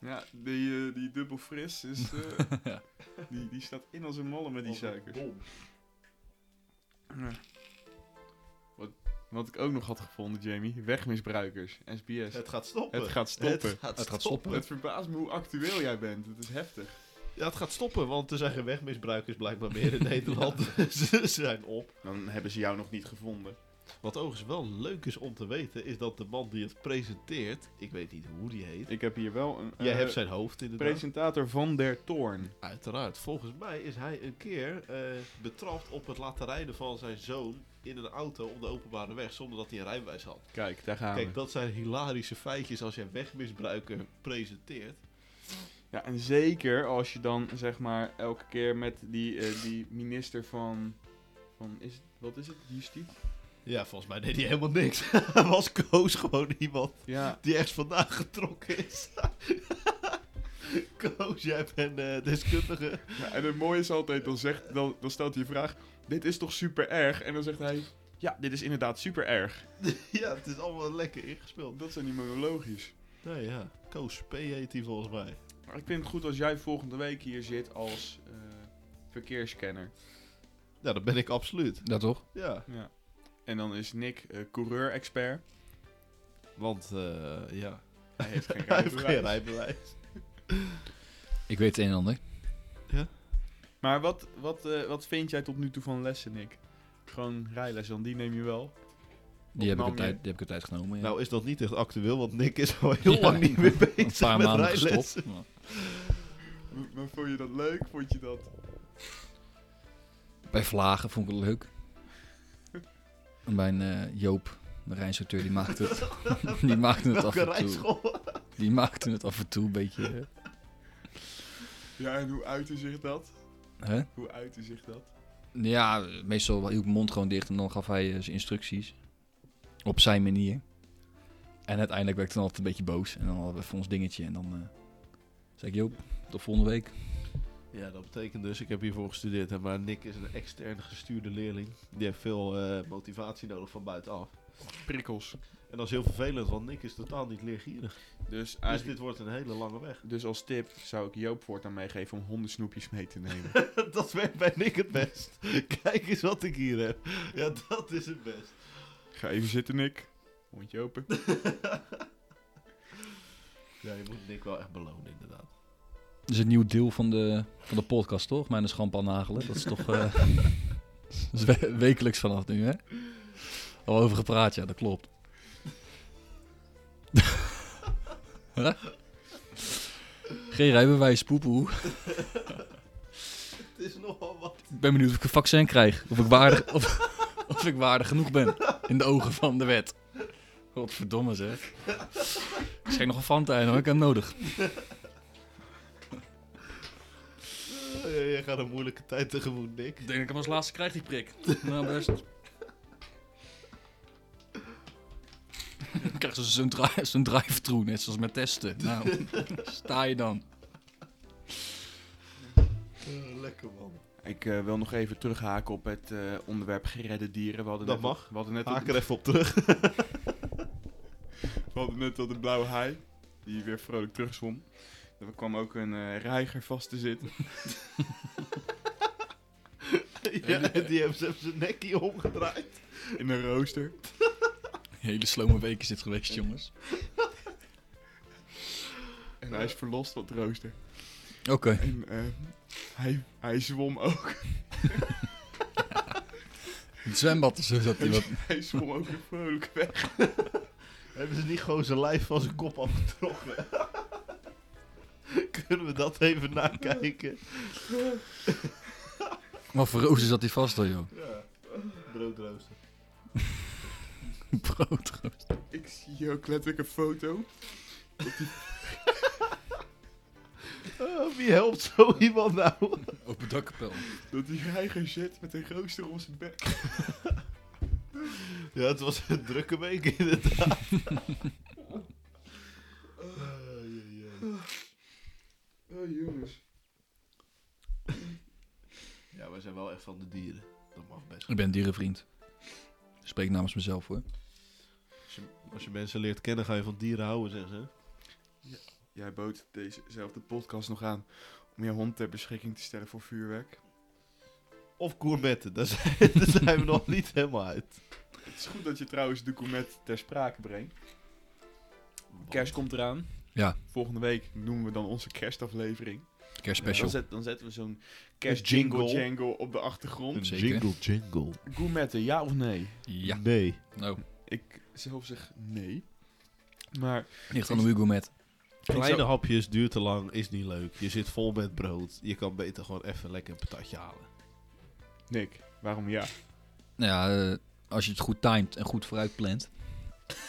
[SPEAKER 2] Ja, die, eh, die dubbel fris is... eh,
[SPEAKER 3] Ja.
[SPEAKER 2] die, die staat in als een malle met die
[SPEAKER 4] Als een
[SPEAKER 2] suikers.
[SPEAKER 4] bom.
[SPEAKER 2] Ja. Wat, wat ik ook nog had gevonden, Jamie. Wegmisbruikers. SBS. Het,
[SPEAKER 4] Het gaat stoppen.
[SPEAKER 2] gaat stoppen. Het,
[SPEAKER 4] gaat
[SPEAKER 3] Het gaat stoppen.
[SPEAKER 2] verbaast me hoe actueel jij bent. Het is heftig.
[SPEAKER 4] Ja, het gaat stoppen, want er zijn geen wegmisbruikers blijkbaar meer in Nederland. Ze zijn op.
[SPEAKER 2] Dan hebben ze jou nog niet gevonden.
[SPEAKER 4] Wat overigens wel leuk is om te weten, is dat de man die het presenteert, ik weet niet hoe die heet.
[SPEAKER 2] Ik heb hier wel een...
[SPEAKER 4] Jij
[SPEAKER 2] eh,
[SPEAKER 4] hebt zijn hoofd inderdaad.
[SPEAKER 2] Presentator van der Toorn.
[SPEAKER 4] Uiteraard. Volgens mij is hij een keer eh, betrapt op het laten rijden van zijn zoon in een auto op de openbare weg zonder dat hij een rijbewijs had.
[SPEAKER 2] Kijk, daar gaan we.
[SPEAKER 4] Kijk, dat zijn hilarische feitjes als jij wegmisbruiker presenteert.
[SPEAKER 2] Ja, en zeker als je dan zeg maar elke keer met die, eh, die minister van. van is het, wat is het? Justitie?
[SPEAKER 4] Ja, volgens mij deed hij helemaal niks. Hij was Koos gewoon iemand
[SPEAKER 2] Ja.
[SPEAKER 4] die ergens vandaan getrokken is. Koos, jij bent eh, deskundige.
[SPEAKER 2] ja. En het mooie is altijd: dan, zegt, dan, dan stelt hij je vraag. Dit is toch super erg? En dan zegt hij: Ja, dit is inderdaad super erg.
[SPEAKER 4] ja, het is allemaal lekker ingespeeld.
[SPEAKER 2] Dat zijn die monologisch.
[SPEAKER 4] Nou ja, Koos P heet hij volgens mij.
[SPEAKER 2] Maar ik vind het goed als jij volgende week hier zit als eh verkeerscanner.
[SPEAKER 4] Ja, dat ben ik absoluut.
[SPEAKER 3] Dat toch?
[SPEAKER 4] Ja.
[SPEAKER 2] Ja. En dan is Nick eh, coureur-expert.
[SPEAKER 4] Want, eh, ja.
[SPEAKER 2] Hij heeft geen
[SPEAKER 4] Hij heeft geen
[SPEAKER 2] rijbewijs.
[SPEAKER 4] rijbewijs.
[SPEAKER 3] Ik weet het een en ander.
[SPEAKER 2] Maar wat, wat, eh, wat vind jij tot nu toe van lessen, Nick? Gewoon rijles, dan die neem je wel.
[SPEAKER 3] Die heb, ik
[SPEAKER 2] nam
[SPEAKER 3] een
[SPEAKER 2] je?
[SPEAKER 3] tijd, die heb ik een tijd genomen. Ja.
[SPEAKER 4] Nou is dat niet echt actueel, want Nick is al heel
[SPEAKER 3] Ja,
[SPEAKER 4] lang niet meer bezig
[SPEAKER 3] een paar
[SPEAKER 4] met
[SPEAKER 3] maanden
[SPEAKER 4] rijlessen.
[SPEAKER 3] gestopt. Maar-
[SPEAKER 2] M- Maar vond je dat leuk? Vond je dat?
[SPEAKER 3] Bij Vlagen vond ik het leuk. En bij een, eh, Joop, de rijinstructeur, die maakte het, die maakte het af
[SPEAKER 4] Welke
[SPEAKER 3] en toe.
[SPEAKER 4] rijschool?
[SPEAKER 3] Die maakte het af en toe een beetje... eh,
[SPEAKER 2] Ja, en hoe uitte zich dat?
[SPEAKER 3] Hè?
[SPEAKER 2] Hoe uitte zich dat?
[SPEAKER 3] Ja, meestal hield ik mijn mond gewoon dicht en dan gaf hij eh, zijn instructies. Op zijn manier. En uiteindelijk werd ik dan altijd een beetje boos. En dan hadden we even ons dingetje. En dan eh, zei ik, Joop, tot volgende week.
[SPEAKER 4] Ja, dat betekent dus, ik heb hiervoor gestudeerd, hè, maar Nick is een extern gestuurde leerling. Die heeft veel eh, motivatie nodig van buitenaf.
[SPEAKER 2] Prikkels.
[SPEAKER 4] En dat is heel vervelend, want Nick is totaal niet leergierig.
[SPEAKER 2] Dus,
[SPEAKER 4] Dus
[SPEAKER 2] eigenlijk,
[SPEAKER 4] dit wordt een hele lange weg.
[SPEAKER 2] dus als tip zou ik Joop voortaan meegeven om hondensnoepjes mee te nemen.
[SPEAKER 4] dat werkt bij Nick het best. Kijk eens wat ik hier heb. Ja, dat is het best.
[SPEAKER 2] Ga even zitten, Nick. Hondje open.
[SPEAKER 4] Ja, je moet Nick wel echt belonen, inderdaad.
[SPEAKER 3] Dat is een nieuw deel van de, van de podcast, toch? Mijn schampan nagelen. Dat is toch eh, dat is we- wekelijks vanaf nu, hè? Al over gepraat, ja, dat klopt. Huh? Geen rijbewijs, poepoe.
[SPEAKER 4] Het is nogal wat.
[SPEAKER 3] Ik ben benieuwd of ik een vaccin krijg. Of ik waardig, of, of ik waardig genoeg ben. In de ogen van de wet. Godverdomme zeg. Ik schenk nog een Fanta in hoor, ik heb hem nodig.
[SPEAKER 4] jij gaat een moeilijke tijd tegemoet, Nick.
[SPEAKER 3] Ik denk dat ik hem als laatste krijg, die prik. Nou best. Dan krijg ze zo'n dri- zo'n drive-thru, net zoals met testen. Nou, sta je dan.
[SPEAKER 4] Eh, lekker, man.
[SPEAKER 2] Ik eh, wil nog even terughaken op het eh, onderwerp geredde dieren. We hadden
[SPEAKER 4] Dat
[SPEAKER 2] net,
[SPEAKER 4] mag.
[SPEAKER 2] We hadden net,
[SPEAKER 4] Haak
[SPEAKER 2] op,
[SPEAKER 4] er even op terug.
[SPEAKER 2] we hadden net op de blauwe haai, die weer vrolijk terugzwom. Er kwam ook een eh reiger vast te zitten.
[SPEAKER 4] ja, die hebben ze hebben zijn nekje omgedraaid.
[SPEAKER 2] In een rooster.
[SPEAKER 3] Hele slome week is dit geweest, jongens.
[SPEAKER 2] En hij is verlost van het rooster.
[SPEAKER 3] Oké.
[SPEAKER 2] En eh, hij, hij zwom ook.
[SPEAKER 3] Het zwembad is zo dat die wat...
[SPEAKER 2] Hij zwom ook weer vrolijk weg.
[SPEAKER 4] Hebben ze niet gewoon zijn lijf van zijn kop afgetrokken? Kunnen we dat even nakijken?
[SPEAKER 3] Wat voor rozen zat die vast dan, joh?
[SPEAKER 4] Ja. Broodrooster.
[SPEAKER 3] Broodroos.
[SPEAKER 2] Ik zie hier ook letterlijk een foto.
[SPEAKER 4] Oh, wie helpt zo iemand nou?
[SPEAKER 3] Open dakkapel.
[SPEAKER 2] Dat die reiger zit met een rooster om zijn bek.
[SPEAKER 4] Ja, het was een drukke week inderdaad. Ah, jee, jee.
[SPEAKER 2] Oh jongens.
[SPEAKER 4] Ja, wij zijn wel echt van de dieren. Dat mag best.
[SPEAKER 3] Ik ben dierenvriend. Ik spreek namens mezelf, hoor.
[SPEAKER 4] Als je, als je mensen leert kennen, ga je van dieren houden, zeggen ze.
[SPEAKER 2] Jij bood dezezelfde podcast nog aan om je hond ter beschikking te stellen voor vuurwerk.
[SPEAKER 4] Of gourmetten, daar zijn, daar zijn we nog niet helemaal uit.
[SPEAKER 2] Het is goed dat je trouwens de gourmet ter sprake brengt. Kerst komt eraan.
[SPEAKER 3] Ja.
[SPEAKER 2] Volgende week noemen we dan onze kerstaflevering. Dan,
[SPEAKER 3] Kerstspecial.
[SPEAKER 2] zet- dan zetten we zo'n
[SPEAKER 4] jingle.
[SPEAKER 2] kerstjingle jangle op de achtergrond.
[SPEAKER 4] Een
[SPEAKER 3] Zeker.
[SPEAKER 4] jingle jingle.
[SPEAKER 2] Gourmetten, ja of nee?
[SPEAKER 3] Ja.
[SPEAKER 4] Nee.
[SPEAKER 3] Nou,
[SPEAKER 2] Ik zelf zeg nee. Maar
[SPEAKER 3] ligt aan de Hugo met.
[SPEAKER 4] Kleine
[SPEAKER 2] zou-
[SPEAKER 4] hapjes duurt te lang, is niet leuk. Je zit vol met brood. Je kan beter gewoon even lekker een patatje halen.
[SPEAKER 2] Nick, waarom ja?
[SPEAKER 3] Nou ja, eh, als je het goed timed en goed vooruit plant.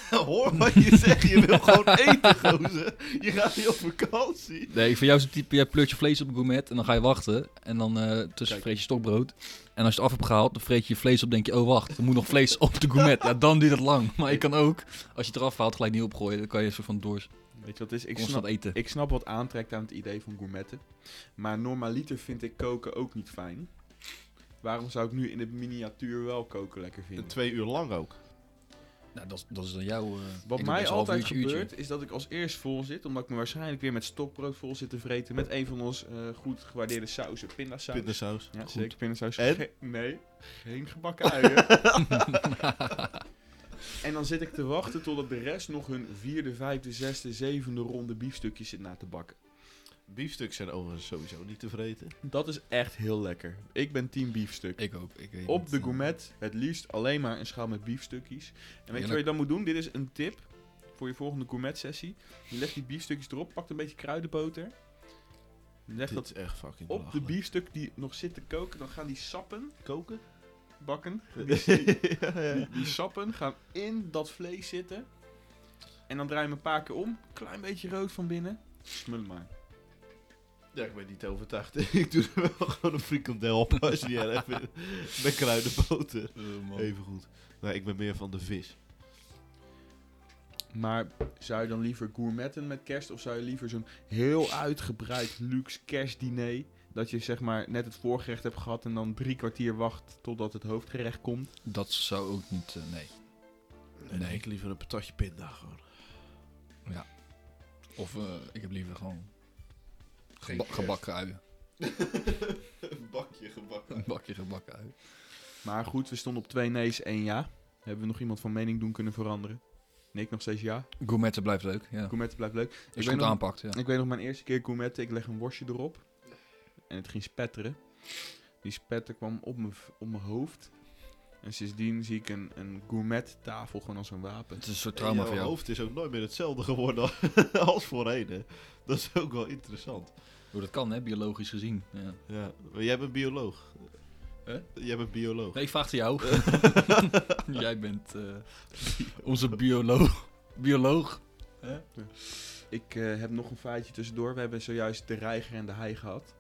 [SPEAKER 4] Hoor wat je zegt, je wil gewoon eten, gozer. Je gaat niet op vakantie.
[SPEAKER 3] Nee, voor jou is het type, jij pleurt je vlees op een gourmet en dan ga je wachten. En dan eh, tussen
[SPEAKER 4] Kijk.
[SPEAKER 3] vreet je stokbrood. En als je het af hebt gehaald, dan vreet je je vlees op denk je, oh wacht, er moet nog vlees op de gourmet. Ja, dan duurt het lang. Maar je kan ook, als je het eraf haalt, gelijk niet opgooien. Dan kan je een soort van doors
[SPEAKER 2] Weet je wat het is? Ik snap,
[SPEAKER 3] constant eten.
[SPEAKER 2] ik snap wat aantrekt aan het idee van gourmetten. Maar normaliter vind ik koken ook niet fijn. Waarom zou ik nu in het miniatuur wel koken lekker vinden?
[SPEAKER 4] Twee uur lang ook.
[SPEAKER 3] Nou, dat, is- dat is dan jouw... eh, ik doe
[SPEAKER 2] Wat
[SPEAKER 3] best
[SPEAKER 2] mij
[SPEAKER 3] een half
[SPEAKER 2] altijd
[SPEAKER 3] uurtje, uurtje.
[SPEAKER 2] gebeurt, is dat ik als eerst vol zit, omdat ik me waarschijnlijk weer met stokbrood vol zit te vreten met een van ons eh, goed gewaardeerde sausen, pindasaus.
[SPEAKER 4] Pindasaus.
[SPEAKER 2] ja,
[SPEAKER 4] Goed.
[SPEAKER 2] zeker pindasaus.
[SPEAKER 4] En?
[SPEAKER 2] Ge- nee, geen gebakken uien. en dan zit ik te wachten totdat de rest nog hun vierde, vijfde, zesde, zevende ronde biefstukjes zit na te bakken.
[SPEAKER 4] Biefstuks zijn overigens sowieso niet te vreten.
[SPEAKER 2] Dat is echt heel lekker. Ik ben team biefstuk.
[SPEAKER 3] Ik ook. Ik weet
[SPEAKER 2] Op
[SPEAKER 3] niet,
[SPEAKER 2] de
[SPEAKER 3] eh,
[SPEAKER 2] gourmet het liefst alleen maar een schaal met biefstukjes. En weet je wat je
[SPEAKER 3] Heerlijk.
[SPEAKER 2] dan moet doen? Dit is een tip voor je volgende gourmet sessie. Je legt die biefstukjes erop, pakt een beetje kruidenboter. Je legt
[SPEAKER 4] Dit
[SPEAKER 2] dat
[SPEAKER 4] is echt fucking
[SPEAKER 2] op de
[SPEAKER 4] belachelijk.
[SPEAKER 2] biefstuk die nog zit te koken. Dan gaan die sappen
[SPEAKER 4] koken?
[SPEAKER 2] bakken. Die, die-
[SPEAKER 4] ja, ja.
[SPEAKER 2] die sappen gaan in dat vlees zitten. En dan draai je hem een paar keer om. Klein beetje rood van binnen. Smul maar.
[SPEAKER 4] Ja, ik ben niet overtuigd. ik doe er wel gewoon een frikandel op als je die erg vindt. Met kruidenboter.
[SPEAKER 3] eh,
[SPEAKER 4] Even goed. Nee, ik ben meer van de vis.
[SPEAKER 2] Maar zou je dan liever gourmetten met kerst? Of zou je liever zo'n heel uitgebreid luxe kerstdiner? Dat je zeg maar net het voorgerecht hebt gehad en dan drie kwartier wacht totdat het hoofdgerecht komt.
[SPEAKER 3] Dat zou ook niet... eh, nee. Nee.
[SPEAKER 4] Ik liever een patatje pinda gewoon.
[SPEAKER 3] Of eh, ik heb liever gewoon
[SPEAKER 4] Geen
[SPEAKER 3] geba-
[SPEAKER 4] kerst.
[SPEAKER 3] gebakken uien.
[SPEAKER 4] een bakje gebakken.
[SPEAKER 3] Een bakje gebakken uien.
[SPEAKER 2] Maar goed, we stonden op twee nee's, één ja. Hebben we nog iemand van mening doen kunnen veranderen? Nick nog steeds ja.
[SPEAKER 3] Gourmetten blijft leuk, ja.
[SPEAKER 2] Gourmetten blijft leuk.
[SPEAKER 3] Als je
[SPEAKER 2] weet
[SPEAKER 3] het
[SPEAKER 2] nog-
[SPEAKER 3] aanpakt, ja.
[SPEAKER 2] Ik weet nog mijn eerste keer gourmetten. Ik leg een worstje erop. En het ging spetteren. Die spetter kwam op mijn, v- op mijn hoofd. En sindsdien zie ik een, een gourmet tafel gewoon als een wapen.
[SPEAKER 3] Het is een soort
[SPEAKER 4] En
[SPEAKER 3] trauma
[SPEAKER 4] jouw
[SPEAKER 3] voor jou.
[SPEAKER 4] hoofd is ook nooit meer hetzelfde geworden als voorheen. hè. Dat is ook wel interessant.
[SPEAKER 3] Hoe dat kan, hè, biologisch gezien. Ja.
[SPEAKER 4] Ja. Maar jij bent bioloog.
[SPEAKER 3] Huh?
[SPEAKER 4] Jij bent bioloog.
[SPEAKER 3] Nee, ik vraag het jou. Jij bent eh, onze bioloog. Bioloog.
[SPEAKER 2] Ik eh, heb nog een feitje tussendoor. We hebben zojuist de reiger en de hei gehad.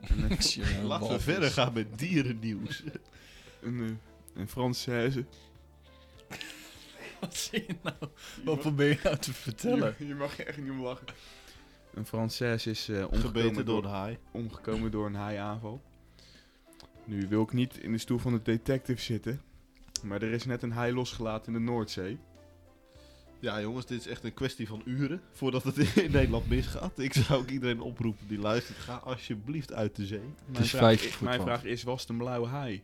[SPEAKER 2] En, eh,
[SPEAKER 4] Laten we verder gaan met dierennieuws.
[SPEAKER 2] een, eh, een Française.
[SPEAKER 3] Wat zie je nou? Wat probeer je nou te vertellen?
[SPEAKER 2] Je, je mag echt niet om lachen. Een Française is eh, omgekomen,
[SPEAKER 4] Gebeten door
[SPEAKER 2] door,
[SPEAKER 4] een haai.
[SPEAKER 2] omgekomen door een haaiaanval. Nu wil ik niet in de stoel van de detective zitten. Maar er is net een haai losgelaten in de Noordzee.
[SPEAKER 4] Ja, jongens, dit is echt een kwestie van uren voordat het in Nederland misgaat. Ik zou ook iedereen oproepen die luistert, ga alsjeblieft uit de zee.
[SPEAKER 2] Mijn,
[SPEAKER 3] is
[SPEAKER 2] vraag,
[SPEAKER 3] vijf
[SPEAKER 2] i-
[SPEAKER 3] voor
[SPEAKER 2] mijn
[SPEAKER 3] twaalf.
[SPEAKER 2] vraag is, was het een blauwe haai?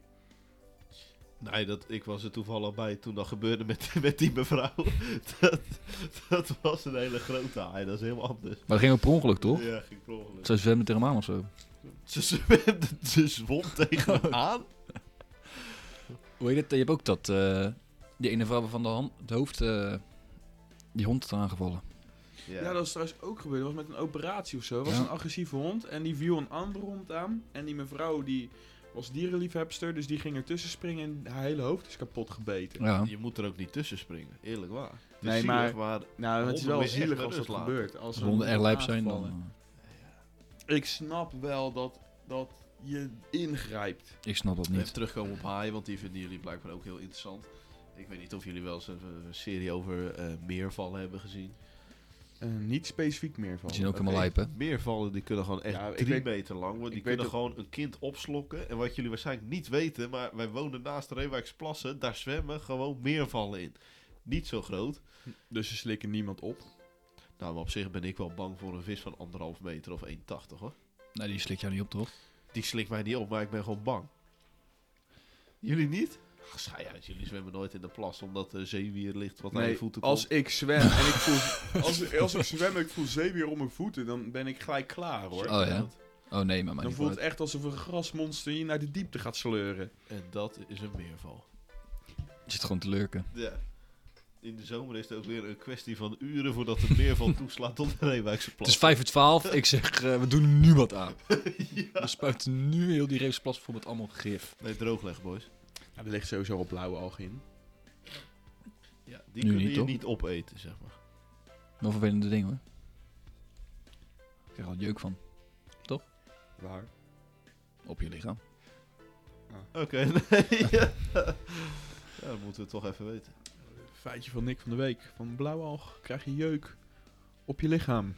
[SPEAKER 4] Nee, dat, ik was er toevallig bij toen dat gebeurde met, met die mevrouw. Dat, dat was een hele grote haai, dat is helemaal anders.
[SPEAKER 3] Maar dat ging ook per ongeluk, toch?
[SPEAKER 4] Ja, ging per ongeluk.
[SPEAKER 3] Zij zwemmen tegen hem aan of zo.
[SPEAKER 4] Ze, zwemde- ze zwom tegen hem aan.
[SPEAKER 3] Hoe heet het? Je hebt ook dat... eh, die ene vrouw van de hand, het hoofd... eh, die hond had aangevallen.
[SPEAKER 2] Ja. dat is trouwens ook gebeurd. Dat was met een operatie of zo. Dat was
[SPEAKER 3] Ja.
[SPEAKER 2] een agressieve hond en die viel een andere hond aan. En die mevrouw die was dierenliefhebster, dus die ging ertussen springen en haar hele hoofd is kapot gebeten.
[SPEAKER 3] Ja.
[SPEAKER 4] Je moet er ook niet tussen springen, eerlijk waar. Dus Het is
[SPEAKER 2] Nee, maar-
[SPEAKER 4] zielig,
[SPEAKER 2] Nou, het is
[SPEAKER 4] Honden moet
[SPEAKER 2] wel
[SPEAKER 4] je echt
[SPEAKER 2] zielig
[SPEAKER 4] met
[SPEAKER 2] als dat
[SPEAKER 4] rust laten.
[SPEAKER 2] gebeurt. Als
[SPEAKER 3] Als
[SPEAKER 2] er
[SPEAKER 3] honden
[SPEAKER 2] een
[SPEAKER 3] erg
[SPEAKER 2] hond
[SPEAKER 3] lijp zijn, dan...
[SPEAKER 2] aangevallen.
[SPEAKER 3] eh,
[SPEAKER 2] Ik snap wel dat, dat je ingrijpt.
[SPEAKER 3] eh, ik snap dat
[SPEAKER 4] Even
[SPEAKER 3] niet.
[SPEAKER 4] terugkomen op haai, want die vinden jullie blijkbaar ook heel interessant. Ik weet niet of jullie wel eens een, een serie over eh meervallen hebben gezien.
[SPEAKER 2] Eh, niet specifiek meer van.
[SPEAKER 3] Die zien ook helemaal
[SPEAKER 4] Oké,
[SPEAKER 3] lijp, hè?
[SPEAKER 4] Meervallen die kunnen gewoon echt
[SPEAKER 2] Ja, ik
[SPEAKER 4] drie
[SPEAKER 2] weet-
[SPEAKER 4] meter lang worden. Die
[SPEAKER 2] ik weet
[SPEAKER 4] kunnen
[SPEAKER 2] ook-
[SPEAKER 4] gewoon een kind opslokken. En wat jullie waarschijnlijk niet weten, maar wij wonen naast de Reewijksplassen. Daar zwemmen gewoon meervallen in. Niet zo groot.
[SPEAKER 2] Dus ze slikken niemand op.
[SPEAKER 4] Nou, maar op zich ben ik wel bang voor een vis van anderhalf meter of 1,80 hoor.
[SPEAKER 3] Nee, die slikt jou niet op, toch?
[SPEAKER 4] Die slikt mij niet op, maar ik ben gewoon bang. Jullie niet? Ach, Schei uit, jullie zwemmen nooit in de plas omdat de zeewier ligt wat aan je voeten komt.
[SPEAKER 2] als ik zwem en ik voel... als, als ik zwem en ik voel zeewier om mijn voeten, dan ben ik gelijk klaar, hoor.
[SPEAKER 3] Oh ja. Oh nee, maar mij
[SPEAKER 2] Dan
[SPEAKER 3] niet
[SPEAKER 2] voelt
[SPEAKER 3] uit.
[SPEAKER 2] het echt alsof een grasmonster je naar de diepte gaat sleuren.
[SPEAKER 4] En dat is een meerval.
[SPEAKER 3] Je zit gewoon te lurken.
[SPEAKER 4] Ja. In de zomer is het ook weer een kwestie van uren voordat de meerval toeslaat op de Reewijkse
[SPEAKER 3] Het
[SPEAKER 4] plas.
[SPEAKER 3] is 5 voor 12. Ik zeg, eh, we doen er nu wat aan.
[SPEAKER 4] ja.
[SPEAKER 3] We spuiten nu heel die reepsplas voor met allemaal gif.
[SPEAKER 4] Nee, droogleg, boys.
[SPEAKER 2] Ja, er ligt sowieso al blauwe alg in.
[SPEAKER 4] Ja, die
[SPEAKER 3] Nu
[SPEAKER 4] kunnen
[SPEAKER 3] niet,
[SPEAKER 4] je
[SPEAKER 3] toch?
[SPEAKER 4] niet opeten, zeg maar.
[SPEAKER 3] Wel vervelende dingen hoor. Ik krijg er al jeuk van.
[SPEAKER 2] Waar?
[SPEAKER 3] Op je lichaam.
[SPEAKER 4] Ah. Oké, nee. ja. Ja, dat moeten we toch even weten.
[SPEAKER 2] Feitje van Nick van de Week. Van blauwe alg krijg je jeuk op je lichaam.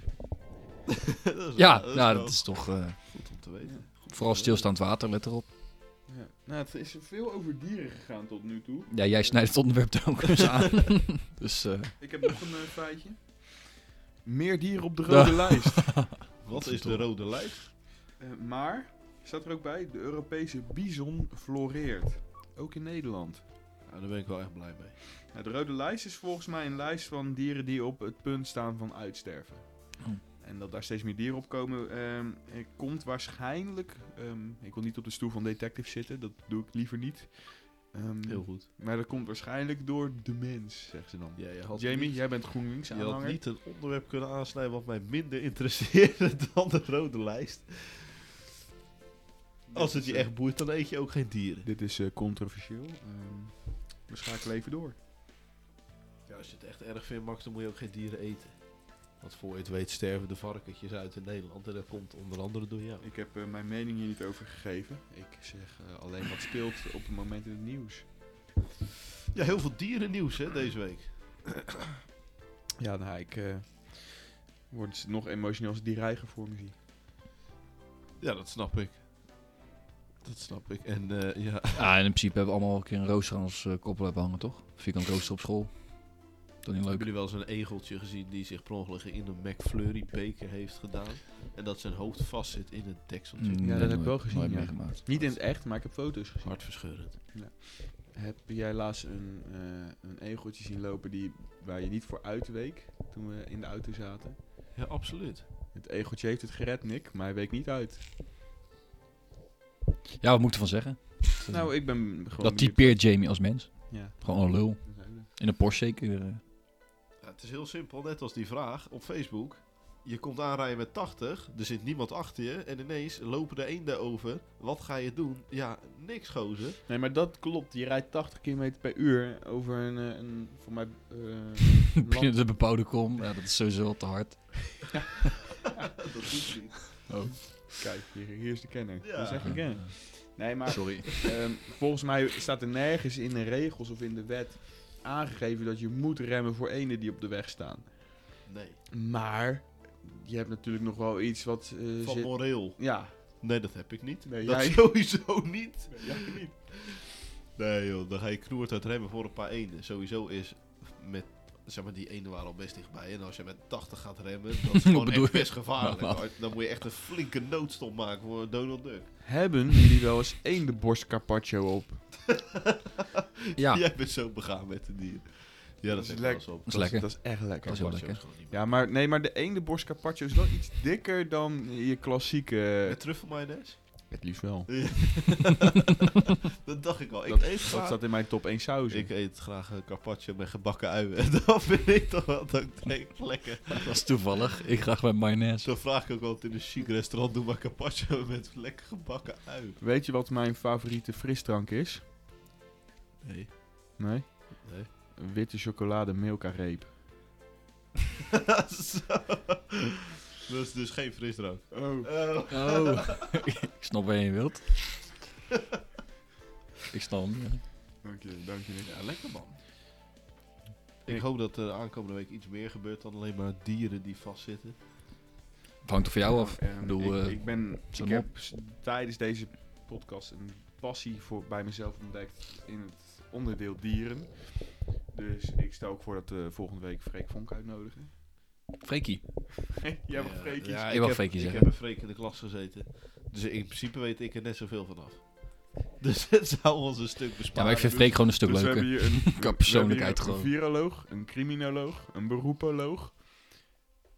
[SPEAKER 4] dat is
[SPEAKER 3] Ja,
[SPEAKER 4] wel- dat is
[SPEAKER 3] nou
[SPEAKER 4] wel
[SPEAKER 3] dat is toch... eh,
[SPEAKER 4] goed om te weten.
[SPEAKER 3] vooral
[SPEAKER 4] Goed om te weten.
[SPEAKER 3] stilstaand water, let erop.
[SPEAKER 2] Ja. Nou, het is veel over dieren gegaan tot nu toe.
[SPEAKER 3] Ja, jij snijdt het onderwerp er ook eens aan. dus eh,
[SPEAKER 2] Ik heb nog een eh, feitje. Meer dieren op de rode lijst.
[SPEAKER 4] Wat is de rode lijst?
[SPEAKER 2] Eh, maar, staat er ook bij, de Europese bison floreert. Ook in Nederland.
[SPEAKER 4] Nou, daar ben ik wel echt blij
[SPEAKER 3] Mm.
[SPEAKER 4] mee.
[SPEAKER 2] Nou, de rode lijst is volgens mij een lijst van dieren die op het punt staan van uitsterven.
[SPEAKER 3] Oh.
[SPEAKER 2] En dat daar steeds meer dieren op komen, ehm, eh, komt waarschijnlijk. ehm, ik wil niet op de stoel van detective zitten, dat doe ik liever niet. Ehm,
[SPEAKER 4] Heel goed.
[SPEAKER 2] Maar dat komt waarschijnlijk door de mens, zegt ze dan.
[SPEAKER 4] Ja, je had
[SPEAKER 2] Jamie,
[SPEAKER 4] niet-
[SPEAKER 2] jij bent GroenLinks
[SPEAKER 4] je had
[SPEAKER 2] aanhanger.
[SPEAKER 4] niet een onderwerp kunnen aansnijden wat mij minder interesseerde dan de rode lijst. Als het je echt boeit, dan eet je ook geen dieren.
[SPEAKER 2] Dit is eh, controversieel. Ehm we schakelen even door.
[SPEAKER 4] Ja, als je het echt erg vindt, Max, dan moet je ook geen dieren eten. Want voor je het weet sterven de varkentjes uit in Nederland. En dat komt onder andere door jou.
[SPEAKER 2] Ik heb eh, mijn mening hier niet over gegeven. Ik zeg eh, alleen wat speelt op het moment in het nieuws.
[SPEAKER 4] Ja, heel veel dierennieuws hè, deze week.
[SPEAKER 2] Ja, nou, ik eh, word nog emotioneel als ik die reiger voor me zie.
[SPEAKER 4] Ja, dat snap ik. Dat snap ik. En eh, ja,
[SPEAKER 3] ja, en in principe hebben we allemaal een keer een rooster aan ons eh, koppel hebben hangen, toch? Vierkant rooster op school. Toch niet
[SPEAKER 4] hebben
[SPEAKER 3] leuk?
[SPEAKER 4] jullie wel eens een egeltje gezien die zich per ongeluk in een McFlurry beker heeft gedaan? En dat zijn hoofd vastzit in het dekseltje.
[SPEAKER 3] Mm,
[SPEAKER 2] dat heb ik wel
[SPEAKER 3] nooit-
[SPEAKER 2] gezien,
[SPEAKER 3] nooit
[SPEAKER 2] ja.
[SPEAKER 3] meegemaakt.
[SPEAKER 2] Niet in het echt, maar ik heb foto's gezien.
[SPEAKER 4] Hartverscheurend.
[SPEAKER 2] Ja. Heb jij laatst een, eh een egeltje zien lopen die, waar je niet voor uitweek toen we in de auto zaten?
[SPEAKER 4] Ja, absoluut.
[SPEAKER 2] Het egeltje heeft het gered, Nick, maar hij week niet uit.
[SPEAKER 3] Ja, wat moet ik ervan zeggen?
[SPEAKER 2] Nou, ik ben gewoon
[SPEAKER 3] Dat
[SPEAKER 2] benieuwd.
[SPEAKER 3] typeert Jamie als mens.
[SPEAKER 2] Ja.
[SPEAKER 3] Gewoon een lul.
[SPEAKER 2] dat zijn we.
[SPEAKER 3] In een Porsche zeker. eh.
[SPEAKER 4] Ja, het is heel simpel, net als die vraag op Facebook. Je komt aanrijden met 80, er zit niemand achter je en ineens lopen de eenden over. Wat ga je doen? Ja, niks gozer.
[SPEAKER 2] Nee, maar dat klopt. Je rijdt 80 km per uur over een, eh, een voor mij... eh,
[SPEAKER 3] Binnen de bebouwde kom. Ja, dat is sowieso al te hard.
[SPEAKER 4] Dat doet niet.
[SPEAKER 2] Kijk, hier, hier is de kenner.
[SPEAKER 4] Ja.
[SPEAKER 2] Dat is echt een kenner. Nee, maar
[SPEAKER 3] Sorry.
[SPEAKER 2] ehm, volgens mij staat er nergens in de regels of in de wet aangegeven dat je moet remmen voor ene die op de weg staan.
[SPEAKER 4] Nee,
[SPEAKER 2] Maar je hebt natuurlijk nog wel iets wat eh,
[SPEAKER 4] van
[SPEAKER 2] zit...
[SPEAKER 4] moreel.
[SPEAKER 2] Ja,
[SPEAKER 4] Nee, dat heb ik niet.
[SPEAKER 2] Nee,
[SPEAKER 4] dat
[SPEAKER 2] jij-
[SPEAKER 4] sowieso niet.
[SPEAKER 2] ja, niet.
[SPEAKER 4] Nee joh, dan ga je knoert uit remmen voor een paar eenden. Sowieso is met, zeg maar, die eenden waren al best dichtbij. En als je met 80 gaat remmen, dat is gewoon
[SPEAKER 3] bedoel
[SPEAKER 4] echt
[SPEAKER 3] je?
[SPEAKER 4] best gevaarlijk.
[SPEAKER 3] Nou,
[SPEAKER 4] hoor. Dan moet je echt een flinke noodstop maken voor Donald Duck.
[SPEAKER 2] Hebben jullie wel eens eendenborst carpaccio op?
[SPEAKER 3] Ja,
[SPEAKER 4] Jij bent zo begaan met de dier. Ja, dat,
[SPEAKER 2] is
[SPEAKER 4] is echt
[SPEAKER 2] lek-
[SPEAKER 4] wel eens op.
[SPEAKER 3] dat is lekker.
[SPEAKER 2] Dat is echt lekker.
[SPEAKER 3] Dat is heel
[SPEAKER 4] Carpaccio
[SPEAKER 3] lekker.
[SPEAKER 4] gewoon niet meer.
[SPEAKER 2] Ja, maar, nee, maar de eendenborst carpaccio is wel iets dikker dan je klassieke...
[SPEAKER 4] Met truffelmayonaise?
[SPEAKER 2] Het liefst wel.
[SPEAKER 4] Dat dacht ik al. Ik
[SPEAKER 2] Dat,
[SPEAKER 4] eet
[SPEAKER 2] dat
[SPEAKER 4] graag...
[SPEAKER 2] staat in mijn top 1 saus.
[SPEAKER 3] eh,
[SPEAKER 4] Ik eet graag een carpaccio met gebakken uien. En dat vind ik toch wel dat ik denk, lekker.
[SPEAKER 3] Dat is toevallig. Ik graag met mayonaise.
[SPEAKER 4] Zo vraag ik ook altijd in een chic restaurant, doe maar carpaccio met lekker gebakken ui.
[SPEAKER 2] Weet je wat mijn favoriete frisdrank is?
[SPEAKER 4] Nee.
[SPEAKER 2] Nee?
[SPEAKER 4] Nee.
[SPEAKER 2] Witte chocolade Milka reep.
[SPEAKER 4] Zo. Dat is dus geen frisdrank.
[SPEAKER 2] Oh.
[SPEAKER 4] Oh.
[SPEAKER 3] Oh. ik snap waar je wilt. Ik snap hem, ja.
[SPEAKER 2] Dank je, dank je.
[SPEAKER 4] Ja, lekker man. Ik hoop dat er aankomende week iets meer gebeurt dan alleen maar dieren die vastzitten.
[SPEAKER 3] Het hangt er van jou af.
[SPEAKER 2] Ehm,
[SPEAKER 3] bedoel,
[SPEAKER 2] ik,
[SPEAKER 3] eh,
[SPEAKER 2] ik ben, ik
[SPEAKER 3] hem
[SPEAKER 2] heb s- tijdens deze podcast een passie voor, bij mezelf ontdekt in het onderdeel dieren. Dus ik stel ook voor dat we volgende week Freek Vonk uitnodigen.
[SPEAKER 3] Freekie.
[SPEAKER 2] Jij mag Freek iets.
[SPEAKER 3] ik
[SPEAKER 4] ik,
[SPEAKER 3] wou
[SPEAKER 4] heb,
[SPEAKER 3] Freekie
[SPEAKER 4] ik
[SPEAKER 3] zeggen.
[SPEAKER 4] heb een freak in de klas gezeten. Dus in principe weet ik er net zoveel van af. Dus het zou ons een stuk besparen.
[SPEAKER 3] Ja, maar ik vind Freek gewoon een stuk
[SPEAKER 2] Dus we hebben
[SPEAKER 3] leuker.
[SPEAKER 2] hier een, we hebben
[SPEAKER 3] persoonlijkheid
[SPEAKER 2] hier een
[SPEAKER 3] gewoon.
[SPEAKER 2] viroloog, een criminoloog, een beroepoloog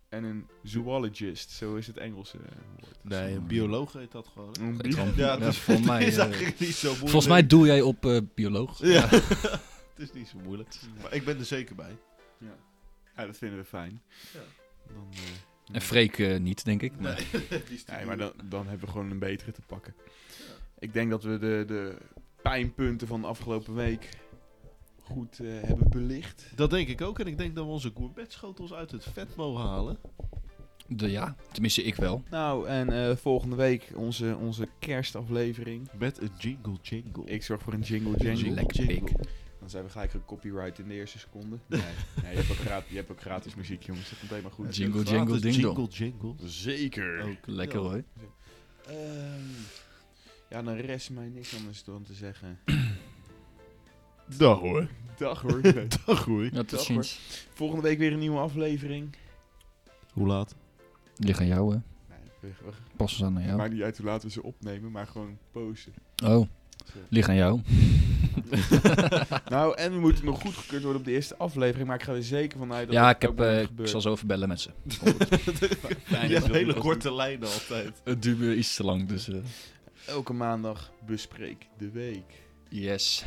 [SPEAKER 2] en een zoologist. Zo is het Engelse eh, woord.
[SPEAKER 4] Nee, Dus een bioloog heet dat gewoon. hè?
[SPEAKER 2] Een
[SPEAKER 3] Ik
[SPEAKER 2] bio-
[SPEAKER 3] gewoon-
[SPEAKER 4] Ja, het
[SPEAKER 3] ja,
[SPEAKER 4] is,
[SPEAKER 3] volgens mij,
[SPEAKER 4] het is
[SPEAKER 3] eh,
[SPEAKER 4] eigenlijk niet zo moeilijk.
[SPEAKER 3] Volgens mij doe jij op eh, bioloog.
[SPEAKER 4] Ja. het is niet zo moeilijk. Maar ik ben er zeker bij.
[SPEAKER 2] Ja. ja, dat vinden we fijn.
[SPEAKER 4] Ja.
[SPEAKER 2] Dan, eh,
[SPEAKER 3] En Freek eh, niet, denk ik. Maar
[SPEAKER 4] Die is te
[SPEAKER 2] Nee, maar dan,
[SPEAKER 4] moeilijk.
[SPEAKER 2] dan hebben we gewoon een betere te pakken. Ik denk dat we de, de pijnpunten van de afgelopen week goed eh, hebben belicht.
[SPEAKER 4] Dat denk ik ook. En ik denk dat we onze gourmetschotels uit het vet mogen halen.
[SPEAKER 3] de, ja, tenminste ik wel.
[SPEAKER 2] Nou, en eh, volgende week onze, onze kerstaflevering.
[SPEAKER 4] Met een jingle jingle.
[SPEAKER 2] Ik zorg voor een jingle jangle.
[SPEAKER 3] Lekker pik.
[SPEAKER 2] Dan zijn we gelijk een copyright in de eerste seconde. Nee, nee je, hebt ook gratis, je hebt ook gratis muziek, jongens. Dat komt helemaal goed.
[SPEAKER 3] Jingle, jingle,
[SPEAKER 4] Gratis
[SPEAKER 3] ding
[SPEAKER 4] Jingle jingle.
[SPEAKER 2] Zeker.
[SPEAKER 4] Ook
[SPEAKER 3] Lekker
[SPEAKER 4] wel.
[SPEAKER 3] hoor.
[SPEAKER 2] Ehm, ja, dan rest mij niks anders dan te zeggen.
[SPEAKER 4] Dag hoor.
[SPEAKER 2] Dag hoor. Nee.
[SPEAKER 4] Dag hoor.
[SPEAKER 3] Ja, tot
[SPEAKER 2] Dag,
[SPEAKER 3] ziens.
[SPEAKER 2] Volgende week weer een nieuwe aflevering.
[SPEAKER 4] Hoe laat?
[SPEAKER 3] Ligt aan jou, hè.
[SPEAKER 2] Nee, we- we
[SPEAKER 3] Pas eens aan aan
[SPEAKER 2] Maar
[SPEAKER 3] jou.
[SPEAKER 2] Maakt niet uit hoe laten we ze opnemen, maar gewoon posten.
[SPEAKER 3] Oh, ligt aan jou.
[SPEAKER 2] nou, en we moeten nog goedgekeurd worden op de eerste aflevering, maar ik ga er zeker van uit dat
[SPEAKER 3] Ja,
[SPEAKER 2] dat
[SPEAKER 3] ik,
[SPEAKER 2] ook
[SPEAKER 3] heb,
[SPEAKER 2] wel
[SPEAKER 3] eh, ik
[SPEAKER 2] gebeurt.
[SPEAKER 3] zal zo even bellen met ze.
[SPEAKER 4] Je hebt hele korte lijnen altijd.
[SPEAKER 3] Het duurt weer iets te lang, dus... eh,
[SPEAKER 2] Elke maandag bespreek de week.
[SPEAKER 3] yes.